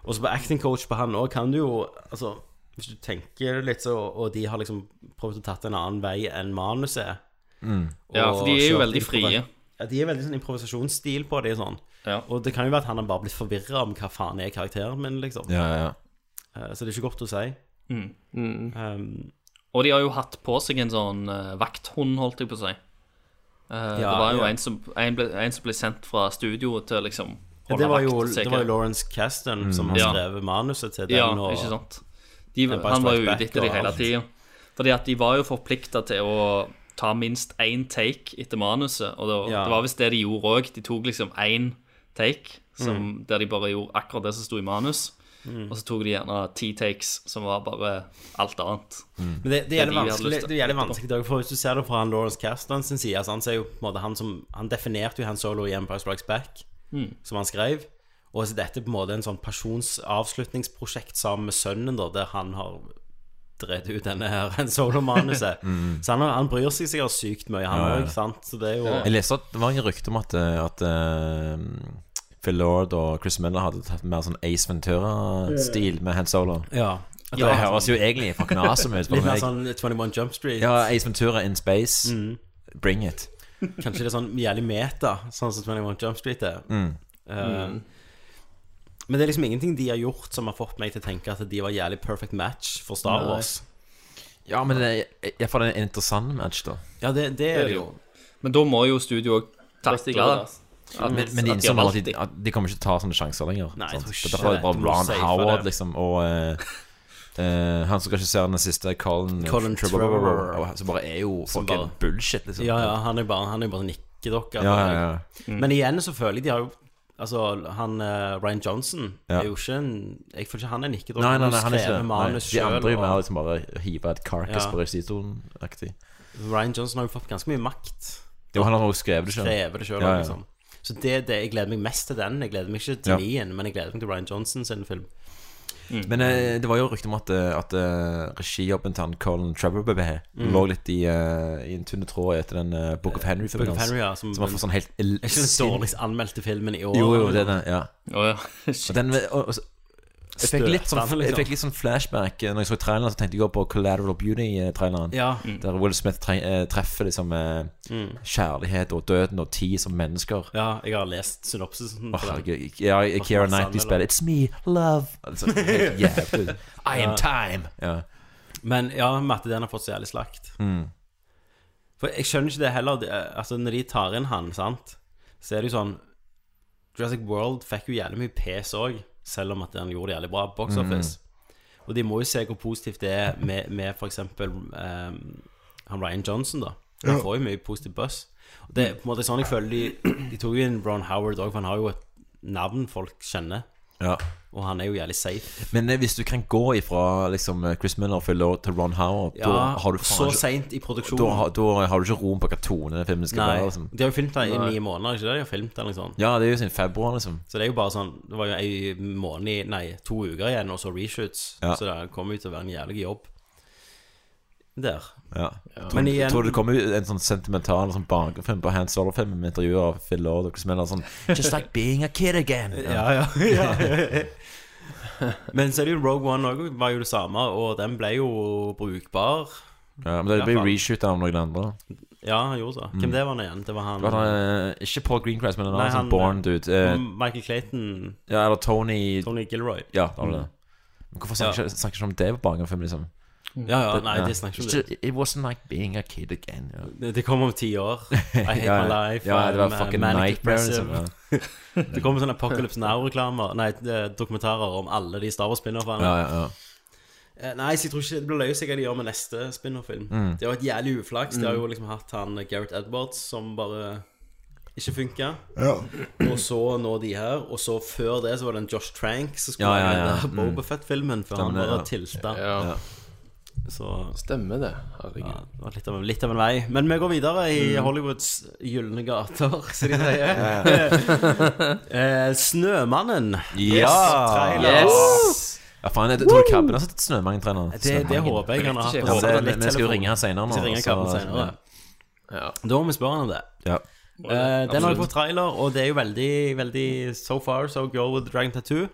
A: Og så på acting coach på han òg kan du jo Altså, hvis du tenker litt, så Og de har liksom prøvd å tatt en annen vei enn manuset.
K: Mm.
J: Ja, for de er jo
A: kjørt
J: veldig
A: improv-
J: frie.
A: Ja, de er veldig sånn improvisasjonsstil på det. Sånn. Og det kan jo være at han har bare blitt forvirra om hva faen er karakteren min, liksom.
K: Ja, ja, ja.
A: Eh, Så det er ikke godt å si.
J: Mm.
A: Um,
J: Og de har jo hatt på seg en sånn eh, vakthund, holdt jeg på å si. Eh,
A: Ja,
J: det var jo
A: ja.
J: en, som, en, ble, en som ble sendt fra studioet til å liksom
A: ja,
J: holde
A: det, var
J: vakt,
A: jo,
J: se
A: det
J: hva-
A: var jo Lawrence Caston som har
J: Mm. Ja.
A: skrevet manuset til den.
J: Ja,
A: og-
J: ikke sant. De,
A: Empire
J: han var jo
A: Strikes
J: ute
A: Back
J: etter de
A: og
J: hele
A: alt.
J: tida. Fordi at de var jo forplikta til å ta minst én take etter manuset. Og det,
A: Ja.
J: det var visst det de gjorde òg. De tok liksom én take som, der de bare gjorde akkurat det som sto i manus.
A: Mm.
J: Og så tok de gjerne ti takes som var bare alt annet.
A: Men det, det, gjelder
J: de hadde lyst
A: vanskelig,
J: til.
A: det gjelder vanskelig Dag, for Hvis du ser det fra han Lawrence Castan sin side altså Han, ser jo, på en måte, han, som, han definerte jo Han Solo i Empire Strikes Back,
J: Mm.
A: som han skrev. Og så dette er på en måte en sånn pensjonsavslutningsprosjekt sammen med sønnen, da, der han har drevet ut denne her Han Solo-manuset.
K: Mm.
A: Så han, har- han bryr seg sikkert sykt mye, han
K: Ja,
A: òg.
K: ja, ja.
A: sant? Så det er jo
K: Jeg leste at det var en rykte om at, eh, at eh, Phil Lord og Chris Miller hadde tatt mer sånn Ace Ventura-stil
A: Eh.
K: med Han Solo.
A: Ja.
K: Det høres jo egentlig fucking awesome ut.
A: Litt mer sånn 21 Jump Street.
K: Ja, Ace Ventura in space.
A: Mm.
K: Bring it.
A: Kanskje det er sånn jævlig meta, sånn som 21 Jump Street er.
K: Mm.
A: Eh,
K: Mm.
A: Men det er liksom ingenting de har gjort som har fått meg til å tenke at de var jævlig perfect match for Star
K: Nei.
A: Wars.
K: Ja, men det er iallfall en interessant match, da.
A: Ja, det, det er det jo.
J: Men da må jo studio òg takle
A: stikker det,
J: at,
A: altså.
J: at,
K: men, men de
J: de har
K: innså
J: valgt
K: at, de- at de kommer ikke til å ta sånne sjanser lenger.
A: Nei, jeg
K: sant?
A: tror
K: Så
A: ikke
K: Derfor er
A: det.
K: det bare
A: Du må
K: Ron
A: safe
K: Howard,
A: det.
K: liksom, og eh, eh, han som regisserer den siste, Colin,
A: Colin Trevorrow.
K: Som bare er jo
A: Som
K: fucking
A: bare-
K: bullshit, liksom.
A: Ja, ja, han er bare, han er bare nikkedokke.
K: Ja, ja, ja. Mm.
A: Men igjen så føler jeg de har jo Altså, han eh, Ryan Johnson
K: Ja.
A: er jo ikke en Jeg føler ikke han er nikkedokke.
K: Nei, nei, nei, han er ikke
A: skrevet
K: det. Nei,
A: manus
K: De andre er
A: selv,
K: jo mer
A: og-
K: liksom bare hive et carcass
A: Ja.
K: på regissøren-aktig.
A: Ryan Johnson har jo fått ganske mye makt.
K: Jo, han har også skrevet det selv.
A: Skrevet det selv,
K: Ja, ja.
A: liksom. Så det, er det, jeg gleder meg mest til den. Jeg gleder meg ikke til
K: Ja.
A: nien, men jeg gleder meg til Ryan Johnson sin film.
K: Men eh, det var jo rykte om at, eh, at eh, regijobben til han Colin Trevorrow
A: Mm.
K: lå litt i, eh, i en tynn tråd etter den eh, Book of Henry-filmen
A: Book of
K: hans.
A: Henry, ja, som-
K: som har fått sånn helt el-
A: Er ikke den dårligst anmeldte filmen i år?
K: Jo, jo, det er det. Ja.
J: Og
K: den, eh, og, og, så- jeg fikk, litt sånn,
A: Støtende, liksom.
K: jeg fikk litt sånn flashback eh, Når jeg så traileren, så tenkte jeg også på Collateral Beauty-traileren.
A: Ja.
K: Der Will Smith tre eh, treffer liksom eh,
A: Mm.
K: kjærlighet og døden og tid som mennesker.
A: Ja, jeg har lest synopsisen.
K: Åh,
A: på den.
K: herregud. Ja,
A: Og så
K: Keira
A: masse
K: Knightley
A: anmelder.
K: spiller It's me, love. Altså, helt jævlig. I am
A: Ja.
K: time. Ja.
A: Men ja, Matte, den har fått så jævlig slakt.
K: Mm.
A: For jeg skjønner ikke det heller. Det- Altså, når de tar inn han, sant, så er det jo sånn Jurassic World fikk jo jævlig mye pes òg, selv om at den gjorde det jævlig bra på box
K: Mm.
A: office. Og de må jo se hvor positivt det er med, med f.eks. Um, han Ryan Johnson, da. Han
K: Ja.
A: får jo mye positiv buzz. Og det er på en måte sånn jeg føler de De tok jo inn Ron Howard òg, for han har jo et navn folk kjenner.
K: Ja.
A: Og han er jo jævlig safe.
K: Men eh, hvis du kan gå ifra liksom, eh, Chris Miller og Phil Lord til Ron Howard
A: Ja,
K: da har du
A: så
K: faen ikke-
A: sent i produksjonen.
K: Da, har- da har du ikke rom på hva tone filmen skal
A: Nei,
K: være. Liksom.
A: De har jo filmt den i
K: Nei.
A: ni måneder, ikke det? De har filmt den liksom.
K: Ja, det er jo siden februar, liksom.
A: Så det er jo bare sånn Det var jo ei måned i- Nei, to uker igjen, og så reshoots.
K: Ja.
A: Så det kommer jo til å være en jævlig jobb. Der.
K: Ja.
A: Ja.
K: Tror,
A: Men igjen-
K: tror du det kommer ut en sånn sentimental sånn bakgrunn på Hans Solo-filmen med intervjuer av Phil Lord og Chris Miller sånn Just like being a kid again.
A: Ja, ja. ja. Men så er det jo Rogue One òg, var jo det samme, og den ble jo brukbar.
K: Ja, men det blir
A: Iallfall.
K: reshoot av noen andre.
A: Ja, han gjorde det. Hvem
K: Mm.
A: det var nå igjen? Det var han
K: Det var da, eh, ikke Paul Greencrest, men en
A: Nei,
K: annen
A: han-
K: sånn born dude. eh,
A: Michael Clayton.
K: ja, eller Tony
A: Tony Gilroy.
K: Ja, det var det.
A: Mm.
K: Men hvorfor snakker
A: Ja.
K: ja. ikke snakker ikke om det på bakgrunnsfilmen, liksom?
A: Ja, ja, nei, de snakker ikke om det.
K: It wasn't like being a kid again. Ja.
A: Det, det kommer om ti år. I hate
K: Ja,
A: my
K: ja.
A: life.
K: Ja, det var
A: I'm, uh,
K: fucking
A: manic
K: nightmare,
A: depressive.
K: liksom,
A: det kommer sånne Apocalypse Now-reklamer Nei, eh, dokumentarer om alle de Star Wars-spin-offene.
K: Ja, ja, ja.
A: Eh, Nei, så jeg tror ikke det blir løye seg hva de gjør med neste spin-off-film.
K: Mm.
A: Det er jo et jævlig uflaks. De har jo
K: Mm.
A: liksom hatt han Gareth Edwards som bare ikke funka.
C: Ja.
A: Og så nå de her. Og så før det så var det en Josh Trank som skulle
K: Ja,
A: ha
K: ja,
A: den
K: ja.
A: der
K: Mm.
A: Boba Fett-filmen, for
K: Stemmer,
A: han bare
K: ja.
A: tilta.
K: Ja.
A: Så
L: Stemmer det.
A: ja, det var litt av, litt av en vei. Men vi går videre i
L: Mm.
A: Hollywoods gylne gater, som de
L: Ja,
A: sier. eh, Snømannen.
K: Ja!
A: trailer.
K: Ja, faen, jeg tror Kabben har sett Snømangen-treneren.
A: Det- det håper jeg han har hatt på
K: Ja, men
A: håpet
K: det-
A: litt
K: Vi skal jo
A: telefon.
K: ringe han senere nå.
A: Vi skal ringe
K: så-
A: Kabben senere. Da må vi spørre han om det.
K: Ja.
A: Eh, den har jo
K: Absolutt.
A: fått trailer, og det er jo veldig, veldig so far, so girl with dragon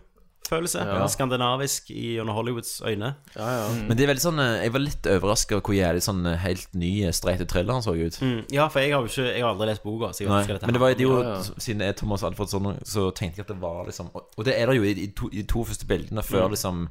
A: tattoo-følelse.
K: Ja.
A: Skandinavisk i under Hollywoods øyne. Mm.
K: Men det er veldig sånn eh, Jeg var litt overraska over hvor jævlig sånn eh, helt ny, eh, streite thriller han så ut.
A: Mm, ja, for jeg har jo ikke Jeg har aldri lest boka. Så jeg vet
K: Nei,
A: ikke hva dette
K: men det var
A: handler
K: jo,
A: om.
K: siden jeg er Thomas Alfred sånn, så tenkte jeg at det var liksom Og og det er det jo i, i, to, i to første bildene, før
A: Mm.
K: liksom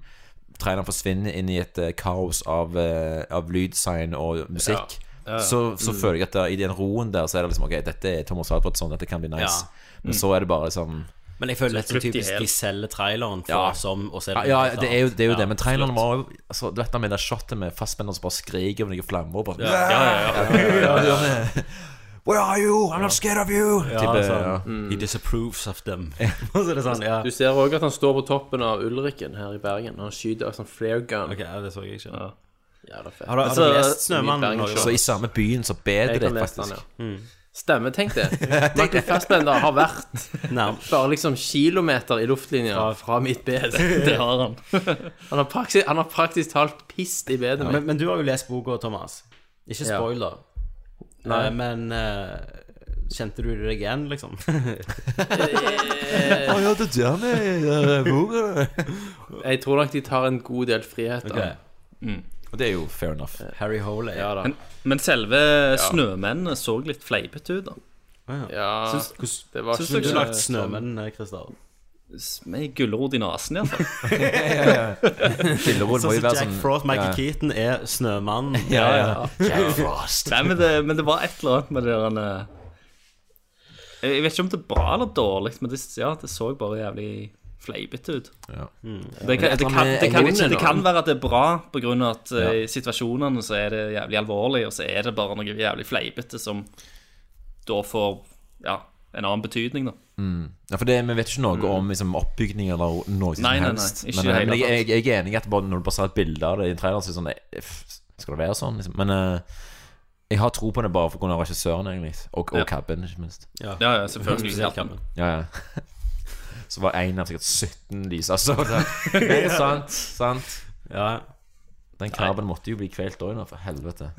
K: traileren forsvinner inn i et eh, kaos av, eh, av lydsign og musikk.
A: Ja. Ja, ja.
K: Så, så
A: Mm.
K: føler jeg at det, i den roen der så er det liksom OK, dette er Thomas Alfredsson, dette kan bli nice.
A: Ja.
K: Men
A: Mm.
K: så er det bare liksom
A: Men jeg føler det er så typisk de selger traileren for
K: Ja.
A: som og så
K: ja,
A: det
K: ja,
A: helt
K: det er jo
A: annet.
K: det, er
A: Ja,
K: jo det men traileren
A: absolutt.
K: var jo altså, Du vet da med det shotet med fastspenneren som bare skriker over noen flammer og bare
A: Ja, ja, ja, ja, ja, ja.
K: ja. Where are you? I'm not scared of you!
A: Ja,
K: Type,
A: sånn.
K: ja.
A: He disapproves of them. Og så er det sånn, ja.
L: Du ser òg at han står på toppen av Ulriken her i Bergen. Han skyter av sånn flare gun.
A: Ok, ja, det så jeg ikke.
L: Ja. Jævla fett. Altså,
A: Har du- har du lest Snømannen, Norge?
K: Så i samme byen så beder
L: Jeg
K: det
L: har lest den,
K: faktisk.
L: ja. Stemmer, tenk det. Michael Fassbender har vært bare liksom kilometer i luftlinja fra mitt bed.
J: Det har han.
L: Han har praktisk, han har praktisk talt pist i bedet
A: Ja,
L: mitt.
A: men, men du har jo lest boka, Thomas. Ikke
L: Ja.
A: spoil, da.
L: Nei.
A: Eh, Men eh, Kjente du deg igjen, liksom?
K: Å ja, det er der vi eh, bor.
L: Jeg tror nok de tar en god del friheter.
K: Ok. Og det er jo fair enough.
A: Harry Hole
L: Ja da.
J: Men, men selve snømennene så litt fleipete ut, da.
L: Ja,
J: Syns-
L: det var
J: syns
L: ikke
J: dere-
L: noe Slakt
A: snømenn, eh, Kristian.
J: Med gulrot i nesen, iallfall.
A: Sånn som Jack Frost, Michael Keaton er snømannen. Jack Frost.
J: Nei, men det, men det var et eller annet med det der eh, Jeg vet ikke om det er bra eller dårlig, men det, ja, det så bare jævlig fleipete ut. Det kan, det, kan, det, kan, ikke, det kan være at det er bra pga. at eh, i situasjonene så er det jævlig alvorlig, og så er det bare noe jævlig fleipete som da får ja, en annen betydning, da.
K: Mm. Ja, for det, Vi vet ikke noe om liksom, oppbygning eller noe som
J: Mm. Nei, nei, nei,
K: helst.
J: ikke
K: men eh,
J: i det hele
K: men jeg,
J: tatt.
K: jeg, jeg er enig i at bare når du bare ser et bilde av det i en trailer, så er det sånn eh, f- Skal det være sånn? Liksom. Men eh, jeg har tro på det bare pga. regissøren, egentlig. Og, og
J: Ja.
K: cabben, ikke minst.
A: Ja.
J: Ja, ja, selvfølgelig.
A: Spesielt Cabin.
K: Ja, ja. Så var én av sikkert 17 lys, altså. Det er sant, sant.
A: Ja.
K: Den kabben måtte jo bli kvelt òg, for helvete.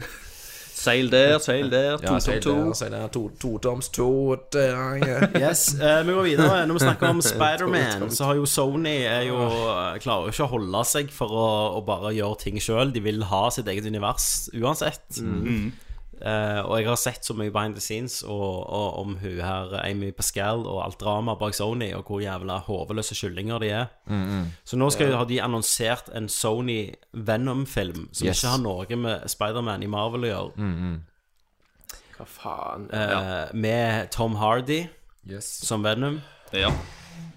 J: Seil der, seil der, to,
K: Ja, seil
J: to,
K: der,
J: to.
K: seil der, to, to toms, to der, ja.
A: Yes, eh, Vi går videre. Når vi snakker om Spiderman, så har jo Sony er jo, eh, klarer jo ikke å holde seg for å, å bare gjøre ting sjøl. De vil ha sitt eget univers uansett.
J: Mm.
A: Eh, og jeg har sett så mye behind the scenes og, og om hun her Amy Pascal og alt dramaet bak Sony, og hvor jævla hodeløse kyllinger de er.
K: Mm, mm.
A: Så nå skal, har de annonsert en Sony Venom-film som
K: Yes. Mm.
A: ikke har noe med Spiderman i Marvel å gjøre.
L: Hva faen?
A: Eh,
L: Ja.
A: Med Tom Hardy som Venom.
J: Ja.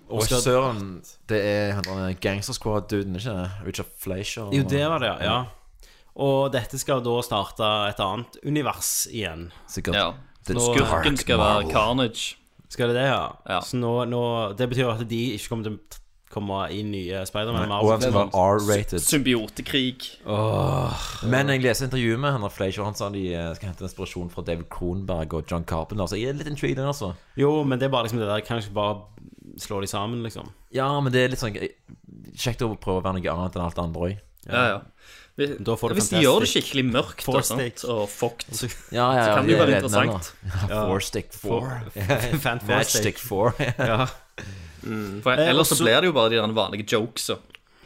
K: Og søren, det er han der Gangster Squad-duden, ikke det? Richard Fleischer.
A: Jo, det var det, ja. ja. Og dette skal da starte et annet univers igjen.
K: Sikkert.
J: Ja. Skurken skal være Carnage.
A: Skal det det, ja? Så nå, nå Det betyr jo at de ikke kommer til å t- komme i nye Spiderman.
K: Nei, og han skal være
J: sånn
K: R-rated.
J: Symbiotekrig.
K: Men jeg leser intervjuet med han der Fleischer, han sa de eh, skal hente inspirasjon fra David Kronberg og John Carpenter. Så jeg er litt intrigued, altså.
A: Jo, men det er bare liksom det der. Kan jeg ikke bare slå de sammen, liksom?
K: Ja, men det er litt sånn eh, kjekt å prøve å være noe annet enn alt det andre òg.
J: Ja, ja. Hvis,
A: Da får du
J: hvis de
A: fantastic.
J: gjør det skikkelig mørkt
A: Four
J: og, sant, og fucked, så
K: Ja, ja, ja,
J: kan det jo
K: det
J: være
K: er redden,
J: interessant.
K: da. Four stick four.
A: Fan four stick.
K: Matchstick four.
A: Ja.
J: For
A: Eh,
J: ellers så
A: også-
J: blir det jo bare de der vanlige jokes. Så.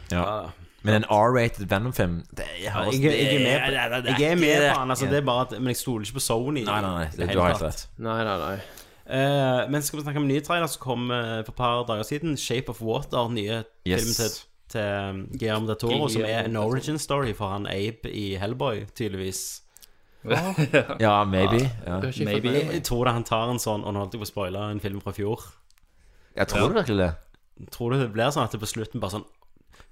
K: Ja. Men en R-rated Venom-film det er-
A: Ja, Jeg, jeg, er med på, jeg er med på han, altså, det er bare at, men jeg stoler ikke på Sony.
K: Nei, nei, nei,
A: i det
K: du
A: hele
K: har helt
A: tatt.
K: rett.
L: Nei, nei, nei.
A: Eh, men skal vi snakke om en ny trailer som kom eh, for et par dager siden. Shape of Water, nye
K: Yes.
A: film til, til Guillermo de Toro, som er en origin story for han Abe i Hellboy, tydeligvis.
K: Ja, maybe. Ja.
L: har ikke fått
A: Maybe.
L: med meg.
A: Jeg tror det han tar en sånn, og nå holdt jeg på å spoile en film fra fjor.
K: Jeg tror virkelig det.
A: Tror du det blir sånn at det på slutten bare sånn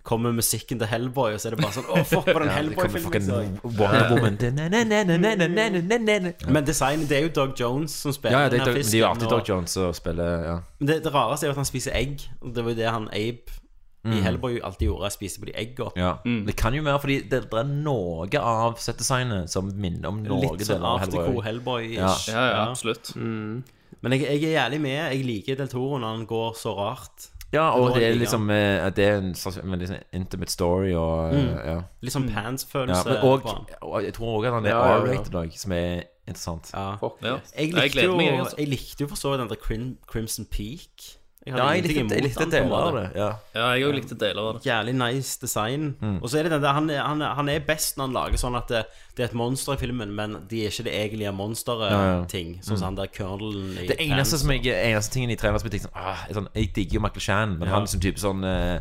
A: Kommer musikken til Hellboy, og så er det bare sånn Å, fuck, var det en
K: Ja, det kommer
A: Hellboy-film? liksom?»
K: fucking
A: jeg så?»
K: Wonder Woman. Ja.
A: Men designet, det er jo Doug Jones som spiller
K: Ja, ja, det er,
A: denne
K: Doug- det
A: fisken,
K: er jo alltid
A: og-
K: Doug Jones som spiller ja.
A: Men det, det rareste er jo at han spiser egg. Og det var jo det han Abe i
K: Mm.
A: Hellboy alltid gjorde. Spiste på de egga.
K: ja.
A: Mm.
K: Det kan jo være fordi det, det er noe av settdesignet som minner om noe
A: Litt sånn
K: deler av
A: afterco Hellboy-ish.
K: Ja.
J: Ja, ja, absolutt.
A: Mm. Men jeg, jeg er jævlig med. Jeg liker Del Toro når han går så rart.
K: Ja, og
A: Nå
K: det er
A: liker
K: liksom
A: han.
K: eh, Det er en slags en veldig sånn intimate story og eh,
A: Mm.
K: ja.
A: Litt sånn
K: ja.
A: pants-følelse
K: Men og,
A: på han.
K: og jeg tror også at han er
L: Ja, ja, ja.
K: R-rated òg, som er interessant.
A: Ja.
L: Fuck
J: Ja.
L: yes.
A: Jeg
J: Ja, jeg
A: likte,
J: gleder
A: jo,
J: meg, jeg, altså.
A: jeg likte jo for så vidt den der Crim, Crimson Peak. hadde
K: Ja, jeg
A: ingenting
K: likte,
A: imot
K: jeg likte
A: han, på en
K: deler av
A: måte.
K: det. Ja.
J: Ja, jeg òg likte deler av det.
A: Jævlig nice design.
K: Mm.
A: Og så er det den der han, er- han, er- han er best når han lager sånn at det, det er et monster i filmen, men de er ikke det egentlige
K: Ja, ja.
A: monsteret-ting. Sånn som han der colonelen i
K: Det eneste,
A: Pants.
K: som jeg, eneste tingen i traileren som jeg tenkte sånn, ah, er sånn Jeg digger jo Michael Chan, men
A: Ja.
K: han er sånn type sånn eh,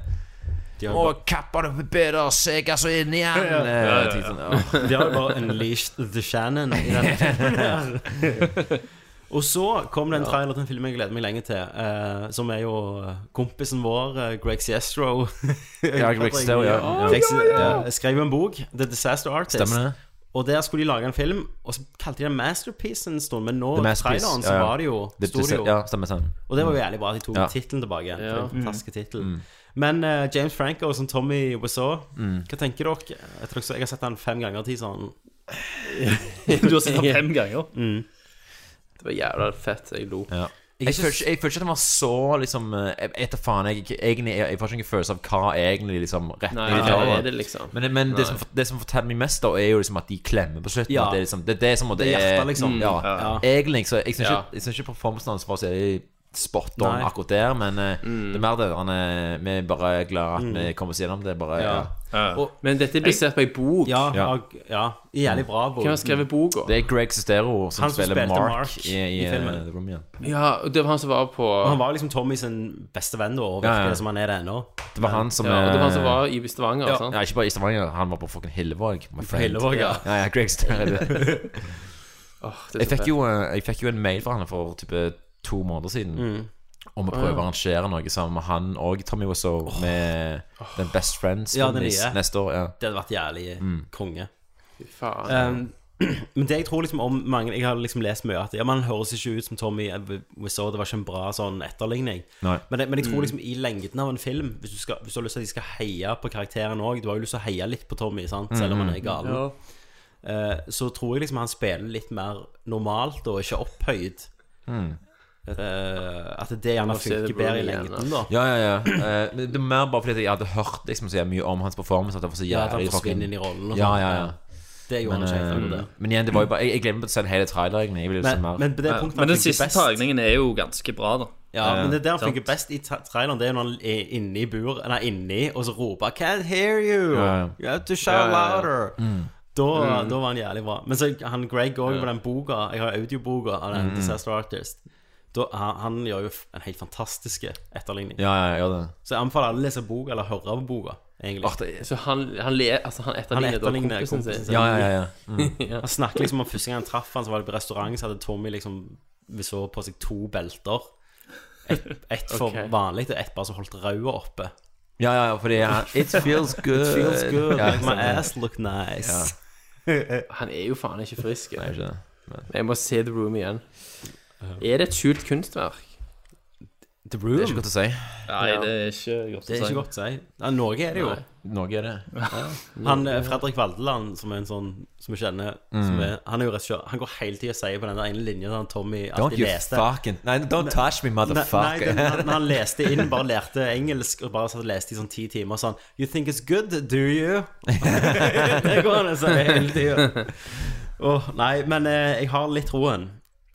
A: De har,
K: Å,
A: jo
K: kappa det med bedre, seg altså inn igjen! Eh, jeg tenkte sånn, «Åh».
A: bare, de har jo bare unleashed the Shannon i den filmen her. Og så kom det en trailer til en film jeg gleder meg lenge til, eh, som er jo kompisen vår, eh, Greg Siestro.
K: Ja, Greg Siestro, ja. Ja.
A: Greg Si- eh, Skrev jo en bok, The Disaster Artist.
K: Stemmer det?
A: Og der skulle de lage en film, og så kalte de den Masterpiece en stund, men nå,
K: The
A: i
K: Masterpiece,
A: traileren, så
K: ja, ja.
A: var det jo
K: Det- det-
A: studio.
K: Ja, stemmer stemmer.
A: Og det var jo jævlig bra at de tok
K: Ja. Mm.
A: tittelen tilbake. igjen, for det er en fantastisk titel. Men eh, James Franco som Tommy Wiseau,
K: Mm.
A: hva tenker dere? Jeg, tror også, jeg har sett han fem ganger til sånn Mm.
J: Du har sett den fem ganger.
L: Det var jævla fett. Jeg lo.
K: Ja. Jeg føler, ikke, jeg føler ikke at den var så liksom eh, Jeg vet da faen. Jeg, jeg, egentlig- jeg, jeg får ikke noen følelse av hva egentlig liksom
L: Nei,
K: retningen de
L: hva
K: tar.
L: er det, liksom?
K: Men, men
L: Nei.
K: det, som, det som forteller meg mest, da, er jo liksom at de klemmer på slutten.
L: Ja.
K: At det, er liksom, det, det er som om
L: Det er hjertet,
K: er-
L: liksom.
K: Ja.
L: Ja.
K: Egentlig. Så jeg syns
L: Ja.
K: ikke, jeg synes ikke performancen hans var så spot on
L: Nei.
K: akkurat der, men eh, det er mer det han er, Vi er bare glad at vi
A: Mm.
K: kommer oss gjennom det. Bare, ja.
A: Ja.
L: Og, men dette er basert på ei bok.
A: Ja, og- ja.
K: Mm.
A: Jævlig bra bok.
L: Hvem har skrevet boka?
K: Det er Greg Sestero som,
A: Han som
K: spiller
A: spilte
K: Mark,
A: Mark
K: i, i,
A: i filmen.
K: eh, The Room igjen.
L: Ja, og det var han som var på
A: Og han var liksom Tommy sin beste venn da, og
K: Ja,
A: virker
K: ja.
A: det som han er det ennå.
K: Det var han som
L: Ja, og det var han som
K: eh,
L: var i Stavanger,
K: ja.
L: sant?
K: Ja, ikke bare i Stavanger, han var på fucking Hillevåg. my friend.
L: Hillevåg, ja.
K: ja, ja Greg Støre.
L: Åh, det er så
K: jeg, fikk
L: fett.
K: jo, eh, jeg fikk jo en mail fra han for type to måneder siden.
L: Mm.
K: Om å
L: Å,
K: prøve
L: ja.
K: å arrangere noe sammen med han og Tommy Wiseau. Med den Best Friends
A: Ja, den
K: Nis-
A: nye.
K: neste år. Ja.
A: Det hadde vært jævlig
K: Mm.
A: konge.
L: Fy faen.
A: Um, men det jeg tror liksom om mange Jeg har liksom lest mye at Ja, men han høres ikke ut som Tommy eh, Wiseau. Det var ikke en bra sånn etterligning.
K: Nei.
A: Men, det, men jeg tror
K: Mm.
A: liksom i lengden av en film, hvis du, skal, hvis du har lyst til at de skal heie på karakteren òg Du har jo lyst til å heie litt på Tommy,
K: Mm,
A: sant? selv om han er gal.
L: Ja.
A: Eh, så tror jeg liksom han spiller litt mer normalt og ikke opphøyd.
K: Mm.
A: Eh, at det gjerne
L: Nå ser det
A: funker bedre i
L: Brolin igjen,
A: lengden, da.
K: Ja, ja, ja. Eh, men det er mer bare fordi at jeg hadde hørt liksom, så mye om hans performance. At det var så
A: Ja, at han
K: jævlig
A: forsvinner
K: fucking-
A: inn i rollen og
K: Ja,
A: sånn.
K: ja, ja.
A: Det gjorde han
K: men,
A: ikke helt,
K: eh,
A: det.
K: men igjen, det var jo bare Jeg, jeg glemmer å se en hel trailer, egentlig. Jeg ville se
A: Men,
K: mer.
A: men på det
J: Ja,
A: punktet
J: men den
A: funker
J: siste
A: best-
J: tagningen er jo ganske bra, da.
A: Ja,
K: Eh,
A: men det er der han
J: Sant?
A: funker best i tra- traileren. Det er når han er inne i bur, nei, inni, og så roper 'Can't hear you!
K: Ja, ja.
A: You have to shout
K: Ja, ja, ja.
A: louder!'
K: Mm.
A: Da,
K: Mm.
A: da var han jævlig bra. Men så han Greg òg
K: Ja.
A: på den boka. Jeg har audioboka av den
K: Mm.
A: Disaster Artist. Da, han, han gjør jo f- en helt fantastisk etterligning.
K: Ja, ja, jeg gjør det.
A: Så jeg anbefaler alle å lese boka, eller høre på boka, egentlig.
L: Så han, han, le, altså han etterligner, da kompisen sin?
A: Ja,
K: ja, ja, ja.
L: Ja.
A: Han snakker liksom om første gang han traff han, så var det på restaurant, så hadde Tommy liksom Vi så på seg to belter. Ett ett for
K: Ok.
A: vanlig og ett bare som holdt rauda oppe.
K: Ja, ja, ja, fordi ja, It feels good.
A: It feels good,
K: Ja,
A: like my
K: sånn, ja.
A: ass look nice.
L: Han er jo faen ikke frisk. Nei, ikke Jeg må se The Room igjen. Er det et skjult kunstverk?
A: The Room?
K: Det er ikke godt å si.
J: Nei, det er ikke godt å
A: Det er
J: si.
A: ikke godt å si. Ja, Norge er det jo.
K: Nei. Norge er det. Ja. Mm.
A: Han, eh, Fredrik Valdeland, som er en sånn Som vi kjenner som er, Han er jo regissør. Han går hele tida og sier på den der ene linja som Tommy
K: Don't
A: alltid
K: you
A: leste.
K: fucking Nei, don't touch me,
A: Nei,
K: motherfucker.
A: den, han, han leste inn, bare lærte engelsk og bare satt og leste i sånn ti timer sånn You think it's good, do you? det går han og sier hele tida. Åh, nei, men eh, jeg har litt troen.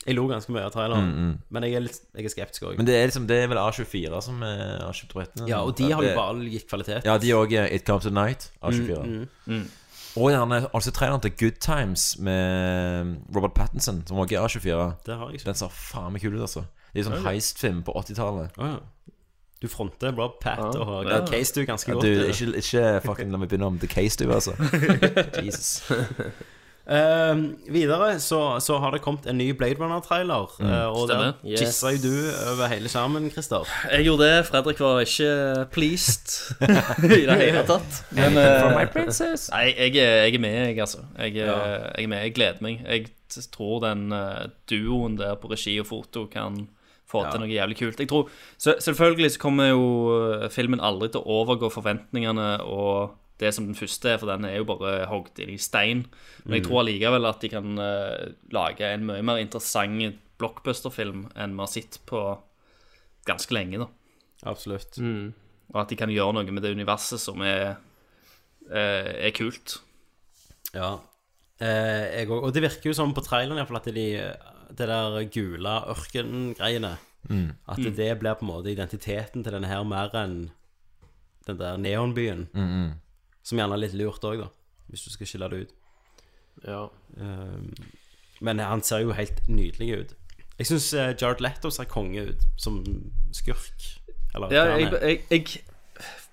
A: Jeg lo ganske mye av traileren,
K: Mm, mm.
A: men jeg er, litt, jeg er skeptisk òg.
K: Men det er, liksom, det er vel A24 som eh, har kjøpt rettighetene.
A: Ja, og de har jo
K: Det-
A: bare gitt kvalitet.
K: Ja, de òg. It Comes at Night, A24.
A: Mm,
J: mm.
K: Og gjerne altså traileren til Good Times med um, Robert Pattinson, som også er A24.
A: Det har jeg ikke.
K: Den ser faen meg kul ut, altså. Det er sånn
A: Ja, ja.
K: heistfilm på 80-tallet.
A: Du fronter Rob Pat
K: Ja.
A: og
K: Ja.
A: Case du ganske
K: Ja,
A: godt.
K: Du,
A: eller?
K: ikke, ikke fucking la meg begynne om The Case, du, altså. Jesus.
A: Ehm, videre så, så har det kommet en ny Blade Runner-trailer.
J: Mm.
A: eh, og
J: Stemmer.
A: der
J: Yes.
A: kissa jo du over hele skjermen, Christer.
J: Jeg gjorde det. Fredrik var ikke pleased i det hele tatt.
A: Anything for
J: eh,
A: my princess.
J: Nei, jeg, er- jeg er med, jeg, altså. Jeg, er- jeg er med. Jeg gleder meg. Jeg t- tror den eh, duoen der på regi og foto kan få til noe jævlig kult. Jeg tror, så, selvfølgelig så kommer jo eh, filmen aldri til å overgå forventningene og det som den første er, for den er jo bare hogd inn i stein. Men jeg
A: Mm.
J: tror allikevel at de kan eh, lage en mye mer interessant blockbusterfilm enn vi har sett på ganske lenge, da.
A: Absolutt.
K: Mm.
J: Og at de kan gjøre noe med det universet som er, eh, er kult.
A: Ja. Eh, jeg òg. Og det virker jo som på traileren i hvert fall at de, det der gule ørkengreiene
K: Mm.
A: At
K: Mm.
A: det blir på en måte identiteten til denne her mer enn den der neonbyen.
K: Mm, mm.
A: Som gjerne er litt lurt òg, da. Hvis du skal skille det ut. Ehm, men han ser jo helt nydelig ut. Jeg syns Jared Letto ser konge ut som skurk. Eller
J: Ja,
A: hva han
J: jeg,
A: er.
J: jeg, jeg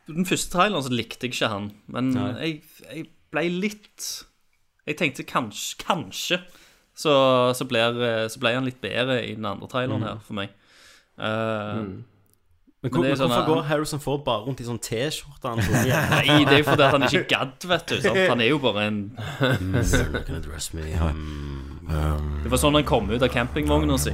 J: Den første traileren så likte jeg ikke han, men
A: Nei.
J: jeg, jeg ble litt Jeg tenkte kanskje Kanskje så, så, blir, eh, så ble han litt bedre i den andre traileren
A: Mhm.
J: her for meg. Eh,
A: Men, hvor,
J: det er
A: men
J: sånn
A: hvorfor
J: at-
A: går Harrison Ford bare rundt i sånn T-skjorte? han tror igjen?
J: Nei, det er jo fordi at han ikke gadd, vet du. Sant? Han er jo bare en
A: Mm, they're not gonna dress me. Um,
J: Det var sånn han kom ut av campingvogna si.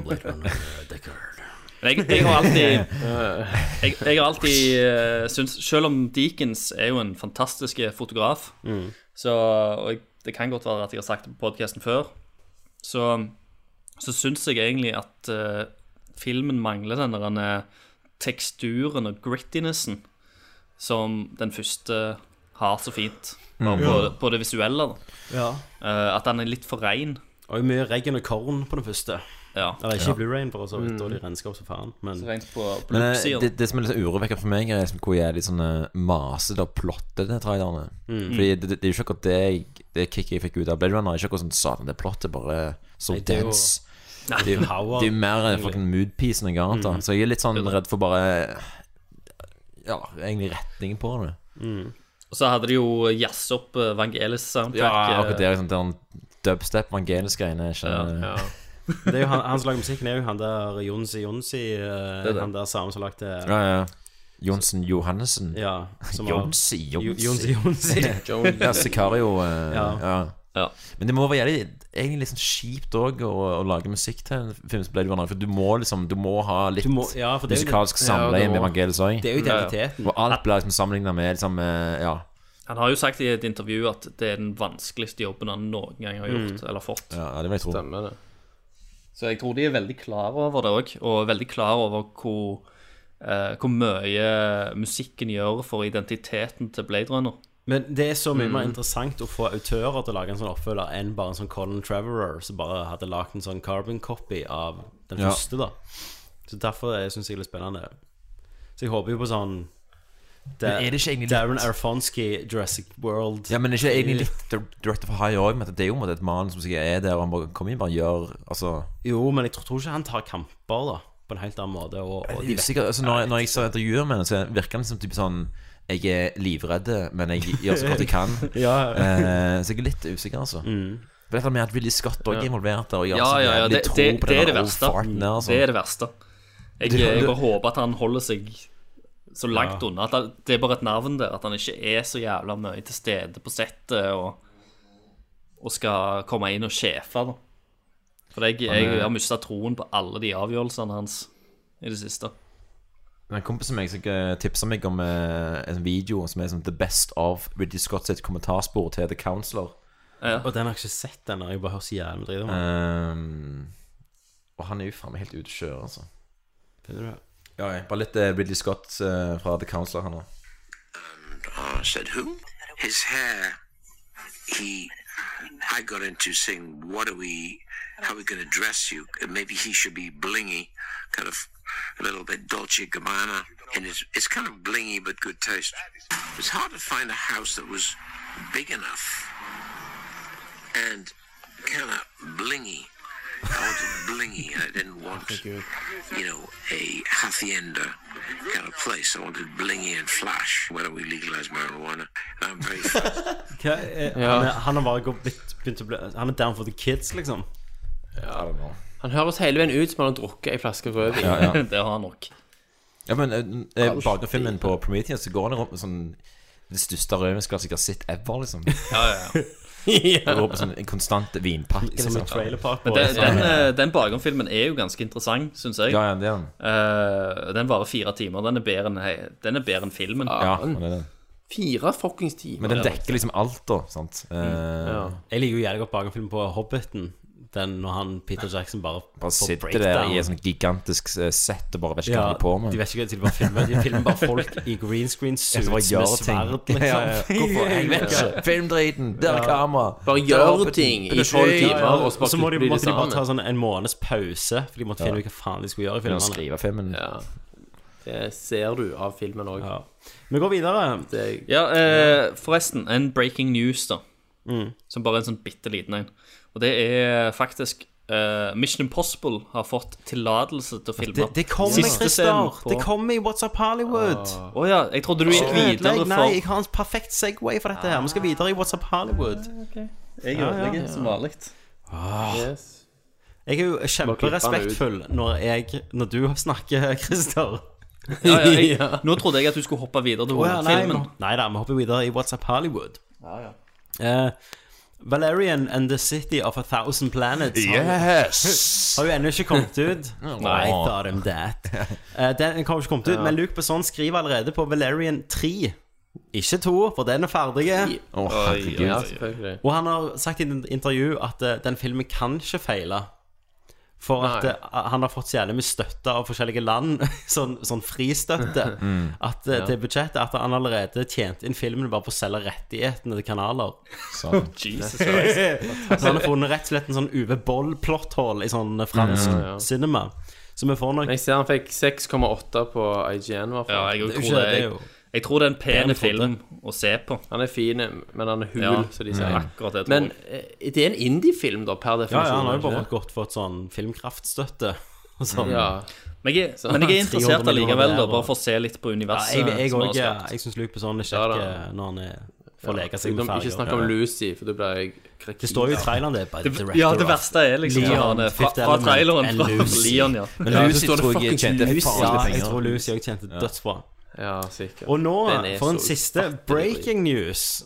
A: Blade Runner, uh, Deckard.
J: Men jeg, jeg har alltid Jeg, jeg har alltid eh, syntes Selv om Deakins er jo en fantastisk eh, fotograf,
A: Mm.
J: så og jeg, det kan godt være at jeg har sagt det på podkasten før, så så syns jeg egentlig at eh, filmen mangler den der eh, teksturen og grittinessen som den første har så fint, bare
A: Mm.
J: på,
A: Ja.
J: på det visuelle. Da.
A: Ja.
J: Eh, at den er litt for rein.
A: Og mye regn og korn på den første.
J: Ja.
A: Eller ikke
J: Ja.
A: Blu-rayen, for så vidt,
J: Mm.
A: og de rensker opp som faen. Men
J: Så rent på- på
K: Men eh, det, det som er litt sånn urovekkende for meg, er liksom hvor jævlig sånn eh, masete og plottete trailerne
A: Mm.
K: Fordi det, det, det er jo ikke akkurat det, jeg, det kicket jeg fikk ut av Blade Runner. Er ikke akkurat sånn satan, det plottet bare så
A: Nei, det er jo-
K: dense.
A: Nei,
K: Det er jo-
A: power,
K: det er jo mer eh,
A: egentlig.
K: fucking moodpiece enn noe annet. da
A: Mm.
K: Så jeg er litt sånn redd for bare Ja, egentlig retningen på det.
J: Og så hadde de jo jazz opp eh, Vangelis soundtrack.
K: Ja, akkurat det
J: eh,
K: er liksom den dubstep-evangelisk-greiene. Ja,
A: det er jo han, han som lager musikken, er jo han der Jonsi Jonsi. eh,
K: Det er det.
A: Han der samme som lagde
K: ja, ja. Johnsen Johannessen.
A: Ja, som har-
K: Jonsi, Jonsi.
A: Jonsi, Jonsi.
K: ja, Sicario. eh,
A: Ja.
K: ja. Men det må være jævlig, egentlig litt sånn kjipt òg å, å lage musikk til en film som Blade Runner. For du må liksom Du må ha litt
A: Du må- ja, for det er jo
K: musikalsk
A: det- Ja,
K: samleie
A: det må-
K: med evangeliet òg.
A: Det er jo identiteten.
K: Og alt blir liksom sammenligna med liksom eh, Ja.
J: Han har jo sagt i et intervju at det er den vanskeligste jobben han noen gang har gjort,
K: Mm.
J: eller fått.
K: Ja, ja, det vil jeg tro.
L: Stemmer det.
J: Så jeg tror de er veldig klar over det òg, og veldig klar over hvor, eh, hvor mye musikken gjør for identiteten til Blade Runner.
A: Men det er så mye mer
J: Mm.
A: interessant å få autører til å lage en sånn oppfølger enn bare en sånn Colin Trevorrow som bare hadde lagd en sånn carbon copy av den
K: Ja.
A: første, da. Så derfor syns jeg det er litt spennende. Så jeg håper jo på sånn Da-
K: Men er det ikke egentlig litt-
A: Darren Arfonsky, Jurassic World
K: Ja, men er ikke det egentlig litt dir- Director for High òg? men at Det er jo på en måte et manus som sikkert er der, og han bare kommer inn og bare gjør Altså
A: Jo, men jeg tror, tror ikke han tar kamper, da, på en helt annen måte. Og, og
K: Jeg er usikker. Altså, når, når jeg ser intervjuer med henne, så virker han som typ sånn Jeg er livredd, men jeg gjør så godt jeg kan.
A: Ja.
K: Eh, så jeg er litt usikker, altså. For dette med at Willy Scott også
J: Mm. Ja.
K: er involvert der, og jeg har
J: Ja,
K: så
J: ja, ja.
K: jævlig
J: Det,
K: tro
J: det,
K: på
J: det
K: den
J: er det
K: old
J: verste.
K: farten der, altså.
J: Det er det verste. Jeg,
K: Du-
J: jeg
K: du-
J: bare håper at han holder seg så langt
K: Ja.
J: unna. At han- det er bare et navn der. At han ikke er så jævla mye til stede på settet og, og skal komme inn og sjefe. Da. For jeg,
K: Han er-
J: jeg har mista troen på alle de avgjørelsene hans i det siste.
K: Men En kompis av meg som eh, tipset meg om eh, en video som er som The Best of Ridley Scott sitt kommentarspor til The Counselor.
A: og den har jeg ikke sett, den. Jeg bare hører så jævlig dritt om den.
K: Ehm, og han er jo faen meg helt ute å kjøre, altså.
A: Finner du det?
K: Ja, ja. Bare litt eh, Ridley Scott eh, fra The Counselor her nå.
N: Uh, said who? His hair. He. I got into saying, "What are we? How are we going to dress you? And maybe he should be blingy, kind of a little bit Dolce Gabbana, and it's it's kind of blingy but good taste. It's hard to find a house that was big enough and kind of blingy. I wanted blingy. I didn't want, you. know, a hacienda kind of place. I wanted blingy and flash. Why don't we legalize marijuana? And I'm very
A: Hva, er,
L: Ja.
A: han, er, han har bare gått, blitt, begynt å bli Han er down for the kids, liksom.
K: Ja,
L: Han høres hele veien ut som han har drukket ei flaske rødvin.
K: Ja, ja.
J: det har han nok.
K: Ja, men eh, eh,
L: Alt
K: bakom filmen på Prometheus så går han rundt med sånn det største rødvinsglasset jeg har sett ever, liksom.
J: Ja, ja,
K: ja. Han går rundt med sånn en konstant vinpakke.
J: Som
K: liksom.
J: en trailer Men det, den, eh, den bakgrunnsfilmen er jo ganske interessant, syns jeg.
K: Ja, ja, det er den.
J: Eh, den varer fire timer. Den er bedre enn, hei, den er bedre enn filmen.
K: Ja, den er den.
L: Fire fuckings timer.
K: Men den dekker liksom alt, da. Sant? Eh,
A: Jeg liker jo jævlig godt bakgrunnsfilmen på Hobbiten. Den når han Peter Jackson bare,
K: Bare
A: får
K: sitter der
A: breakdown.
K: i et sånt gigantisk eh, sett og bare vet ikke hva
A: Ja,
K: han holder på med.
A: de vet ikke hva de bare filmer. De filmer bare folk i green screen
K: Ja,
A: suits
K: så bare
A: med
K: gjør
A: sverd,
K: ting.
A: liksom.
K: Ja, ja. Hvorfor? Jeg vet ikke. Filmdriten, der er kamera.
L: Bare
K: Der er
L: gjør
K: oppe-
L: ting i
K: Ja, ja.
L: tolv timer,
A: Ja,
L: og så
A: så må
L: bare
A: de,
L: blir det
A: måtte de bare ta
L: samme.
A: sånn en måneds pause, for de måtte finne
L: Ja.
A: ut hva faen de skulle gjøre i
L: Begynne å
A: filmene.
K: skrive filmen.
L: Ja. Det ser du av filmen òg.
A: Vi går videre.
J: Ja, eh, forresten, en breaking news, da.
A: Mm.
J: Som bare er en sånn bitte liten en. Og det er faktisk eh, Mission Impossible har fått tillatelse til å filme.
A: Altså, Det, det kommer,
J: siste scenen
A: Christer!
J: på-
A: Det kommer i What's Up Hollywood.
J: Å ja, jeg trodde du gikk
A: Ikke
J: videre
A: ødelegg.
J: for
A: Nei, jeg har en perfekt Segway for dette her. Vi skal videre i What's Up Hollywood.
J: Jeg
A: Ja,
J: ødelegger
A: ja.
J: som vanlig.
A: Ah. Jeg er jo kjemperespektfull når, jeg, når du snakker, Christer.
J: Ja, ja, jeg, Nå trodde jeg at du skulle hoppe videre til
A: Å ja, nei,
J: hovedfilmen.
A: nå- nei da, vi hopper videre i What's Up Hollywood.
J: Ja, ja.
A: Eh, Valerian and the City of a Thousand Planets har-
K: Yes!
A: har jo ennå ikke kommet ut.
K: Nei.
A: I thought of that. Eh, den kommer ikke kommet ut,
K: Ja.
A: men Luke Besson skriver allerede på Valerian 3. Ikke 2, for den er ferdig.
K: Å, herregud.
L: Ja, selvfølgelig.
A: Og han har sagt i et intervju at eh, den filmen kan ikke feile. For at
J: Nei.
A: eh, han har fått så jævlig mye støtte av forskjellige land, sånn, sånn fristøtte,
K: Mm.
A: at, eh,
K: Ja.
A: til budsjettet, at han allerede tjente inn filmen bare på å selge rettighetene til kanaler.
K: Satan.
J: Jesus
A: Christ.
J: Christ.
A: Så han har funnet rett og slett en sånn Uwe Boll-plotthull i sånn fransk
L: Ja, ja.
A: cinema. Så vi får nok
L: Jeg ser han fikk 6,8 på IGN, i hvert fall.
J: Ja, jeg tror det. Jeg, jeg tror det er en pen film å se på.
L: Han er fin, men han er hul,
J: Ja,
L: som de sier.
J: akkurat det tror
L: men eh, det er en indie-film, da, per
A: Ja,
L: definisjon.
A: ja, han har jo
L: er det ikke
A: bare
L: det?
A: godt fått sånn filmkraftstøtte. Og sånn.
L: Ja.
J: Men jeg, er- men jeg er interessert allikevel, da, bare for å se litt på universet.
A: Ja, jeg jeg,
J: som han
A: også,
J: har
A: jeg,
J: skapt.
A: jeg syns Luke Besson er
J: Ja,
A: kjekk
J: da.
A: eh, når han er, får
L: Ja,
A: leke seg
L: ikke-
A: med ferger.
L: Ikke snakk om Lucy, for da blir jeg krakil.
A: Det står jo i traileren det. by the
J: Det-
A: director
J: ja, det
A: of
J: verste er liksom
A: Leon,
J: fra- fra-
A: Fifth
J: fra
A: Element
J: traileren,
A: and
J: fra
A: Lucy.
J: Leon, ja.
A: Men
J: Ja,
A: Lucy
J: så står det
A: tror jeg
J: fucking
A: tjente
J: Lucy.
A: faen
J: Ja,
A: meg
J: jeg
A: penger.
J: tror
A: Lucy også tjente dødsbra.
L: Ja, sikkert.
A: Og nå,
L: Den er
A: for en
L: så
A: siste
L: ufattelig
A: breaking news.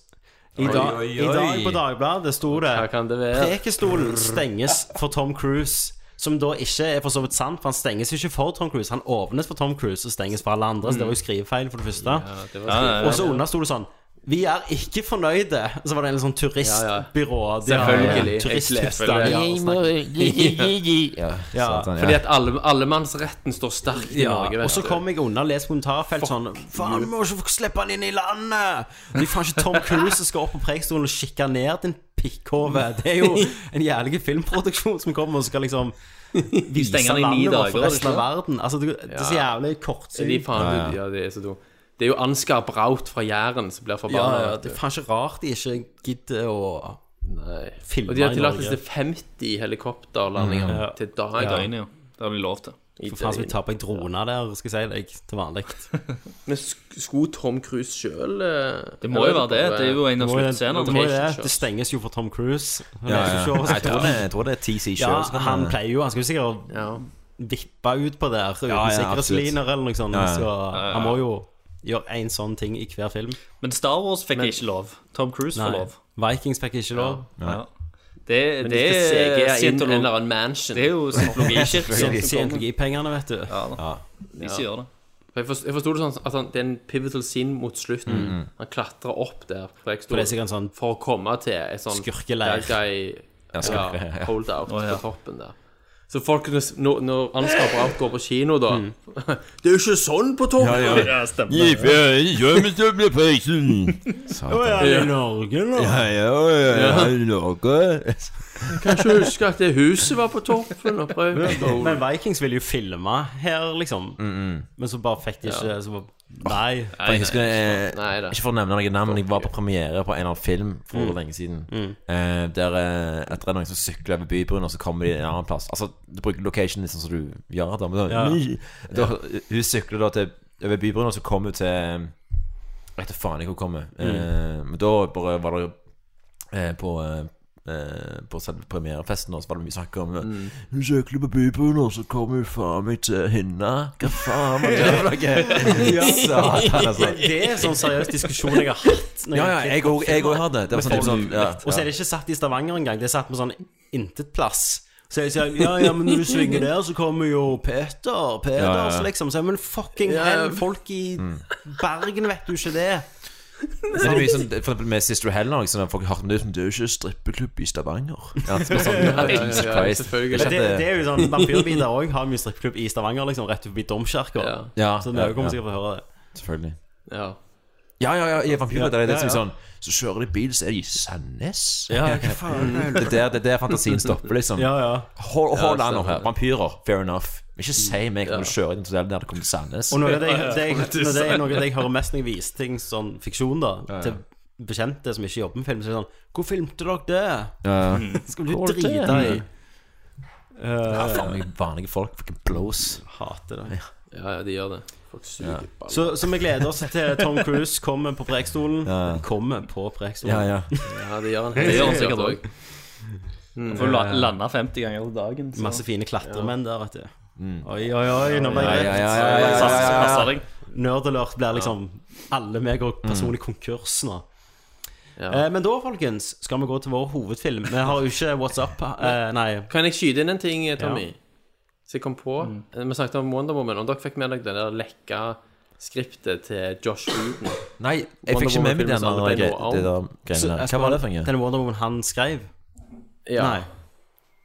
A: I
L: Oi,
A: dag,
L: oi,
A: I dag
L: oi.
A: på Dagbladet sto det
L: Hva kan det være?
A: Prekestolen stenges for Tom Cruise. Som da ikke er for så vidt sant, for han stenges jo ikke for Tom Cruise. Han åpnes for Tom Cruise og stenges for alle andre. Så det var jo skrivefeil, for det første.
L: det var skrivefeil.
A: Og så under sto det sånn Vi er ikke fornøyde. Så var det en sånn turistbyrå. de har-
L: Selvfølgelig.
A: Turisthytta. de har snakket.
L: Ja,
A: Ja,
L: satan, ja. Fordi at alle, allemannsretten står sterkt altså, i Norge.
A: Ja,
L: vet
A: og så
L: du.
A: kom jeg unna og leste kommentarfelt sånn Faen, vi må ikke få slippe han inn i landet! Det er faen ikke Tom Cruise som skal opp på Preikestolen og kikke ned din pikkhove. Det er jo en jævlig filmproduksjon som kommer og skal liksom vise
J: stenger den i ni
A: landet vårt
J: dager,
A: for resten av
J: ikke sant?
A: verden. Altså, det, det er så
L: Ja.
A: jævlig kortsynt.
L: De faen, ja, det er så dumt. Det er jo Ansgar Braut fra Jæren som blir
A: Ja,
L: forbanna.
A: ja, det er faen ikke rart de ikke gidder å filme
L: og de har
A: i
L: tillatelse
A: Norge.
L: til 50 helikopterlandinger
A: Mm. Ja.
L: til dagen.
A: I døgnet,
J: ja. Det har de lov til.
A: For faen skal vi ta på en drone der, skal jeg si deg, til vanlig.
L: Men sk- skulle Tom Cruise sjøl
J: Det må jo være det. Det er jo en av
A: Må jo det-
J: sluttscenene.
A: Det, må jo det. det stenges jo for Tom Cruise. Han
K: Ja,
A: er
K: ja.
A: ikke sure, så-
K: Jeg tror det- jeg tror det er TC
A: Ja,
K: selv som-
A: han pleier jo Han skal jo sikkert vippe ut på der uten
K: Ja, ja,
A: sikkerhetsliner
K: absolutt.
A: eller noe sånt.
K: Ja, ja.
A: Så
K: Ja, ja.
A: han må jo gjøre en sånn ting i hver film.
J: Men Star Wars fikk ikke lov. Tom Cruise får
A: Nei.
J: lov.
A: Vikings fikk ikke lov.
J: Ja. Det,
A: Men
J: det
A: de skal
J: er
A: CGI inn en
J: scientolog-
A: eller annen
L: mansion.
J: Det er jo scientologikirken.
A: Scientologipengene, vet du.
J: Ja, da. Ikke gjør det.
L: For Jeg forst- jeg forsto det sånn at han, det er en pivotal scene mot slutten.
A: Mhm.
L: Han klatrer opp der på Preikestolen
A: For det er sikkert en sånn
L: for å komme til en sånn
A: skurkeleir.
L: bad guy
A: Ja,
L: ja,
A: skurke, ja.
L: holdout
A: Å, ja.
L: på toppen der. Så folk, kunne s- når, når Ansgar Braut går på kino, da Det er jo ikke sånn på toppen!
K: Ja, ja. Ja, stemmer. Gi faen, gjør meg til å bli preisen. Satan.
L: Å,
K: Ja.
A: Norge,
K: Ja, ja, ja, ja, i Norge.
L: Kan ikke huske at det huset var på toppen. og Preikestolen.
A: Men Vikings ville jo filme her, liksom.
K: Mm,
A: Men så bare fikk de ikke så bare, Nei.
K: For jeg husker eh,
A: Nei da.
K: Ikke for å nevne noe navn, men jeg var på premiere på en eller annen film for
A: Mm.
K: lenge siden.
A: Mm.
K: Eh, der eh, at det er noen som sykler over bybruen, og så kommer de til en annen plass. Altså, Du bruker location litt sånn som du gjør da, men da,
A: Ja.
K: Ny- da Hun sykler da til, over bybruen, og så kommer hun til Jeg vet da faen ikke hvor hun kommer.
A: Mm.
K: Eh, men da bare var det jo eh, på eh, eh, på selve premierefesten, og så var det mye snakk om eh,
C: Mm.
K: Hun søkte på byboen, og så kom hun faen meg til henne. Hva faen var det for noe?
A: Ja.
K: Satan, altså.
A: Det er sånn seriøs diskusjon jeg har hatt. når
K: Ja, ja,
A: har
K: jeg
A: klippet
K: òg- jeg
A: filmer.
K: òg har det. Det var
A: Med
K: sånn typ
A: folk.
K: sånn, ja.
A: Og så er det ikke satt i Stavanger engang. Det er satt med sånn intetplass. Så jeg sier ja, ja, men når du svinger der, så kommer jo Peter Peters,
K: Ja, Mm. ja.
A: liksom. Så jeg, men fucking
L: Ja, ja.
A: hell, folk i Bergen vet jo ikke det.
K: Men Det er mye sånn, for eksempel med Sister Hell nå, sånn at folk har hørt om det sånn, Det er jo ikke strippeklubb i Stavanger. Ja, det er bare sånn,
A: Ja, ja, ja,
K: Jesus
A: ja,
K: Christ.
A: selvfølgelig.
K: Det
A: Men
K: er ikke at
A: Det,
K: det-
A: det er jo sånn Vampyrbiter òg har mye strippeklubb i Stavanger, liksom, rett forbi domkirka.
K: Ja,
A: så dere
K: ja,
A: kommer
K: ja.
A: sikkert til å høre det.
K: Selvfølgelig.
L: Ja.
K: Ja, ja, ja, i Vampyrer, det er det
A: Ja,
K: som er
A: ja.
K: sånn Så kjører de bil, så er de i Sandnes.
A: Ja, hva faen er det?
K: Det er der, det er der fantasien stopper, liksom.
A: Ja, ja.
K: Hold,
A: Ja,
K: hold an nå her. Vampyrer, fair enough. Men ikke si meg når du kjører inn til der det kommer til Sandnes.
A: Og noe av det, jeg, det, jeg, når det er noe av det jeg hører mest når jeg viser ting sånn fiksjon, da,
K: Ja, ja.
A: til bekjente som ikke jobber med film, så er det sånn Hvor filmte dere det?
K: Ja, ja.
A: Skal du
K: Hvor var det?
A: drite i?
K: Ja, faen meg vanlige folk. Fucking blows.
A: Hater det.
L: ja, ja, de gjør det. Folk
K: Ja.
L: suger baller.
A: Så, så vi gleder oss til Tom Cruise kommer på Preikestolen.
K: Ja, ja.
A: Kommer på Preikestolen.
K: Ja, ja.
L: Ja, det gjør han
J: Det gjør han
L: sikkert
J: sikkert
L: også.
J: òg.
L: Mm.
J: Får la- landa 50 ganger om dagen. så-
A: Masse fine klatremenn der, vet du.
K: Mm.
A: Oi, oi, oi, nå ble
K: Ja,
A: jeg
K: ja, ja, ja, ja, ja,
A: Pass-
K: ja, ja.
A: passer deg. Nerdalert blir liksom Alle meg går
K: Mm.
A: personlig konkurs nå. Eh, men da, folkens, skal vi gå til vår hovedfilm. Vi har jo ikke What's Up. Eh, nei.
L: Kan jeg skyte inn en ting, eh, Tommy?
A: Ja.
L: Så jeg kom på
J: Mm.
L: Eh, Vi snakket om Wonder Woman. Om dere fikk med dere det der lekka skriptet til Josh Whedon?
K: Nei, jeg fikk ikke med meg den der gre- det der
A: Så,
K: greiene der.
A: Espen,
K: Hva var det for noe?
A: Den Wonder Woman han skrev?
L: Ja.
A: Nei.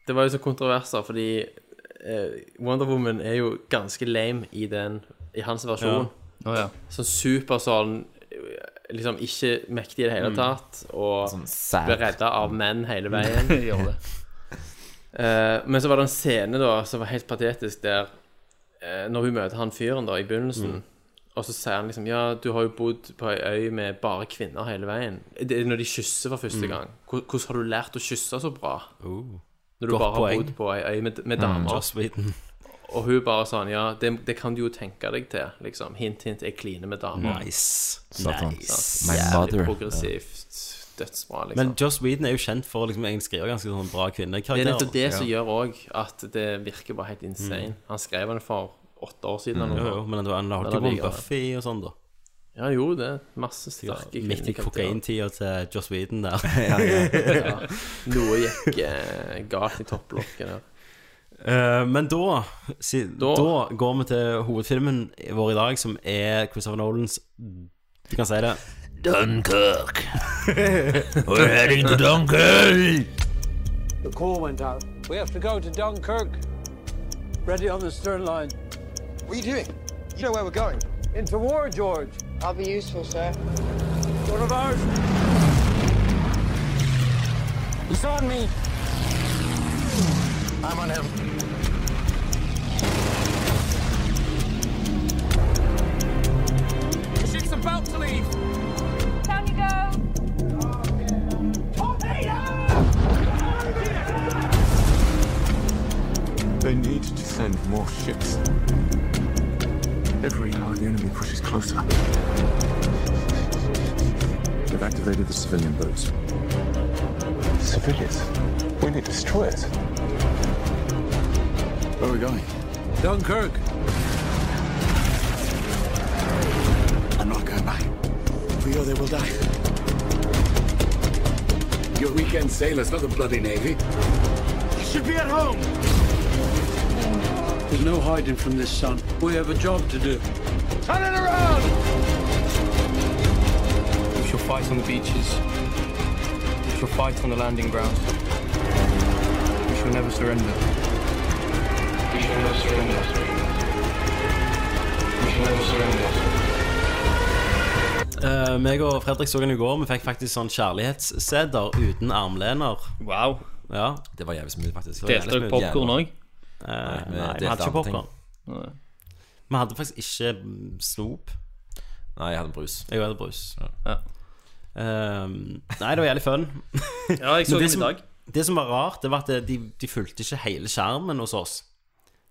L: Det var jo så kontroverser, fordi eh, Wonder Woman er jo ganske lame i, den, i hans versjon.
J: Ja. Å, ja.
L: Sånn super sånn Liksom ikke mektig i det hele
J: Mm.
L: tatt, og
K: Sånn sad.
L: blir redda av menn hele veien.
J: Gjør det.
L: Eh, men så var det en scene da som var helt patetisk, der eh, Når hun møter han fyren da i begynnelsen,
J: Mm.
L: og så sier han liksom Ja, du har jo bodd på ei øy med bare kvinner hele veien. Eh, Det er når de kysser for første
J: Mm.
L: gang. Hvor- Hvordan har du lært å kysse så bra?
A: Oh.
L: Når du
A: Godt
L: bare
A: poeng.
L: har bodd på ei øy med, med
A: Mm.
L: damer.
A: Joss Whedon.
L: Og hun bare sånn Ja, det, det kan du jo tenke deg til, liksom. Hint, hint, jeg kliner med damer.
A: Nice.
K: Satan.
A: Nice.
K: My
L: Jævlig
K: mother.
L: Progressivt. Dødsbra, liksom.
A: Men Joss Whedon er jo kjent for liksom, å skrive ganske sånn bra
L: Det
A: kvinnekarakterer.
L: er nettopp det som gjør òg at det virker bare helt insane.
A: Mm.
L: Han skrev den for åtte år siden.
A: Mm.
L: eller noe
A: Jo, jo,
L: sånt.
A: men han- han holdt
L: Men
A: jo på med
L: allikevel.
A: Buffy og sånn, da.
L: Ja, han gjorde det. Masse sterke
A: Midt i kokaintida til Joss Whedon der.
L: ja. Noe gikk eh, galt i topplokket der.
A: Eh, men da, si, da går vi til hovedfilmen vår i dag, som er Christopher Nolans Du kan si det.
B: Dunkirk. We're heading to Dunkirk.
O: The call went out. We have to go to Dunkirk. Ready on the stern line. What are you doing? You know where we're going. Into war, George. I'll be useful, sir. One of ours. He's on me. I'm on him.
D: The ship's about to leave. Down you go.
P: They need to send more ships. Every hour the enemy pushes closer. They've activated the civilian boats. Civilians? We need destroyers. Where are we going?
O: Dunkirk.
P: I'm not going back. If we go, they will die. Your weekend sailors, not the bloody navy.
O: You should be at home. There's no hiding from this, son. We have a job to do. Turn it around! We shall fight on the beaches. We shall fight on the landing ground. We shall never surrender. We shall never surrender. We shall never surrender.
A: Uh, meg og Fredrik så den i går. Vi fikk faktisk sånn kjærlighetssedder uten armlener.
J: Wow.
A: Ja.
K: Det var jævlig smooth, faktisk.
J: Delte dere popcorn òg?
A: Eh,
K: vi
A: nei, vi
K: delte
A: hadde ikke
K: andre ting.
A: popkorn. Vi hadde faktisk ikke mm, snop.
K: Nei, jeg hadde brus.
A: Jeg hadde brus. Ehm, nei, det var jævlig fun.
J: Ja, jeg så
A: Men
J: den
A: det
J: i
A: som-
J: dag.
A: Det som var rart, det var at de, de fulgte ikke hele skjermen hos oss.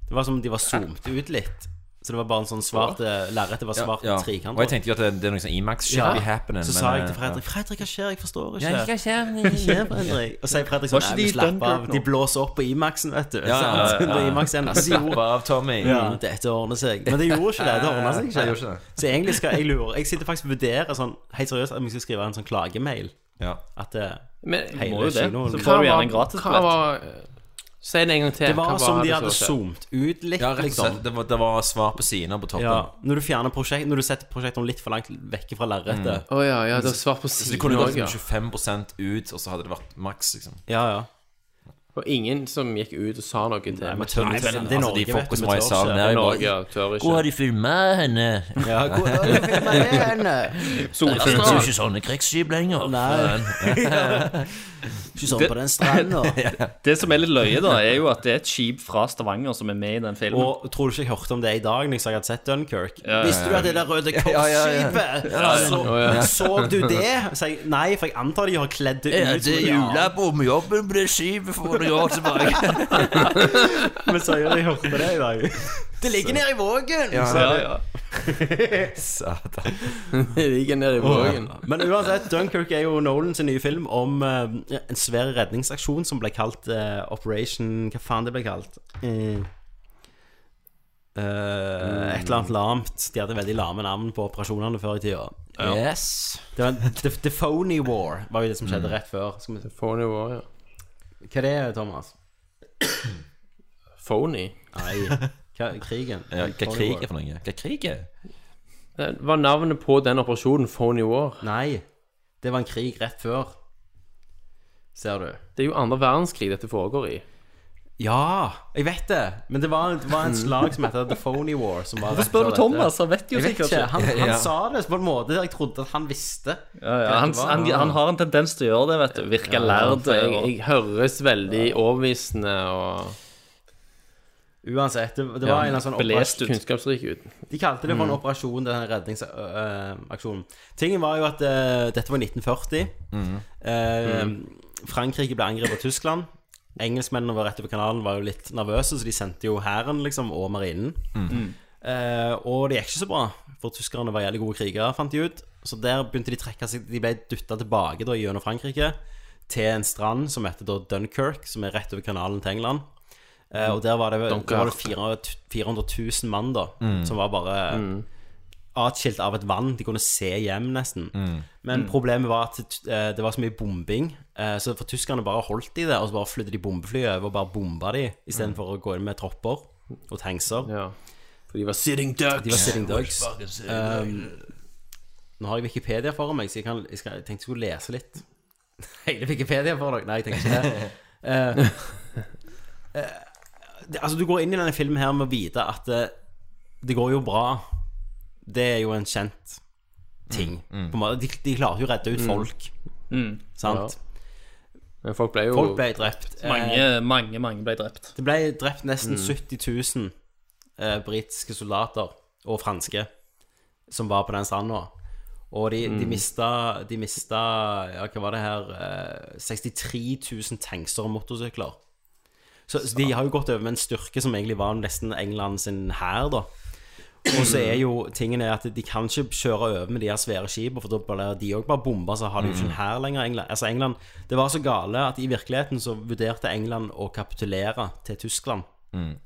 A: Det var som om de var zoomet ut litt. Så det var bare en sånn svart eh, Lerretet var svart
K: Ja, ja.
A: trekant.
K: Og jeg tenkte jo at det, det er noe sånn Imax-shit
A: Ja.
K: i happening.
A: Så
K: men,
A: sa jeg til
K: eh,
A: Fredrik Fredrik, hva skjer? Jeg forstår ikke.
K: Ja, hva skjer?
A: Hva skjer, Fredrik? Og så sier Fredrik sånn
K: Var ikke
A: Nei,
K: de
A: vi
K: i
A: slapper
K: Dunkirk
A: av.
K: nå?
A: De blåser opp på Imaxen, vet du.
K: Ja, ja, ja,
A: Sant?
K: ja.
A: Det er Imax igjen. Så
K: Slapp
A: gjorde-
K: av, Tommy.
A: Ja, dette ordner seg. Men det gjorde ikke det. Det ordnet seg
K: Nei,
A: ikke.
K: det gjorde ikke det.
A: Så egentlig skal jeg lure Jeg sitter faktisk og vurderer sånn helt seriøst om jeg skal skrive en sånn klagemail.
K: Ja.
A: At eh,
L: Men-
A: hele
L: Må jo det.
A: kinoen-
L: Så får du gjerne en gratis
A: Hva
L: billett.
A: var-
L: Si det en gang til.
A: Det var
L: Hva
A: som de
L: det
A: hadde
L: så skjedde?
A: zoomet ut litt,
K: Ja, rett og slett.
A: liksom.
K: Det var, det var svar på sidene på toppen.
A: Ja, når du fjerner prosjekt Når du setter prosjektene litt for langt vekk fra lerretet.
K: Mm. Så det kunne
A: også,
K: gått
A: ja.
K: liksom 25 ut, og så hadde det vært maks, liksom.
A: Ja, ja.
L: Og ingen som gikk ut og sa noe til
K: Nei,
L: meg.
K: men tør du ikke? Altså, de folka som var i salen der,
L: Det er
K: jeg bare-
L: Norge, ja, tør ikke.
K: Hvor har de filmet henne?
A: Ja,
L: hvor har de filmet henne?
K: Solfilm. Det er jo ikke sånne krigsskip lenger.
A: Nou,
J: Nei.
K: Ikke sånn på den stranda.
J: Det som er litt løye, da, er jo at det er et skip fra Stavanger som er med i den filmen.
A: Og tror du ikke jeg hørte om det i dag Når jeg sa jeg hadde sett Dunkirk?
J: Ja, ja, ja.
A: Visste du at det der Røde Kors-skipet?
J: Ja, ja, ja. Ja, ja, ja.
A: Så,
J: Ja, ja.
A: så du det? Så jeg, nei, for jeg antar de har kledd det ut.
K: Ja, det er
A: julebomjobben på det skipet for noen år tilbake. Men så gjør jeg hørte det i dag. Det ligger nede i vågen!
K: Ja,
A: Så er det-
K: ja, Satan.
L: Det ligger nede i vågen.
A: Men uansett, Dunkirk er jo Nolan sin nye film om eh, en svær redningsaksjon som ble kalt eh, Operation Hva faen det ble kalt? Eh, eh, et eller annet lamt. De hadde veldig lame navn på operasjonene før i tida.
K: Ja.
A: Det var en- The, the Phony War var jo det som skjedde
L: Mm.
A: rett før. Skal vi se.
L: Phony War, ja.
A: Hva er det, Thomas?
L: Phony?
A: Nei, hva, krigen.
K: Ja, hva
A: Phony
K: krig
A: War.
K: er for noe? Hva krig er?
L: Det var navnet på den operasjonen Phony War?
A: Nei. Det var en krig rett før. Ser du.
L: Det er jo andre verdenskrig dette foregår i.
A: Ja, jeg vet det. Men det var, det var en slag som heter The Phony War. Som var
J: Hvorfor spør
A: rett
J: du
A: før dette.
J: Thomas? Han vet jo
A: jeg vet
J: sikkert
A: ikke.
J: ikke.
A: Han, han
J: Ja.
A: sa det på en måte jeg trodde at han visste.
J: Ja, ja, han, han, han har en tendens til å gjøre det, vet du. Virke lærd.
L: for jeg,
J: og-
L: jeg høres veldig overbevisende og
A: Uansett, det, det var en eller annen sånn
L: belest
A: operasjon-
L: ut. Kunnskapsrik ut.
A: De kalte det for en
L: Mm.
A: operasjon, den her redningsaksjonen. Tingen var jo at eh, dette var 1940.
K: Mhm.
A: Eh,
K: Mhm.
L: Mm.
A: Frankrike ble angrepet av Tyskland. Engelskmennene var rett over kanalen var jo litt nervøse, så de sendte jo hæren liksom, og marinen.
L: Mm.
K: Mhm.
A: Eh, og det gikk ikke så bra, for tyskerne var jævlig gode krigere, fant de ut. Så der begynte de trekke seg De ble dytta tilbake da, gjennom Frankrike til en strand som heter da Dunkerque, som er rett over kanalen til England. Eh, og der var det, der var det
L: Dunkerque.
A: 400 400 000 mann, da,
L: Mm.
A: som var bare
L: Mm.
A: atskilt av et vann. De kunne se hjem, nesten.
K: Mm.
A: Men
L: Mm.
A: problemet var at eh, det var så mye bombing, eh, så for tyskerne bare holdt de det, og så bare flydde de bombefly over og bare bomba de, istedenfor å gå inn med tropper og tankser.
L: For de var sitting ducks.
A: De var sitting
L: Yeah,
A: ducks.
L: we're fucking sitting
A: Um, nå har jeg Wikipedia foran meg, så jeg, kan, jeg, skal, jeg tenkte jeg skulle lese litt. Hele Wikipedia for dere? Nei, jeg tenker ikke det. Eh, eh, det- altså, du går inn i denne filmen her med å vite at det, det går jo bra. Det er jo en kjent ting.
L: Mm, mm.
A: På en måte, de, de klarte jo å redde ut
L: Mm.
A: folk.
J: Mm.
A: Sant?
L: Men folk ble jo
A: Folk ble drept. Eh,
J: Mange, mange, mange ble drept.
A: Det ble drept nesten
J: Mm.
A: 70 000 eh, britiske soldater og franske som var på den stranda. Og de, de
L: Mm.
A: mista, de mista ja, hva var det her eh, 63 000 tankser og motorsykler. Så, så de har jo gått over med en styrke som egentlig var nesten England sin hær, da. Og så er jo tingen er at de kan ikke kjøre over med de her svære skipene, for da blir de òg bare bomba, så har de jo ikke en hær lenger. England. Altså England Det var så gale at i virkeligheten så vurderte England å kapitulere til Tyskland
K: Mm.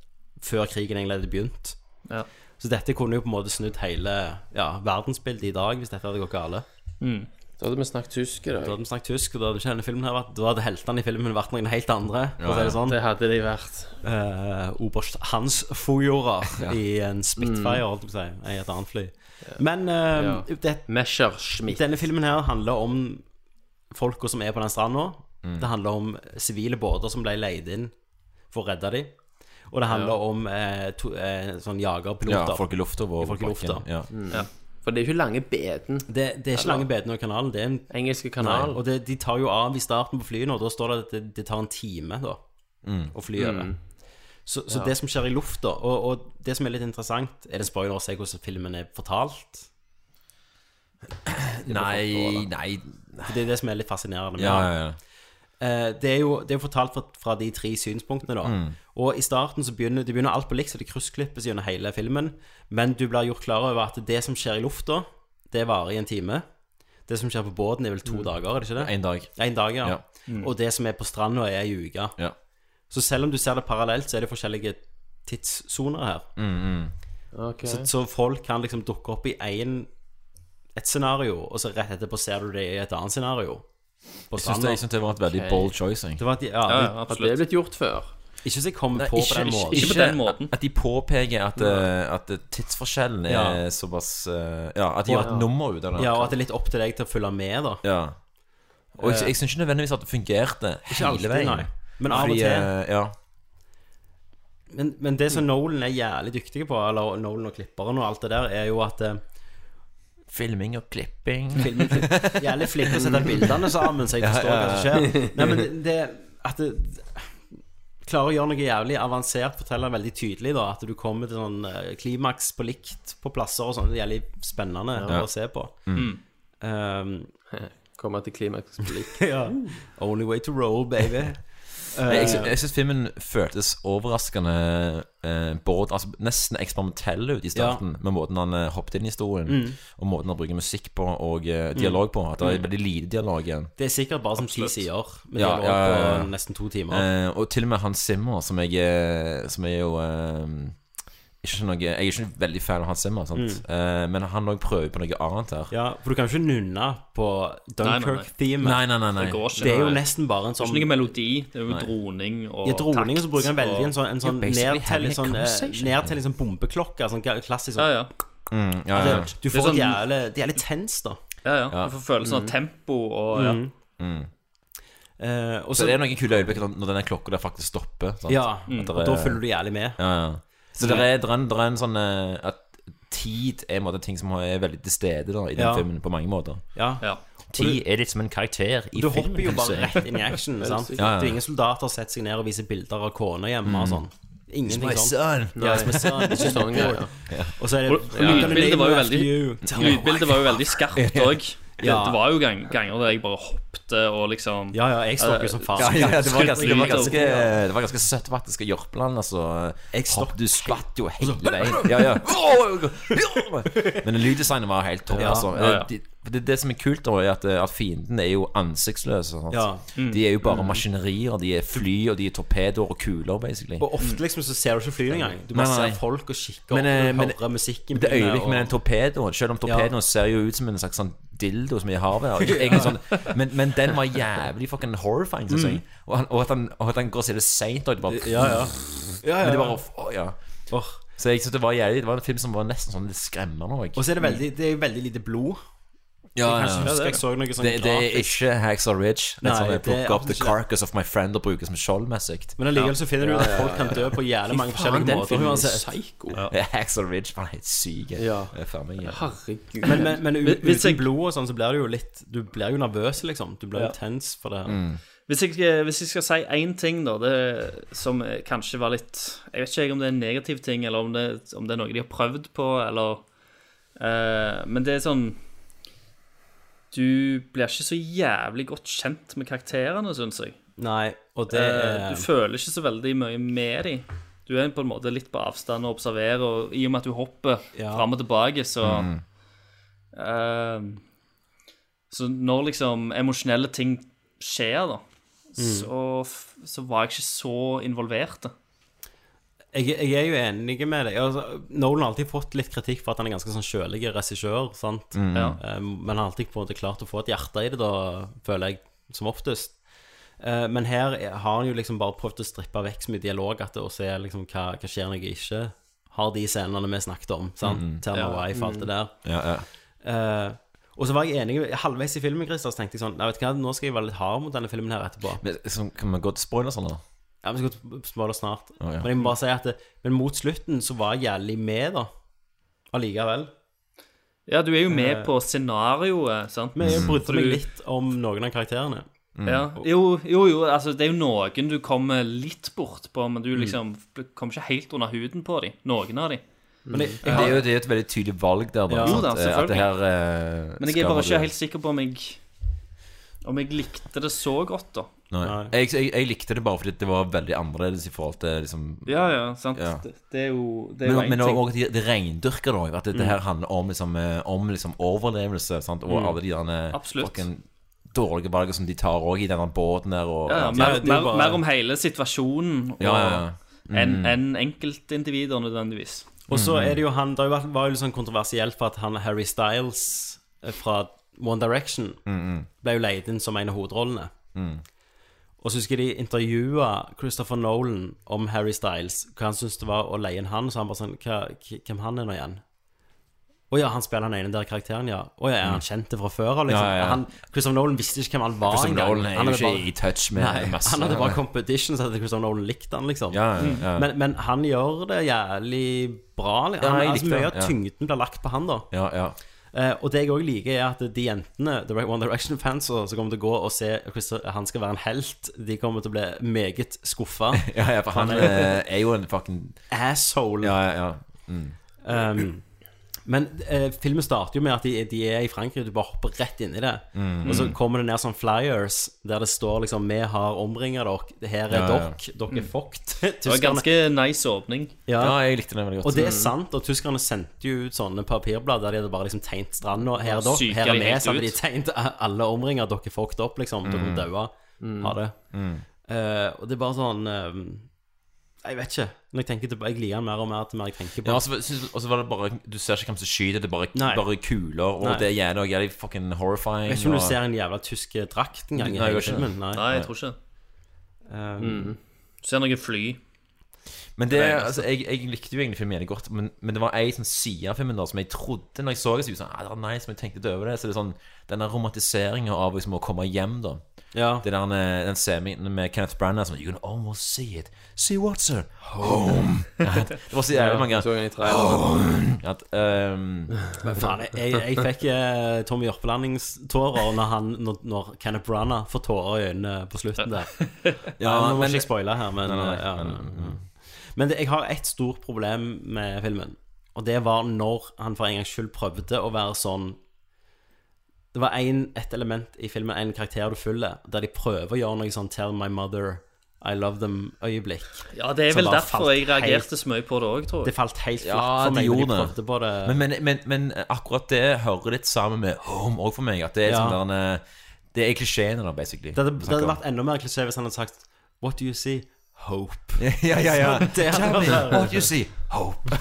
A: før krigen egentlig hadde begynt.
J: Ja.
A: Så dette kunne jo på en måte snudd hele ja, verdensbildet i dag, hvis dette hadde gått gale.
J: Mm.
L: Da hadde vi snakket tysk i
A: Da
L: dag.
A: hadde vi snakket tysk, og da hadde ikke denne filmen her vært Da hadde heltene i filmen vært noen helt andre. for å si det sånn.
L: det hadde de vært.
A: Eh, Oberst Hans Fujora i en
K: Mm.
A: Spitfire, holdt jeg på å si, i et annet fly. Men eh, det, denne filmen her handler om folka som er på den stranda.
L: Mm.
A: Det handler om sivile båter som ble leid inn for å redde dem. Og det handler om eh, to, eh, sånn jagerpiloter.
K: Ja, folk i lufta og
A: Folk i
K: bakken,
A: lufta.
K: ja.
L: Ja. For det er jo ikke lange beden.
A: Det, det er ikke lange bedene over kanalen. Det er en
L: Engelske kanal.
A: Nei, og det, de tar jo av i starten på flyene, og da står det at det, det tar en time da,
K: Mm.
A: å fly over.
K: Mm.
A: Så, så
K: Ja.
A: det som skjer i lufta, og, og det som er litt interessant Er det spoiler å si hvordan filmen er fortalt?
K: Nei, nei
A: For det er det som er litt fascinerende med
K: Ja,
A: den.
K: ja, ja.
A: Eh, Det er jo det er jo fortalt fra, fra de tre synspunktene, da.
K: Mm.
A: Og i starten så begynner det begynner alt på likt, så det kryssklippes gjennom hele filmen. Men du blir gjort klar over at det som skjer i lufta, det varer i en time. Det som skjer på båten, er vel to dager, er det ikke det?
K: Mm. En dag.
A: En dag, ja.
K: Ja.
L: Mm.
A: Og det som er på stranda, er ei uke.
K: Ja.
A: Så
K: Dus
A: selv om du ser det parallelt, så er det forskjellige tidssoner her.
K: Mm,
L: Ok.
A: Så, så folk kan liksom dukke opp i en, et scenario, og så rett etterpå ser du det i et annet scenario. På
K: Jeg synes det-
A: stranda.
K: jeg synes det var et veldig bold choice, jeg.
A: Det var et, ja,
K: Ja, ja,
A: det-
K: absolutt. Hadde det
L: blitt gjort før?
A: Ikke hvis jeg kom på på den måten.
K: At de påpeker at, eh, at tidsforskjellen er
A: Ja.
K: såpass eh, Ja, at de gjør et nummer ut av det.
A: Ja, og at det er litt opp til deg til å følge med, da.
K: Ja. Og jeg,
A: Eh,
K: jeg syns ikke nødvendigvis at det fungerte
A: Ikke
K: hele
A: alltid,
K: veien.
A: nei. Men av og
K: Fordi,
A: til.
K: eh, ja.
A: Men, men det som Nolan er jævlig dyktig på, eller Nolan og klipperen og alt det der, er jo at eh,
K: Filming og klipping.
A: Filming og klipp- Jævlig flink til å sette bildene sammen, så jeg
K: Ja,
A: forstår
K: ja, ja.
A: hva som skjer. Nei, men det at det, Klarer å gjøre noe jævlig avansert, forteller veldig tydelig da at du kommer til sånn eh, klimaks på likt på plasser og sånn. Det er jævlig spennende
L: Ja.
A: å se på.
L: Mm.
A: Um,
L: Komme til klimaks på likt.
A: ja. Only way to roll, baby.
K: Nei, Jeg,
A: Eh.
K: sy- jeg syns filmen føltes overraskende eh, både, altså, nesten eksperimentell ut i starten, med måten han eh, hoppet inn i historien,
A: Mm.
K: og måten han bruker musikk på, og eh,
A: Mm.
K: dialog på. At det
A: Mm.
K: er veldig lite dialog igjen.
A: Det er sikkert bare som ti sider med
K: Ja,
A: dialog
K: ja, ja, ja.
A: på nesten to timer.
K: Eh, og til og med Hans Zimmer, som jeg, eh, som er jo eh, ikke noe, Jeg er ikke veldig fan av Hans Zimmer, sant?
A: Mm.
K: Eh, men han òg prøver på noe annet her.
A: Ja, for du kan jo ikke nunne på Dunkirk-themet.
K: Nei, nei, nei, nei.
A: Det, er jo nesten bare en sånn
J: Det er ikke noe melodi, det er jo
A: Nei.
J: droning og
A: I droningen så bruker han
J: takt
A: veldig en sånn, en
J: og-
A: sånn nedtelling sånn, eh, nedtelling sånn bombeklokke. Sånn ga- klassisk sånn
J: Ja, ja.
K: Mm, ja, ja, ja.
A: Det- Du
J: Det er
A: får
J: sånn-
A: sånn, jævlig De er litt tens, da.
J: Ja, ja. Du får følelsen av
A: Mm.
J: tempo og ja.
A: Mm. Eh, og
K: Så det er noen kule øyeblikk når når denne klokka der faktisk stopper. sant?
A: Ja,
K: At
A: mm.
K: der
A: og
K: er-
A: da følger du jævlig med.
K: Ja, ja. Så det er, der er en, der er en sånn eh, At tid er en måte ting som er veldig til stede da, i den
A: Ja.
K: filmen på mange måter.
A: Ja. Ja.
K: Tid er liksom en karakter i
A: Du
K: filmen.
A: hopper jo bare
K: så-
A: rett inn i action. sant?
K: Ja, ja. Mm.
A: Det er ingen soldater som setter seg ned og viser bilder av kona hjemme og sånn. Ingenting
K: It's my
A: sånn.
K: son.
A: Ja, it's my son.
K: Ikke sånn, ja, ja.
A: Ja. Og så er det
J: Og- og Lydbildet var jo veldig Lydbildet var jo veldig skarpt òg. Det,
A: Ja.
J: det var jo gang, ganger der jeg bare hoppte og liksom
A: Ja, ja, jeg stokk jo som faen.
K: Ja, ja, ja, det, var
J: Skutt
K: ganske, det, var
J: lyd og-
K: ganske, det var ganske søtt faktisk å Jørpeland. Altså, Hopp, du skvatt jo hele
A: Altså,
K: veien. Ja, ja. Men lyddesignet var helt topp.
A: Ja.
K: Altså.
A: Ja, ja.
K: Det, det, det som er kult, da, er at, at fiendene er jo ansiktsløse. Sant?
A: Ja. Mm.
K: De er jo bare
A: Mm.
K: maskinerier. De er fly, og de er torpedoer og kuler, basically.
A: Og ofte liksom så ser du ikke flyet engang. Du bare
K: Nei, nei.
A: ser folk og kikker
K: Men,
A: opp
K: eh,
A: og
K: men
A: hører musikken.
K: det
A: begynne,
K: øyeblikket med den torpedoen Selv om torpedoen
A: Ja.
K: ser jo ut som en slags sånn dildo som er i havet og ikke egentlig sånn, men, men den var jævlig fucking horrifying, synes jeg.
A: Mm.
K: Og, han, og, at han, og at han går og ser det seint, og det bare
A: Ja, ja. Ja, ja,
K: Men det
A: ja.
K: bare å, ja. Så jeg synes det var jævlig Det var en film som var nesten sånn litt skremmende òg.
A: Og så er det veldig, det er veldig lite blod.
K: ja,
A: jeg
K: ja.
A: kan ikke huske jeg så noe sånn
K: det, det er
A: grafisk.
K: ikke Hacksaw Ridge. Det
A: Nei,
K: er sånn jeg
A: det er
K: plukker opp The
A: absolutt ikke det.
K: Carcass of My Friend og bruker som skjoldmessig.
A: Men allikevel så finner du ut at folk kan dø på jævlig mange forskjellige måter, uansett.
K: Ja. Ja, Hacksaw Ridge var helt syk. jeg.
A: Ja.
K: Jeg er ferdig med-
L: Herregud.
A: Men, men, men u-
J: Hvis- hvis
A: uten
J: jeg-
A: blod og sånn, så blir du jo litt Du blir jo nervøs, liksom. Du blir jo
J: Ja.
A: tens for det.
J: Mm. Hvis jeg, skal- hvis jeg skal si én ting, da, det som kanskje var litt Jeg vet ikke jeg om det er en negativ ting, eller om det, om det er noe de har prøvd på, eller eh, Men det er sånn Du blir ikke så jævlig godt kjent med karakterene, syns jeg.
A: Nei, og det
J: Eh,
A: er
J: Du føler ikke så veldig mye med dem. Du er på en måte litt på avstand og observerer, og i og med at du hopper
A: Ja.
J: fram og tilbake, så
A: Mm.
J: eh, Så når liksom emosjonelle ting skjer, da,
A: Mm.
J: så, f- så var jeg ikke så involvert. da.
A: jeg, jeg er jo enig med deg. Altså, Nolan har alltid fått litt kritikk for at han er ganske sånn kjølig regissør. Sant?
K: Mm. Ja.
A: Eh, Men han har alltid på en måte klart å få et hjerte i det, da, føler jeg, som oftest. Eh, Men her er- har han jo liksom bare prøvd å strippe vekk så mye dialog at det også er liksom hva, hva skjer når jeg ikke har de scenene vi snakket om. Sant?
K: Mm.
A: Tell my
K: Ja.
A: wife, alt det der.
K: Ja, ja.
A: Eh, og så var jeg enig halvveis i filmen, Christer, så tenkte jeg sånn Nei, vet du hva, nå skal jeg være litt hard mot denne filmen her etterpå.
K: Men, så, kan vi gå til spoilers eller?
A: Ja, vi skal gå til spoiler snart.
K: Å, ja.
A: Men jeg må bare si at det, Men mot slutten så var jeg jævlig med, da. Allikevel.
J: Ja, du er jo med
A: Eh, Mm.
J: på scenarioet, sant?
A: Men jeg brydde
J: For
A: meg
J: Mm. du-
A: litt om noen av karakterene.
J: Ja. Jo, jo, jo, altså det er jo noen du kommer litt bort på, men
A: Mm.
J: du liksom kommer ikke helt under huden på dem. Noen av dem.
K: Men det, det, er jo, det er jo et veldig tydelig valg der, da.
J: Ja,
K: sant?
J: da,
K: Eh, At det
J: selvfølgelig.
K: her eh,
J: Men jeg er
K: skal
J: bare
K: du-
J: ikke helt sikker på om jeg Om jeg likte det så godt, da.
K: Nei. Jeg, jeg, jeg likte det bare fordi det var veldig annerledes i forhold til liksom
J: Ja, ja, sant. Det, det er jo det er jo
K: Men,
J: en
K: men
J: ting.
K: også, de, de reindyrker da, at det, det
J: Mm.
K: her handler om, liksom, eh, om liksom, overlevelse sant? og
J: Mm.
K: alle de derne
J: Absolutt.
K: fucking dårlige valgene som de tar også i denne båten der. Og,
J: ja, ja,
K: sant?
J: mer, mer, mer om hele situasjonen
K: Ja, ja, ja. Mm.
J: enn enn enkeltindivider nødvendigvis.
A: Og så
K: Mhm.
A: er det jo han Det har jo vært- var jo litt sånn kontroversielt for at han Harry Styles eh, fra One Direction
K: Mm, mm.
A: ble jo leid inn som en av hovedrollene.
K: Mm.
A: Og så husker jeg de intervjua Christopher Nolan om Harry Styles, hva han syntes det var å leie inn han. Så han bare sånn hva, k- Hvem han er nå igjen? Å ja, han spiller han ene der karakteren, ja. Å ja, er han kjent det fra før av, liksom?
K: Mhm. Ja, ja, ja.
A: Han, Christopher Nolan visste ikke hvem han var
K: Christopher
A: engang.
K: Nolan er
A: Ah, Han
K: jo
A: hadde
K: ikke i touch med
A: Nei,
K: masse-
A: Han hadde bare competition, så hadde Christopher Nolan likt han, liksom.
K: Ja, ja, ja.
A: Men, men han gjør det jævlig bra. Han,
K: Ja, jeg likte
A: altså, mye
K: det,
A: av
K: ja.
A: tyngden blir lagt på han, da.
K: Ja, ja.
A: Eh, og det jeg òg liker, er at de jentene, The One Direction-fans, som som kommer til å gå og se Christo- han skal være en helt, de kommer til å bli meget skuffa.
K: ja, ja, for han eh, er jo en fucking
A: Asshole.
K: Ja, ja, ja. Mm.
A: Um, men eh, filmen starter jo med at de, de er i Frankrike, du bare hopper rett inn i det.
K: Mm.
A: Og så kommer det ned sånn flyers der det står liksom 'Vi har omringa dere. Her er
J: Ja, ja.
A: dere. Dere er
J: Mm.
A: fucked'.
J: Det var en ganske nice åpning.
K: Ja, jeg likte den veldig godt.
A: Og det er
K: Mm.
A: sant, og tyskerne sendte jo ut sånne papirblad der de hadde bare liksom tegnet stranda. Her er dere,
J: Syker
A: her er
J: de
A: vi,
J: helt
A: så hadde de
J: ut?
A: tegnet alle omringer. Dere er fucked opp, liksom. Dere må
K: Mm.
A: daue.
K: Mm.
A: Ha det.
K: Mm.
A: Eh, og det er bare sånn eh, Jeg vet ikke. Når jeg tenker tilbake, jeg liker den mer og mer til mer jeg tenker på.
K: Ja, altså, og så- synes- og så var det bare Du ser ikke hvem som skyter, det er bare,
A: Nei.
K: bare kuler, og
A: Nei.
K: det er jævlig, og jævlig fucking
A: jeg
K: horrifying.
A: vet ikke om
K: og...
A: du ser en jævla tysk drakt engang i
K: Nei, jeg
A: hele
K: gjør ikke det.
A: filmen.
J: Nei, jeg tror ikke Mm. det.
A: Um,
J: Du ser noen fly.
K: Men
J: Det
K: det,
J: er det eneste.
K: altså, jeg, jeg likte jo egentlig filmen jævlig godt, men, men det var ei sånn side av filmen da som jeg trodde når jeg så det, så jeg sånn, ah, det var nice, men jeg tenkte ikke over det. Så det er sånn denne romantiseringa av liksom, å komme hjem, da. Det der, eh, den semien med Kenneth Branagh som You can almost see it. See what, sir? Home. Ja, det var så jævlig
L: Ja,
K: mange
L: så jeg den i
K: ganger.
L: traileren.
K: Home. At, ehm,
A: Men faen, jeg, jeg fikk eh, Tommy Jørpelandingstårer når, han- når, når Kenneth Branagh får tårer i øynene på slutten der.
K: Ja,
A: Nei, Nå må
K: men-
A: ikke jeg spoile her, men
K: Nei, nei, nei,
A: eh, ja.
K: men,
A: Men det, jeg har et stort problem med filmen. Og det var når han for en gangs skyld prøvde å være sånn Det var en, et element i filmen, en karakter du følger, der de prøver å gjøre noe sånn 'Tell my mother I love them'-øyeblikk.
J: Ja, det er vel derfor jeg reagerte så mye på det òg, tror jeg.
A: Det falt helt flatt
K: Ja,
A: for
K: de
A: meg. når
K: gjorde
A: prøvde på det.
K: Men, men, men, men akkurat det hører litt sammen med Home òg for meg. At det er
A: Ja.
K: sånn der, eh, Det er klisjeene, da, basically.
A: Det hadde, det hadde
K: Snakker om.
A: vært enda mer klisjé hvis han hadde sagt What do you see? Hope.
K: ja, ja, ja.
A: Så det hadde
K: Tell me,
A: vært-
K: what you see? Hope.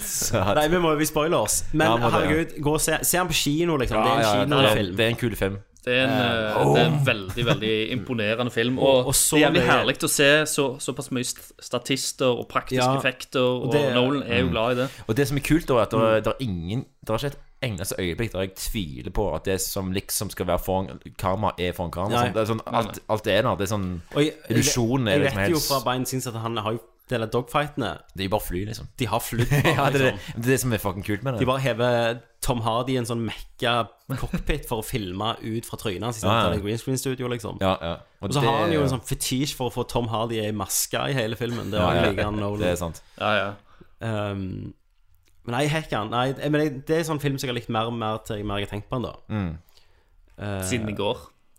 K: Sad.
A: Nei, vi må jo vi spoile oss. Men
K: Ja, må det, ja.
A: herregud, gå og se, se han på kino, liksom.
K: Ja,
A: det er
K: ja, ja,
A: en
K: det er-
A: kinofilm.
K: det er en kul film.
J: Det er en, eh,
A: Eh,
J: det er en veldig veldig imponerende film.
A: Og-
J: Og,
A: og så
J: det er jævlig
A: mye-
J: herlig å se så, såpass mye st- statister og praktiske
K: Ja,
J: effekter, og,
K: det-
J: Nolan er jo
K: Mm.
J: glad i det.
K: Og det som er kult, da, er at det, er- det er ingen Det er ikke et eneste øyeblikk der jeg tviler på at det som liksom skal være foran kamera, er foran kamera.
A: Nei.
K: Sånn, det er sånn, alt, alt er der. Det er sånn
A: Og jeg- jeg-
K: Illusjonen er
A: Jeg
K: liksom
A: vet jo
K: helt
A: fra Bein Sins at han har jo del av dogfightene.
K: De bare flyr, liksom.
A: De har flydd.
K: ja, det, er det,
A: liksom.
K: det er det som er fucking kult med det.
A: De bare hever Tom Hardy i en sånn mekka cockpit for å filme ut fra trynet hans.
K: Ja, ja.
A: Ja, ja. Green screen studio, liksom.
K: Ja, ja.
A: Og, så
K: det-
A: har han jo en sånn fetisj for å få Tom Hardy i maske i hele filmen. Det,
K: Ja, ja,
A: liker han Nolan.
K: det er sant.
J: Ja, ja.
A: Um, men nei, hekkan. Nei, jeg- men jeg, det er en sånn film som jeg har likt mer og mer til jeg mer jeg har tenkt på den, da.
K: Mm.
A: Eh,
J: Siden i går.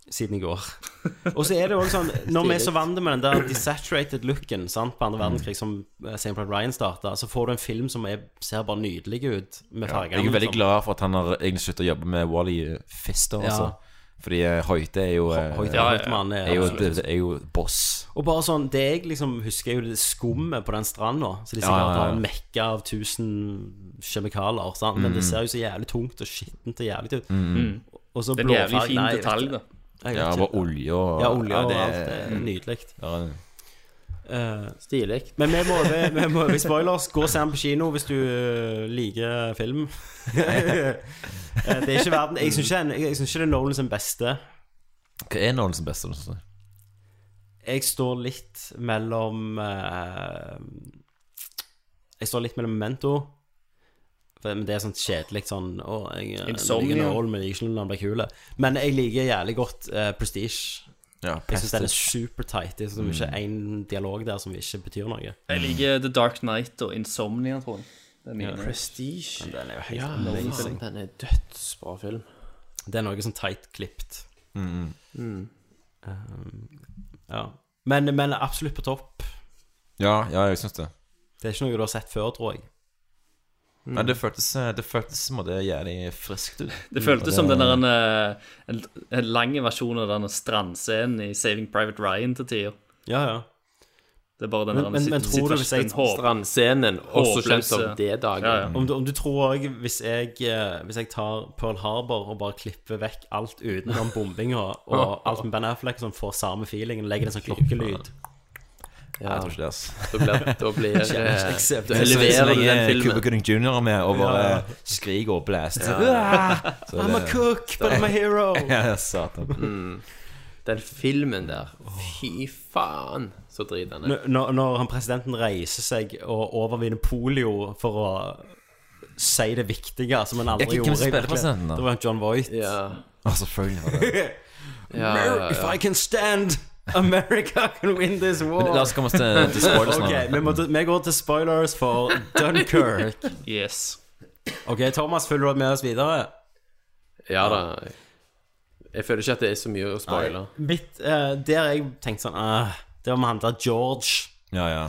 A: Siden i går. Og så er det jo også sånn Når vi er så vant med den der desaturated looken sant, på andre
K: Mm.
A: verdenskrig, som eh, St. Paul Ryan starta, så får du en film som er, ser bare nydelig ut med
K: Ja,
A: fargene.
K: jeg er veldig
A: liksom.
K: glad for at han har egentlig sluttet å jobbe med Wally Fister.
A: Ja.
K: Altså. Fordi eh, Hoite er jo eh,
A: Hoyte er
K: ja,
A: Hoytemann,
K: ja,
A: er
K: er, jo,
A: absolutt.
K: det- er jo boss.
A: Og bare sånn, det jeg liksom husker er jo det skummet på den stranda. Så de
K: Ja,
A: sikkert
K: ja, ja.
A: har en mekka av tusen kjemikalier, sant? men det
K: Mm.
A: ser jo så jævlig tungt og skittent og jævlig ut.
K: Mm.
A: Og så
J: Det er en jævlig
A: blåfarge-
J: fin
A: Nei, jeg vet
J: detalj,
A: ikke.
J: da.
A: Jeg vet
K: Ja,
A: ikke.
K: bare olje og
A: Ja, olje
K: Ja,
A: og
K: det er- Mm.
A: alt. Det er nydelig.
K: Ja, det-
A: Eh,
L: Stilig.
A: Men vi må over vi må over i spoilers. Gå og se den på kino hvis du øh, liker film. Eh, det er ikke verden Jeg syns ikke, den- jeg synes ikke det er Nolan sin beste.
K: Hva er Nolans beste? synes du?
A: Jeg står litt mellom eh, Jeg står litt mellom Memento For- Men det er sånn kjedelig sånn å, jeg, jeg
J: Insomnia.
A: liker Nolan, men jeg liker ikke når han blir kule. Men jeg liker jævlig godt eh, Prestige.
K: Ja,
A: jeg syns den er
K: Prestige.
A: supertight. Det er sånn ikke én dialog der som ikke betyr noe.
J: Jeg liker
A: Mm.
J: The Dark Knight og Insomnia, tror jeg. Det er mine.
L: Prestige.
A: Men den er jo helt
L: Ja,
A: amazing.
L: faen, den er dødsbra film.
A: Det er noe sånn tight klippet.
K: Mm.
A: Um, ja. Men, men absolutt på topp.
K: Ja, ja, jeg syns det.
A: Det er ikke noe du har sett før, tror jeg.
K: Men det føltes, eh, det føltes som det er jævlig friskt ut.
J: Det føltes som den der en, eh, en, en lang versjon av den strandscenen i Saving Private Ryan til tider.
A: Ja, ja.
J: Det er bare den
A: Men-
J: der
A: men- men tror du hvis jeg-
L: Strandscenen, også kjent som D-dagen.
J: Ja, ja.
K: Mm.
A: Om, du, om du tror òg hvis, jeg, eh, hvis jeg tar Pearl Harbor og bare klipper vekk alt utenom bombinga og alt med Ben Affleck, som får samme feelingen, legger en sånn klokkelyd
K: Nei, jeg tror ikke det, altså. ass.
L: Da blir- da blir eh, det-
A: Kjempe- kjempe-
L: da leverer du den filmen.
K: Cooper Gooding Jr. er med og bare
A: Ja.
K: eh, skriker og blaster.
L: Ja.
K: Så
A: I'm a
K: det-
A: cook, but I'm a hero.
K: ja, satan.
L: Mm. Den filmen der Fy faen, så drit den er.
A: Når- når, når han presidenten reiser seg og overvinner polio for å si det viktige, som han
K: Ja,
A: aldri
K: hvem
A: gjorde.
K: spiller
A: egentlig.
K: presidenten da?
A: Det var John Voight.
K: Ja, selvfølgelig var det
L: Ja, ja, ja.
A: If I can stand, America can win this war.
K: Men la oss komme oss til- til spoilers nå.
A: Ok, vi, må, til- vi går til spoilers for Dunkirk.
J: Yes.
A: Ok, Thomas, følger du med oss videre?
L: Ja da. Jeg føler ikke at det er så mye å spoile.
A: Mitt, eh, der jeg tenkte sånn eh, Det var med han der George.
K: Ja, ja.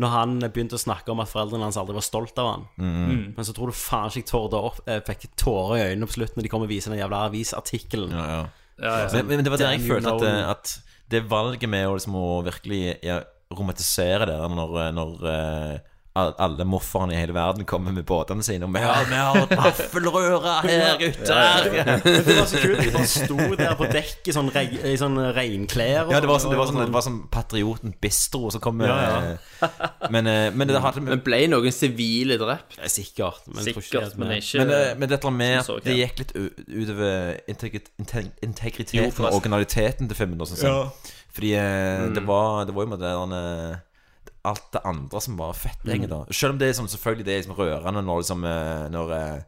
A: Når han begynte å snakke om at foreldrene hans aldri var stolt av han.
L: Mm.
K: Mhm.
A: Men så tror du faen ikke jeg tårde opp, eh, fikk tårer i øynene på slutten når de kom og viser den jævla avisartikkelen.
K: Ja, ja.
A: Ja, ja.
K: Men, men det var der jeg
A: Damn you,
K: følte at,
A: Nolan.
K: eh, at det valget med å, liksom, å virkelig ja, romantisere det der når, eh, når eh, al- alle mofferne i hele verden kommer med båtene sine, og vi har, vi har et vaffelrøre her, gutter!
A: Men eh, Det var så kult. De bare sto der på dekk i sånn, reg, i sånn regnklær. og
K: Ja, det var sånn, det var sånn, det var sånn Patrioten Bistro, og så kom
A: Ja,
K: Men, eh, men det hadde
L: Men ble noen sivile drept?
A: Sikkert, men jeg tror ikke det er
L: Sikkert, men
A: med.
L: ikke
K: Men, eh, men dette med
L: som
K: at
L: så
K: det
L: greit.
K: gikk litt u- utover integrit, inte-
L: Jo,
K: integriteten og
L: forresten.
K: originaliteten til filmen. og sånn,
L: Ja.
K: sånn. Fordi eh,
L: Mm.
K: det, var, det var jo med det der, eh, alt det andre som var fett lenge, da. Selv om det er sånn, selvfølgelig det er liksom rørende når, liksom, eh, når eh,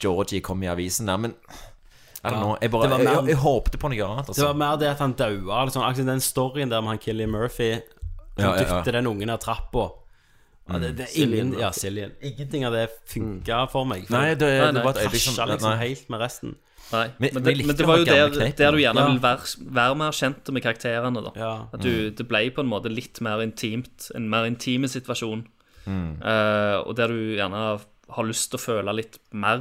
K: Georgie kom i avisen der, men I don't
A: Ja.
K: know, jeg, bare,
A: Det var
K: jeg,
A: mer-
K: jeg, jeg håpte på noe annet.
A: Det
K: Altså.
A: var mer det at han daua. Liksom, akkurat den storyen der med han Killy Murphy som
K: Ja, Mm. ja, ja.
A: dytter den ungen av trappa. Ja, det, det, er ingen, ja, Siljen. Ingenting av det funka for meg. For
K: Mm. Nei, det- det var et
A: krasja
K: øyeblikk som-
A: liksom
K: nei.
A: helt med resten.
J: Nei,
A: Men-
J: men,
A: men
J: det,
A: likte
J: men det
A: å
J: var
A: ha
J: jo
A: gamle
J: der,
A: knep,
J: der du
A: da.
J: gjerne
A: Ja.
J: vil være, være mer kjent med karakterene. da At du,
A: Mm.
J: Det ble på en måte litt mer intimt, en mer intime situasjon.
A: Mm.
J: Eh, og der du gjerne har lyst til å føle litt mer.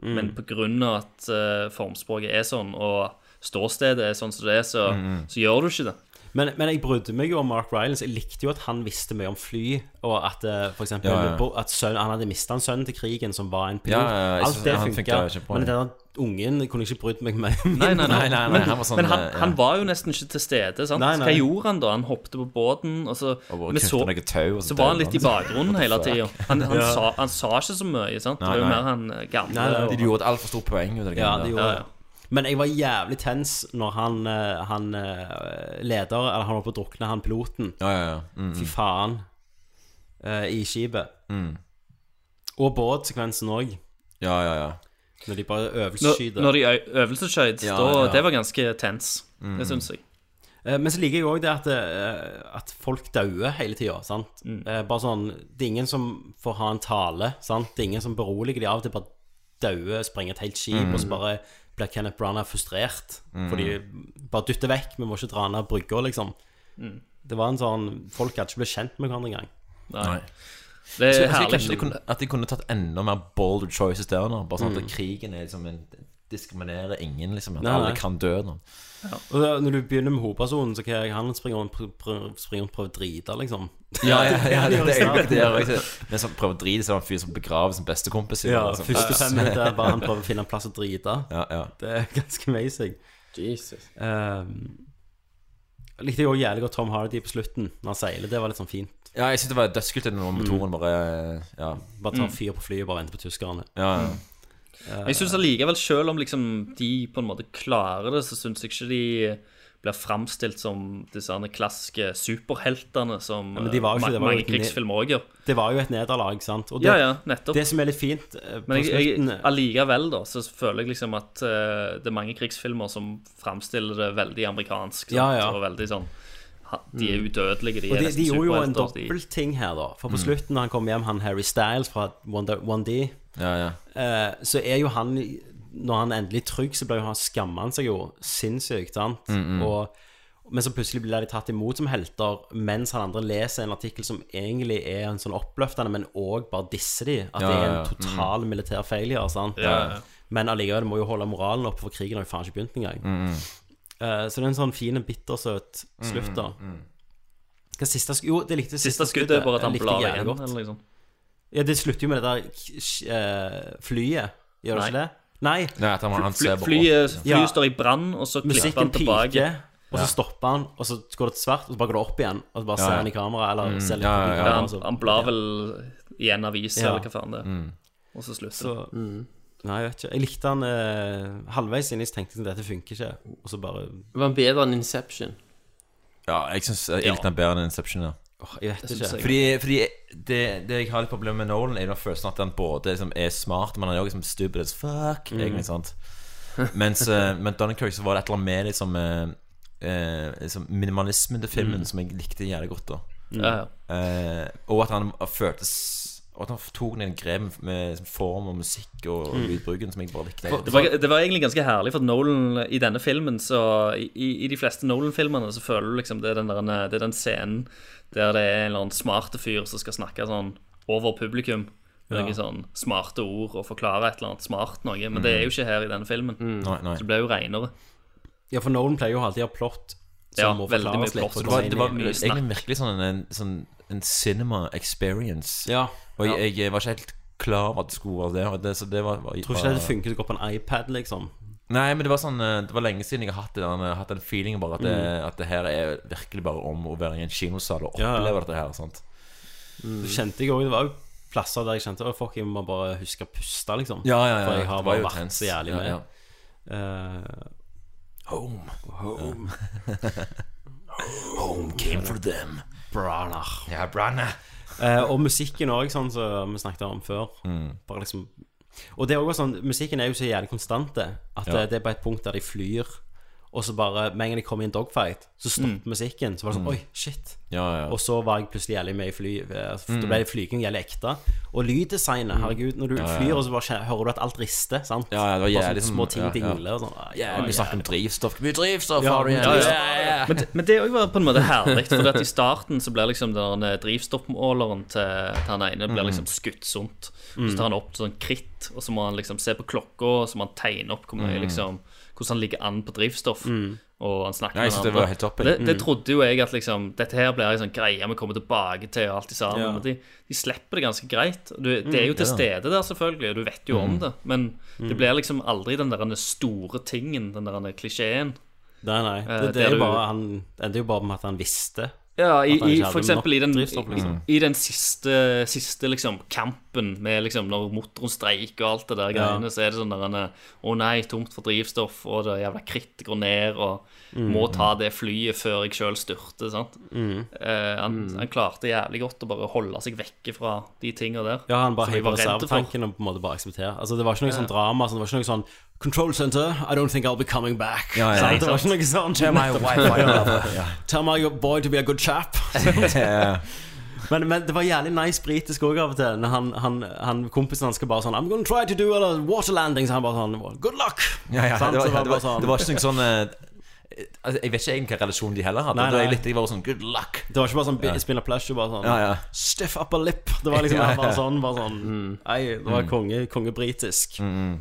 A: Mm.
J: Men på grunn av at eh, formspråket er sånn, og ståstedet er sånn som det er, så,
A: Mm, mm.
J: så gjør du ikke det.
A: Men, men jeg brydde meg jo om Mark Rylance. Jeg likte jo at han visste mye om fly, og at eh, for eksempel,
K: Ja, ja.
A: bo- At sønn, han hadde mista en sønn til krigen som var en pilot.
K: Ja, ja, ja, jeg synes
A: Alt det
K: han
A: funka.
K: funket kjempebra.
A: Men den ungen kunne jeg ikke brydd meg med.
J: Nei, nei, nei. men,
A: han var sånn,
J: men han,
A: eh, ja.
J: han var jo nesten ikke til stede. sant?
A: Nei, nei.
J: Hva gjorde han da? Han hoppet på båten, og så
K: Og bare
J: vi
K: knyttet noe tau, og så
J: så var han
K: døde
J: litt i
K: han.
J: bakgrunnen
K: What the
J: hele
K: fuck?
J: tida. Han, han,
K: Ja.
J: sa- han sa ikke så mye, sant?
K: Nei,
J: det var jo
K: nei.
J: mer han eh, gamle. og-
K: de gjorde et altfor stort poeng ut av det.
A: Ja,
K: greiene
A: det
K: der.
A: gjorde det. Men jeg var jævlig tens når han, eh, han eh, leder Eller han var på å drukne, han piloten.
K: Ja, ja, ja. Mm,
A: Fy
K: mm.
A: faen. eh, I skipet.
K: Mm.
A: Og båtsekvensen òg.
K: Ja, ja, ja.
A: Når de bare
J: Når,
A: øvelsesskyter.
J: når de ø- øvelsesskøyt,
A: Ja,
J: da-
A: ja.
J: det var ganske tens.
A: Mm.
J: Det syns jeg.
A: Eh, Men så liker jeg òg det at, eh, at folk dauer hele tida. sant?
K: Mm.
A: Eh, Bare sånn Det er ingen som får ha en tale. sant? Det er ingen som beroliger de av og til. Bare dauer, sprenger et helt skip,
K: Mm.
A: og så bare blir Kenneth Branagh frustrert.
K: Mm.
A: Fordi bare dytter vekk. Vi må ikke dra ned brygga, liksom.
J: Mm.
A: Det var en sånn Folk hadde ikke blitt kjent med hverandre engang.
K: Nei.
J: Det
K: Så-
J: er
K: så
J: herlig.
K: kanskje de kunne, at de kunne tatt enda mer bold choices der nå. Bare sånn at
A: Mm.
K: krigen er liksom en, diskriminerer ingen, liksom. At
A: Nei, nei.
K: alle kan dø nå.
A: Og da, når du begynner med hovedpersonen, så kan han springe rundt pr- pr- springe rundt og prøve å drite, liksom.
K: Ja, ja, ja, det, det er
A: Ja.
K: jo det er jo ikke Men som prøver å drite seg om en fyr som begraver sin bestekompis.
A: Ja, første fem minutter er bare han prøver å finne en plass å drite.
K: Ja, ja.
A: Det er ganske amazing.
L: Jesus.
A: Ehm, jeg likte jo også jævlig godt Tom Hardy på slutten, når han seiler. Det var litt sånn fint.
K: Ja, jeg syns det var dødskult når
A: Mm.
K: motoren bare Ja.
A: Bare
J: Mm.
A: tar fyr på flyet og bare venter på tyskerne.
K: Ja, ja.
J: Jeg syns allikevel, selv om liksom de på en måte klarer det, så syns jeg ikke de blir framstilt som disse her klassiske superheltene som
A: Ja, men de var jo
J: eh,
A: ikke,
J: ma-
A: det var jo
J: mange
A: et ne-
J: krigsfilmer òg gjør.
A: Det var jo et nederlag, sant. Og det,
J: Ja, ja, nettopp.
A: det som er litt fint eh, på
J: Men jeg,
A: slutten
J: jeg, allikevel, da, så føler jeg liksom at eh, det er mange krigsfilmer som framstiller det veldig amerikansk. sant?
A: Ja, ja.
J: Og veldig sånn ha- De er udødelige, de
A: Og
J: er
A: de, de
J: nesten
A: gjorde jo en
J: superhelter. de-
A: dobbeltting her, da. For på
K: Mm.
A: slutten, når han kom hjem, han Harry Styles fra 1D,
K: Ja, ja.
A: eh, så er jo han Når han er endelig trygg, så blir jo han skammer han seg jo sinnssykt, sant?
K: Mm, mm.
A: Og, men så plutselig blir de tatt imot som helter, mens han andre leser en artikkel som egentlig er en sånn oppløftende, men òg bare disser de. At
K: Ja,
A: det er
K: ja, ja.
A: en
J: Mm.
A: total militær failure, sant?
K: Ja, ja.
A: Men allikevel må jo holde moralen oppe, for krigen har jo faen ikke begynt engang.
K: Mm, mm.
A: Eh, så det er en sånn fin, bittersøt slutt, da.
K: Mm, mm, mm.
A: Hva siste sk Jo, det likte jeg
J: Siste skuddet er bare at han
A: Jeg likte
J: blar
A: jævlig
J: igjen,
A: godt.
J: eller liksom.
A: Ja, det slutter jo med det der k- eh, flyet, gjør det
J: Nei.
A: ikke det? Nei.
K: Nei, at han- han ser bare
J: Flyet,
K: opp.
J: flyet står i brann, og så klipper
A: Musikken
J: han tilbake.
A: piker, og
J: Ja.
A: så stopper han, og så går det til svart, og så bare går det opp igjen, og så bare
J: Ja, ja.
A: ser han i kamera, eller
J: Mm.
A: ser litt
J: Ja,
A: på altså.
J: ja, ja.
A: kamera,
J: Han-
A: og så-
J: han blar vel i en avis, eller hva faen det er.
A: Mm.
J: Og så slutter
A: Så-
J: det. Mm.
A: Nei, jeg vet ikke. Jeg likte han eh, halvveis inni, så tenkte jeg at dette funker ikke, og så bare
L: Var han bedre enn Inception?
K: Ja, jeg syns jeg likte den bedre enn Inception. Ja.
A: jeg vet Det synes ikke. jeg.
K: Fordi, fordi det, det jeg har litt problemer med Nolan, er jo følelsen at han både liksom er smart, men han er jo liksom stupid as fuck.
A: Mm.
K: Egentlig, sant? Mens eh, men Dunkirk så var det et eller annet med liksom, eh, eh, liksom minimalismen til filmen
J: Mm.
K: som jeg likte jævlig godt. da
J: Mm. Ja, ja.
K: Eh, Og at han føltes Og at han tok den grep med liksom, form og musikk og
J: Mm.
K: lydbruken som jeg bare likte.
J: Det var, det var egentlig ganske herlig, for at Nolan i denne filmen så I, i de fleste Nolan-filmene så føler du liksom det er, den der, det er den scenen der det er en eller annen smarte fyr som skal snakke sånn over publikum. Med
K: Ja.
J: noen sånn smarte ord og forklare et eller annet smart noe. Men
K: Mm.
J: det er jo ikke her i denne filmen.
K: Nei, nei.
J: Så det ble jo reinere.
A: Ja, for Nolan pleier jo alltid å ha plott som
J: Ja,
A: må
J: veldig
A: forklares
J: mye
A: litt.
J: plott.
A: for
K: Så
A: å
K: det var,
A: komme
K: det var
A: inn i-
K: egentlig virkelig sånn, en, sånn en cinema experience.
A: Ja,
K: og
A: ja.
K: jeg, jeg var ikke helt klar over at det skulle være det. Og det så det var, var,
A: Tror ikke det hadde funket godt på en iPad, liksom.
K: Nei, men det var sånn eh, Det var lenge siden jeg har hatt, det, der- hatt den feelingen bare at det,
A: Mm.
K: at det her er virkelig bare om å være i en kinosal og
A: Ja, ja.
K: oppleve dette her. Sant?
A: Så kjente jeg også, Det var jo plasser der jeg kjente Å, fuck, jeg må bare huske å puste, liksom.
K: Ja, ja, ja,
A: For jeg
K: det
A: har
K: var
A: bare
K: jo
A: vært
K: tenst.
A: så jævlig
K: Ja,
A: med. Eh,
K: ja.
A: Home.
K: Home. Home came for them.
A: Brana.
K: Ja, Brana.
A: Eh, og musikken òg, sånn som vi snakket om før.
K: Mm.
A: Bare liksom Og det er også sånn, musikken er jo så jævlig konstant, det. At
K: Ja.
A: eh, det er på et punkt der de flyr, og så bare Med en gang de kommer i en dogfight, så stopper musikken. Så var det sånn
K: Mm.
A: Oi, shit.
K: Ja, ja.
A: Og så var jeg plutselig jævlig med i fly. eh,
K: Mm.
A: Da ble flyging jævlig ekte. Og lyddesignet,
K: Mm.
A: herregud. Når du
K: Ja, ja, ja.
A: flyr, og så bare kjenner- hører du at alt rister. Sant?
K: Ja, ja, det var
A: Bare sånne
K: jævlig som-
A: små ting
K: ja, ja.
A: dingler og sånn. Ah,
K: Ja, vi snakket om drivstoff. Hvor mye drivstoff
J: Ja,
K: har du igjen?
J: ja, ja.
K: ja.
J: Men, men det òg var på en måte herlig. For at i starten så blir liksom den eh, drivstoffmåleren til, til han ene blir
K: Mm.
J: liksom skutt sunt.
K: Mm.
J: Så tar han opp sånn kritt, og så må han liksom se på klokka, og så må han tegne opp hvor mye,
K: Mm.
J: liksom, hvordan han ligger an på drivstoff.
K: Mm.
J: Og han snakker
K: Ja, jeg synes det var helt topp, jeg.
J: Det, det
K: Mm.
J: trodde jo jeg at liksom dette her blir en sånn greie vi kommer tilbake til, og alt det sammen.
K: Ja.
J: Men de, de slipper det ganske greit. Du, det er jo
K: Mm,
J: til
K: ja.
J: stede der, selvfølgelig, og du vet jo om
K: Mm.
J: det. Men
K: Mm.
J: det blir liksom aldri den der store tingen, den der klisjeen.
A: Nei, nei.
J: Eh,
A: Det, det,
J: der
A: er
J: du-
A: jo bare, han, det endte jo bare med at han visste.
J: Ja, i,
A: at han
J: i,
A: ikke hadde
J: for eksempel i
A: nok
J: den,
A: drivstoff, liksom.
J: i, i den siste, siste liksom, kampen med liksom, når motoren streiker og alt det der
A: Ja.
J: greiene, så er det sånn der han er, Å nei, tomt for drivstoff, og det jævla krittet går ned, og
A: Mm.
J: må ta det flyet før jeg sjøl styrter, sant.
A: Mm.
J: Eh, han, han klarte jævlig godt å bare holde seg vekke fra de tinga der.
A: Ja, han bare
J: som vi
A: heiv på
J: var redde for.
A: reservetanken og på en måte bare aksepterer. Altså, det var ikke noe
J: Ja.
A: sånn drama. Sånn, det var ikke noe sånn Control center, I don't think I'll be coming back.
K: Ja, ja.
A: Sant? Det var ikke noe sånn
K: Tell my
A: Nettopp.
K: wife I love her. Ja.
A: Tell my boy to be a good chap.
K: Ja.
A: men, men det var jævlig nice britisk òg av og til. Når han, han, han, kompisen hans skal bare sånn I'm gonna try to do a water landing. Så han bare sånn Good luck!
K: Ja, ja,
A: Sant?
K: det,
A: Så
K: var, det, var,
A: bare sånn-
K: det var ikke noe sånn eh, altså, Jeg vet ikke egentlig hva relasjon de heller hadde.
A: Nei,
K: Det var
A: nei.
K: litt, jeg var sånn good luck.
A: Det var ikke bare sånn
K: Ja.
A: ja. spille plush og bare sånn
K: Ja, ja.
A: Stiff upper lip. Det var liksom
K: Ja, ja.
A: bare sånn. Bare sånn Nei, det var
K: Mm.
A: konge, kongebritisk.
K: Mm.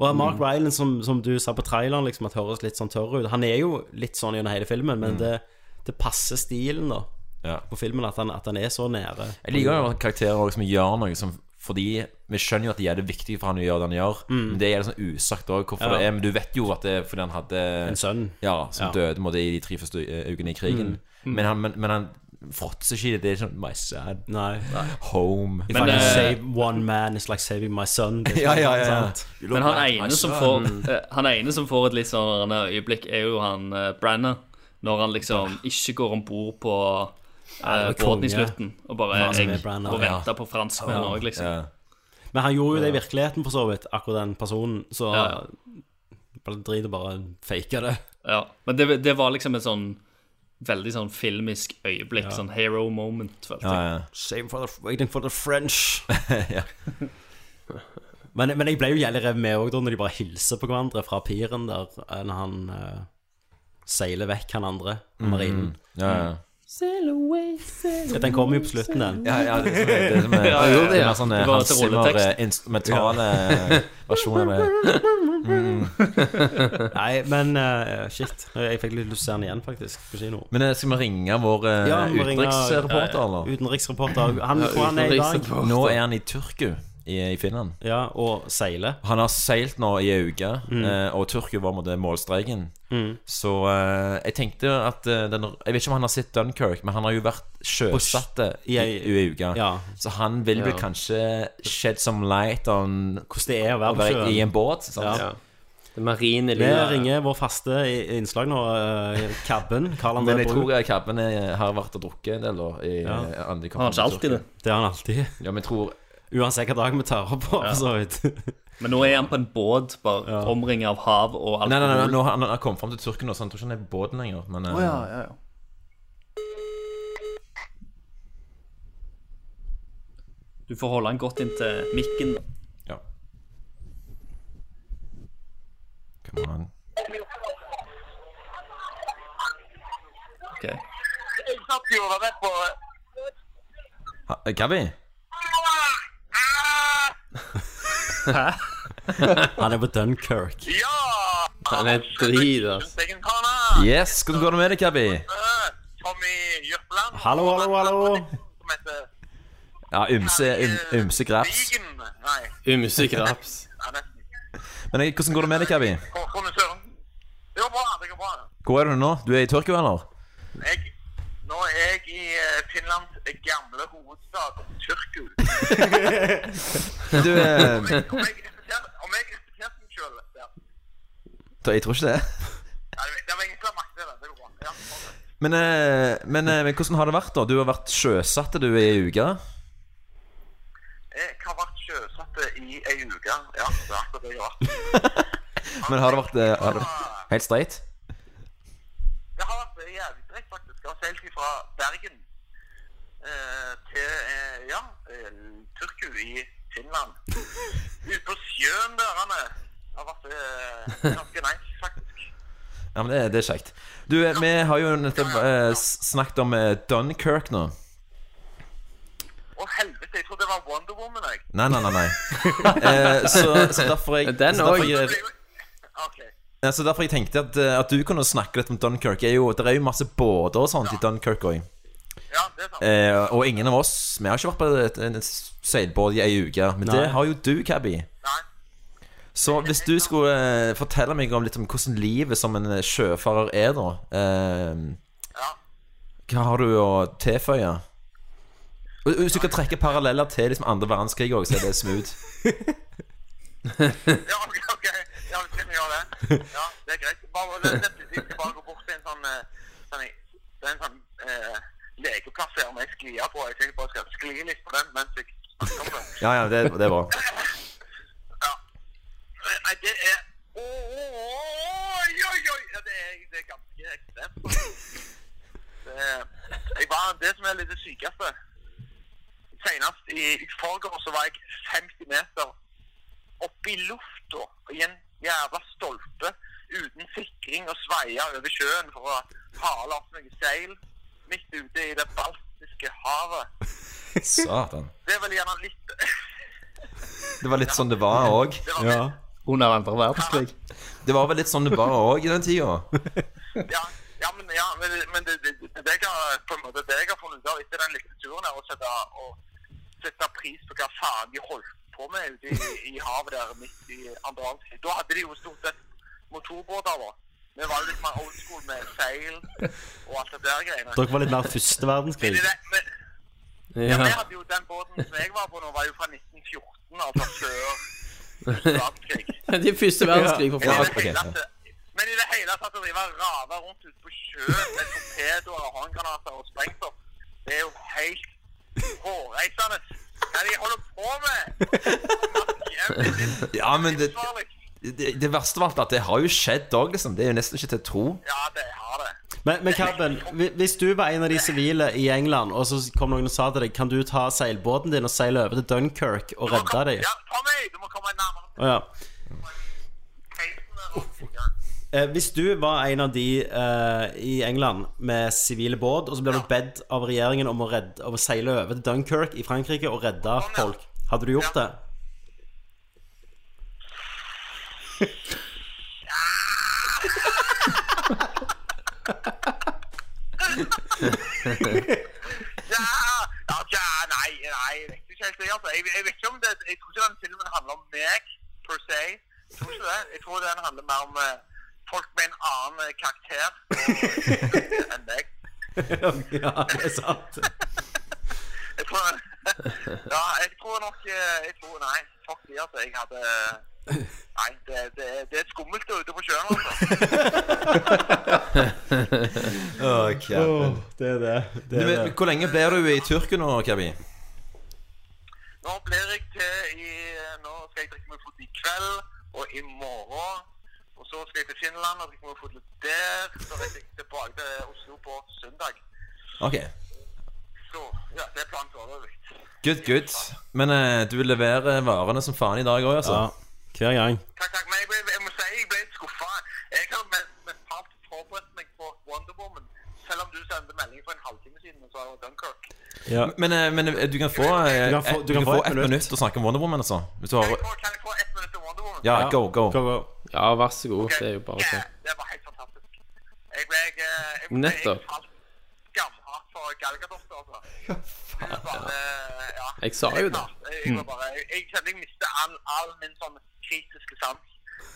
A: Og Mark Ryland, som, som du sa på traileren, liksom, at høres litt sånn tørr ut. Han er jo litt sånn gjennom hele filmen,
K: Mm.
A: men det, det passer stilen da
K: Ja.
A: på filmen at han, at han er så nære.
K: Jeg liker jo karakterer også som gjør noe som Fordi vi skjønner jo at det er det viktige for han å gjøre det han gjør.
A: Mm.
K: Men det er litt sånn usagt òg hvorfor
A: Ja.
K: det er. Men du vet jo at det er fordi han hadde
A: En sønn.
K: Ja, som
A: Ja.
K: døde på en måte, i de tre første eh, ukene i krigen.
A: Mm. Mm.
K: Men han, men, men han fråtser ikke i det. Det er sånn My sad
A: Nei.
K: home. eh,
A: If I can save one man, it's like saving my son. Det er
K: Ja, ja, ja.
A: sant.
J: Men han ene, som får, eh, han ene som får et litt sånn eh, øyeblikk, er jo han eh, Branner. Når han liksom ikke går om bord på eh,
A: Ja, det var
J: båten i
A: konge.
J: slutten og bare
A: Ja, som
J: jeg,
A: er Branner.
J: og
A: Ja.
J: venter på franskmenn
A: Ja.
J: òg, liksom.
A: Ja. Men han gjorde jo det i virkeligheten, for så vidt, akkurat den personen, så bare drit i bare fake det.
J: Ja, men det, det var liksom et sånn veldig sånn filmisk
A: Ja.
J: øyeblikk. Sånn hero moment, følte jeg.
K: Ja, ja.
A: Same for the, waiting for the French. Men, men jeg ble jo jævlig revet med òg, da, når de bare hilser på hverandre fra piren der eh, når han eh, seiler vekk han andre,
K: Mm.
A: marinen.
K: Ja, ja.
L: Sail away, sail
A: Ja, Den kommer jo på slutten, den.
K: Ja, ja, det er sånn- det er sånn- det er jo det, ja. sånn, eh,
A: var
K: Hans
A: til
K: Zimmer
A: rolletekst.
K: eh, instrumentale versjoner med
A: Ja. Nei, men eh, shit. Jeg fikk litt lyst til å se den igjen, faktisk, på kino.
K: Men eh, skal vi ringe vår eh,
A: Ja, vi må ringe- eh,
K: utenriksreporter, eller?
A: Utenriksreporter. Han, hvor han er i dag.
K: Nå er han i Tyrku i, i Finland.
A: Ja, og seiler.
K: Han har seilt nå i ei uke,
A: Mm.
K: eh, og Tyrkia var med det målstreken.
A: Mm.
K: Så eh, jeg tenkte at eh, den, Jeg vet ikke om han har sett Dunkerque, men han har jo vært sjøsatt i
A: i
K: ei
A: ei-
K: uke.
A: ja.
K: Så han vil vel
A: Ja.
K: kanskje shed some light on
A: Hvordan det er å være på sjøen.
K: i en båt. Sant?
A: Ja.
L: Det marine
A: Vi
L: livet.
A: ringer vår faste i- innslag nå, eh, Kabben. Karl André
K: Men jeg
A: Bru.
K: tror eh, Kabben er- har vært og drukket en del, da. I,
A: Ja.
K: eh, andre
A: Har han ikke alltid det? Det har han alltid.
K: Ja, men jeg tror
A: Uansett hvilken dag vi tar opp på,
J: Ja.
A: for så vidt.
J: Men nå er han på en båt, bare omringet av hav og alkohol.
K: Nei, nei, nei, nå har han han har kommet fram til Tyrkia nå, så han tror ikke han er på båten lenger. Men eh,
J: Å, ja, ja, ja. Du får holde han godt inntil mikken.
K: Ja. come on.
J: Ok.
Q: Jeg satt jo og var med på
K: Ha- eh, Gabi?
Q: Ah,
A: Hæ? Han er på Dunkerque.
Q: Ja!
K: Han er drit, ass. Yes, hvordan går det med deg, Gabi?
Q: Uh, Tommy Jørpeland.
A: Hallo, er hallo, hallo.
Q: som heter
K: Ja, ymse, ym, ymse graps.
Q: Vigen. Nei.
K: Ymse graps.
Q: Ja, nesten.
K: Men eh, hvordan går det med deg, Kavi?
Q: Håkon og Søren. Det går bra. Det går bra.
K: Hvor er du nå? Du er i Tyrkia, eller?
Q: Jeg, nå er jeg i eh, Finlands gamle hovedstad, Tyrku.
K: Du eh,
Q: Om jeg- om jeg representerte- om jeg representerte meg selv der.
K: Jeg tror ikke det.
Q: Ja, det- Det var ingen som la merke til det. Det går bra. Ja, ok.
K: Men, eh, men, eh, men hvordan har det vært, da? Du har vært sjøsatt du i ei uke.
Q: Jeg har vært sjøsatt i ei uke. Ja, det er akkurat det jeg har vært.
K: Men har det vært eh, har det, helt streit?
Q: Det har vært eh, jævlig strekt, faktisk. Jeg har seilt fra Bergen eh, til eh, ja, eh, Turku i Finland. Ute på sjøen der. han er. Det har vært eh, ganske nice, faktisk.
K: Ja, men det, det er kjekt. Du, eh, vi har jo nettopp eh, s- snakket om eh, Dunkirk nå.
Q: Å, helvete, jeg trodde det var Wonder Woman, jeg.
K: Nei, nei, nei. nei. Eh, så, så derfor jeg
L: Den
K: så derfor
L: òg.
K: jeg, ja, så derfor jeg tenkte at, eh, at du kunne snakke litt om Dunkirk. Er jo, det er jo masse båter og sånt i Dunkirk òg. Eh, og ingen av oss Vi har ikke vært på et, en seilbåt i ei uke, men
A: Nei.
K: det har jo du, Cabby. Så hvis du skulle eh, fortelle meg om litt om hvordan livet som en eh, sjøfarer er, da eh, Hva har du å tilføye? Og- og Hvis du kan trekke paralleller til liksom andre verdenskrig òg, så er det smooth.
Q: Ja, ok, ok. Ja, vi kan gjøre det. Ja, det er greit. Bare, det, det, vi skal bare gå bort til en sånn, eh, sånn Det er en sånn eh, lekeplass her med sklia på. Jeg tenker bare jeg skal skli litt på den mens jeg snakker om det.
K: Ja, ja, det, det er bra.
Q: Eh, Nei, det er Oi, oi, oi! Ja, det er, det er ganske ekstremt. Det, jeg var, det som er litt det sykeste Senest i i forgår så var jeg 50 meter oppe i lufta i en jævla stolpe uten sikring og sveia over sjøen for å hale opp noen seil midt ute i det baltiske havet.
K: Satan.
Q: Det er vel gjerne litt
K: Det var litt sånn det var òg. Ja. Under andre verdenskrig. Det var vel litt sånn det var òg i den tida.
Q: Ja, men, ja, men, men det, det, det, det, jeg har, på en måte, det jeg har funnet ut av etter den lille turen, er å sette, å sette pris på hva faen de holdt på med ute i, i havet der midt i andre verdenskrig. Da hadde de jo stort sett motorbåter. da. Vi var jo litt mer old school med seil og alt det der greiene.
A: Dere var litt mer første verdenskrig.
Q: Ja, men jeg hadde jo Den båten som jeg var på nå, var jo fra 1914, altså før
L: Det er første verdenskrig, for
Q: Ja,
L: faen.
Q: ok, ja. Men i det hele tatt å drive og rave rundt ute på sjøen med torpedoer og håndgranater og sprengstoff, det er jo helt hårreisende. Hva er det de holder på med?
K: Ja, men det, det, det verste var at det har jo skjedd òg, liksom. Det er jo nesten ikke til å tro.
A: Men, men Kabel, hvi- hvis du var en av de sivile i England, og så kom noen og sa til deg Kan du ta seilbåten din og seile over til Dunkirk og redde dem? Å ja. Eh, Hvis du var en av de eh, i England med sivile båt, og så ble du bedt av regjeringen om å, redde, om å seile over til Dunkirk i Frankrike og redde folk, hadde du gjort det?
Q: Ja, ja, ja, nei, nei, jeg vet ikke helt det. Altså. Jeg, jeg vet ikke om det Jeg tror ikke den filmen handler om meg, per se. Jeg tror ikke det. Jeg tror den handler mer om eh, folk med en annen eh, karakter eh, enn meg.
A: ja, det er sant.
Q: Jeg tror, ja, jeg tror nok eh, jeg tror, Nei, fuck de, altså. Jeg hadde Nei, det, det, det er skummelt ute på sjøen, altså.
K: Åh,
A: det er det.
K: Du, men, hvor lenge blir du i Tyrkia nå, Kabi?
Q: Nå blir jeg til i eh, Nå skal jeg drikke meg fot i kveld og i morgen. Og så skal jeg til Finland og drikke meg fot litt der. Så reiser jeg tilbake til Oslo på søndag.
K: Ok,
Q: Så ja, det er planen foreløpig.
K: good, good. Men eh, du leverer varene som faen i dag òg, altså?
A: Ja, hver gang.
Q: Takk, takk. Men jeg, ble, jeg må si jeg ble litt skuffa. Jeg har med, mentalt forberedt meg på Wonder Woman. Selv om du sendte melding for en halvtime siden og sa det var Dunkirk.
K: Men, eh, men eh, du kan få, eh,
A: Du kan få- du
K: et- du
A: kan
K: kan
A: få
K: få
A: et
K: ett
A: minutt.
K: minutt å snakke om Wonder Woman, altså. Hvis du har
L: Ja,
K: Ja, go, go.
L: Ja, vær så god. Det er jo bare å
Q: Jeg ble, jeg, eh, jeg,
L: Nettopp.
Q: jeg falt skamhardt for Galgadot, altså.
A: Å
Q: er bare eh, Ja.
L: Jeg sa jo det. Mm.
Q: Jeg, jeg, var bare, jeg, jeg kjenner jeg mister all, all min sånn kritiske sans.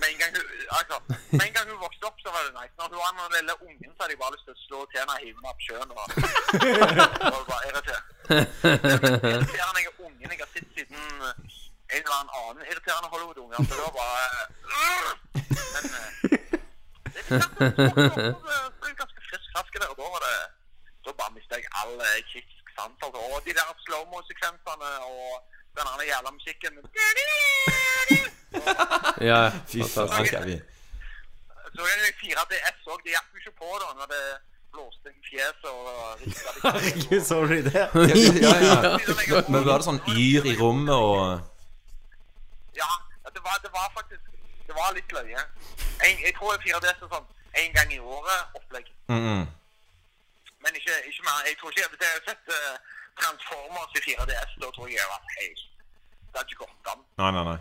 Q: Med en gang hun altså, med en gang hun vokste opp, så var det nice. Når hun var den lille ungen, så hadde jeg bare lyst til å slå til henne og hive henne opp sjøen. Og, og bare irritere. Irriterende jeg er ungen jeg har sett siden en eller annen irriterende Hollywood-unge. Så det var bare øh! Men eh, det er sant, hun vokste opp, og, eh, så er hun ganske frisk rask i det, og da var det da bare mistet jeg all eh, kritisk sans. Altså. Og de der slow-mo-sekvensene og den andre jævla musikken.
L: Ja,
K: Fy faen,
L: fantastisk.
K: skal vi
Q: Så er det 4DS òg. Det hjalp jo ikke på da når det blåste i fjeset og rista litt.
A: Herregud, sorry, det.
K: ja, ja, ja. Men var det sånn yr i rommet og
Q: Ja, det var, det var faktisk Det var litt løye. En, jeg tror 4DS er sånn én gang i året-opplegg.
K: mm, mm.
Q: Men ikke, ikke mer. Jeg tror ikke jeg jeg har sett eh, Transformers i 4DS. Da tror jeg jeg var helt Det hadde ikke gått an.
K: Nei, nei, nei.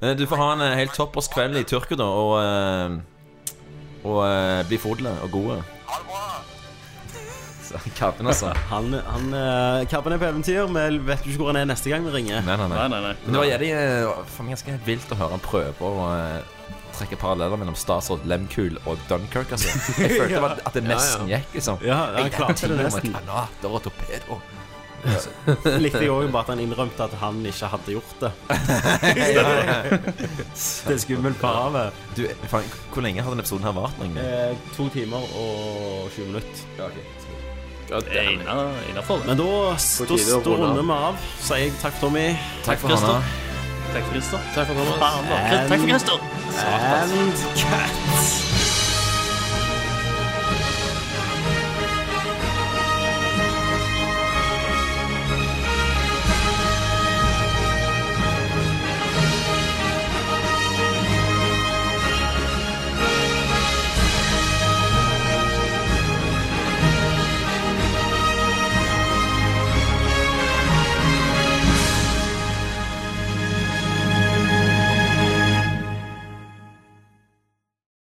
K: Men du får ha en eh, helt toppers kveld i Tyrkia, da, og eh, Og eh, bli fodle og gode. Så, Kabben, altså.
A: Han, han eh, Kabben er på eventyr, vi vet jo ikke hvor han er neste gang vi ringer.
K: Nei, nei, nei. Men det var jævlig, eh, for meg ganske vilt å høre han prøve å eh, trekke paralleller mellom Statsråd Lemkul og Dunkerque. Altså. Jeg følte
A: Ja.
K: bare at det
A: Ja, ja.
K: nesten gikk, liksom.
A: Ja, han
K: Jeg-
A: klarte det
K: med
A: nesten.
K: Kanater og torpedo.
A: Likte jeg òg bare at han innrømte at han ikke hadde gjort det. det er skummelt parave.
K: Du, faen, hvor lenge har denne episoden her vart? egentlig?
A: Eh, to timer og 20 minutter.
K: Ja,
J: Det er inna- innafor.
A: Men da,
J: På
A: da,
J: tide å
A: da
J: runde av.
A: runder vi av. Sier jeg takk for Tommy.
J: Takk for Takk, Christer. Hanna. Takk for Christer.
L: Takk for
J: Thomas. Faen, da. Takk for Christer.
A: And cut.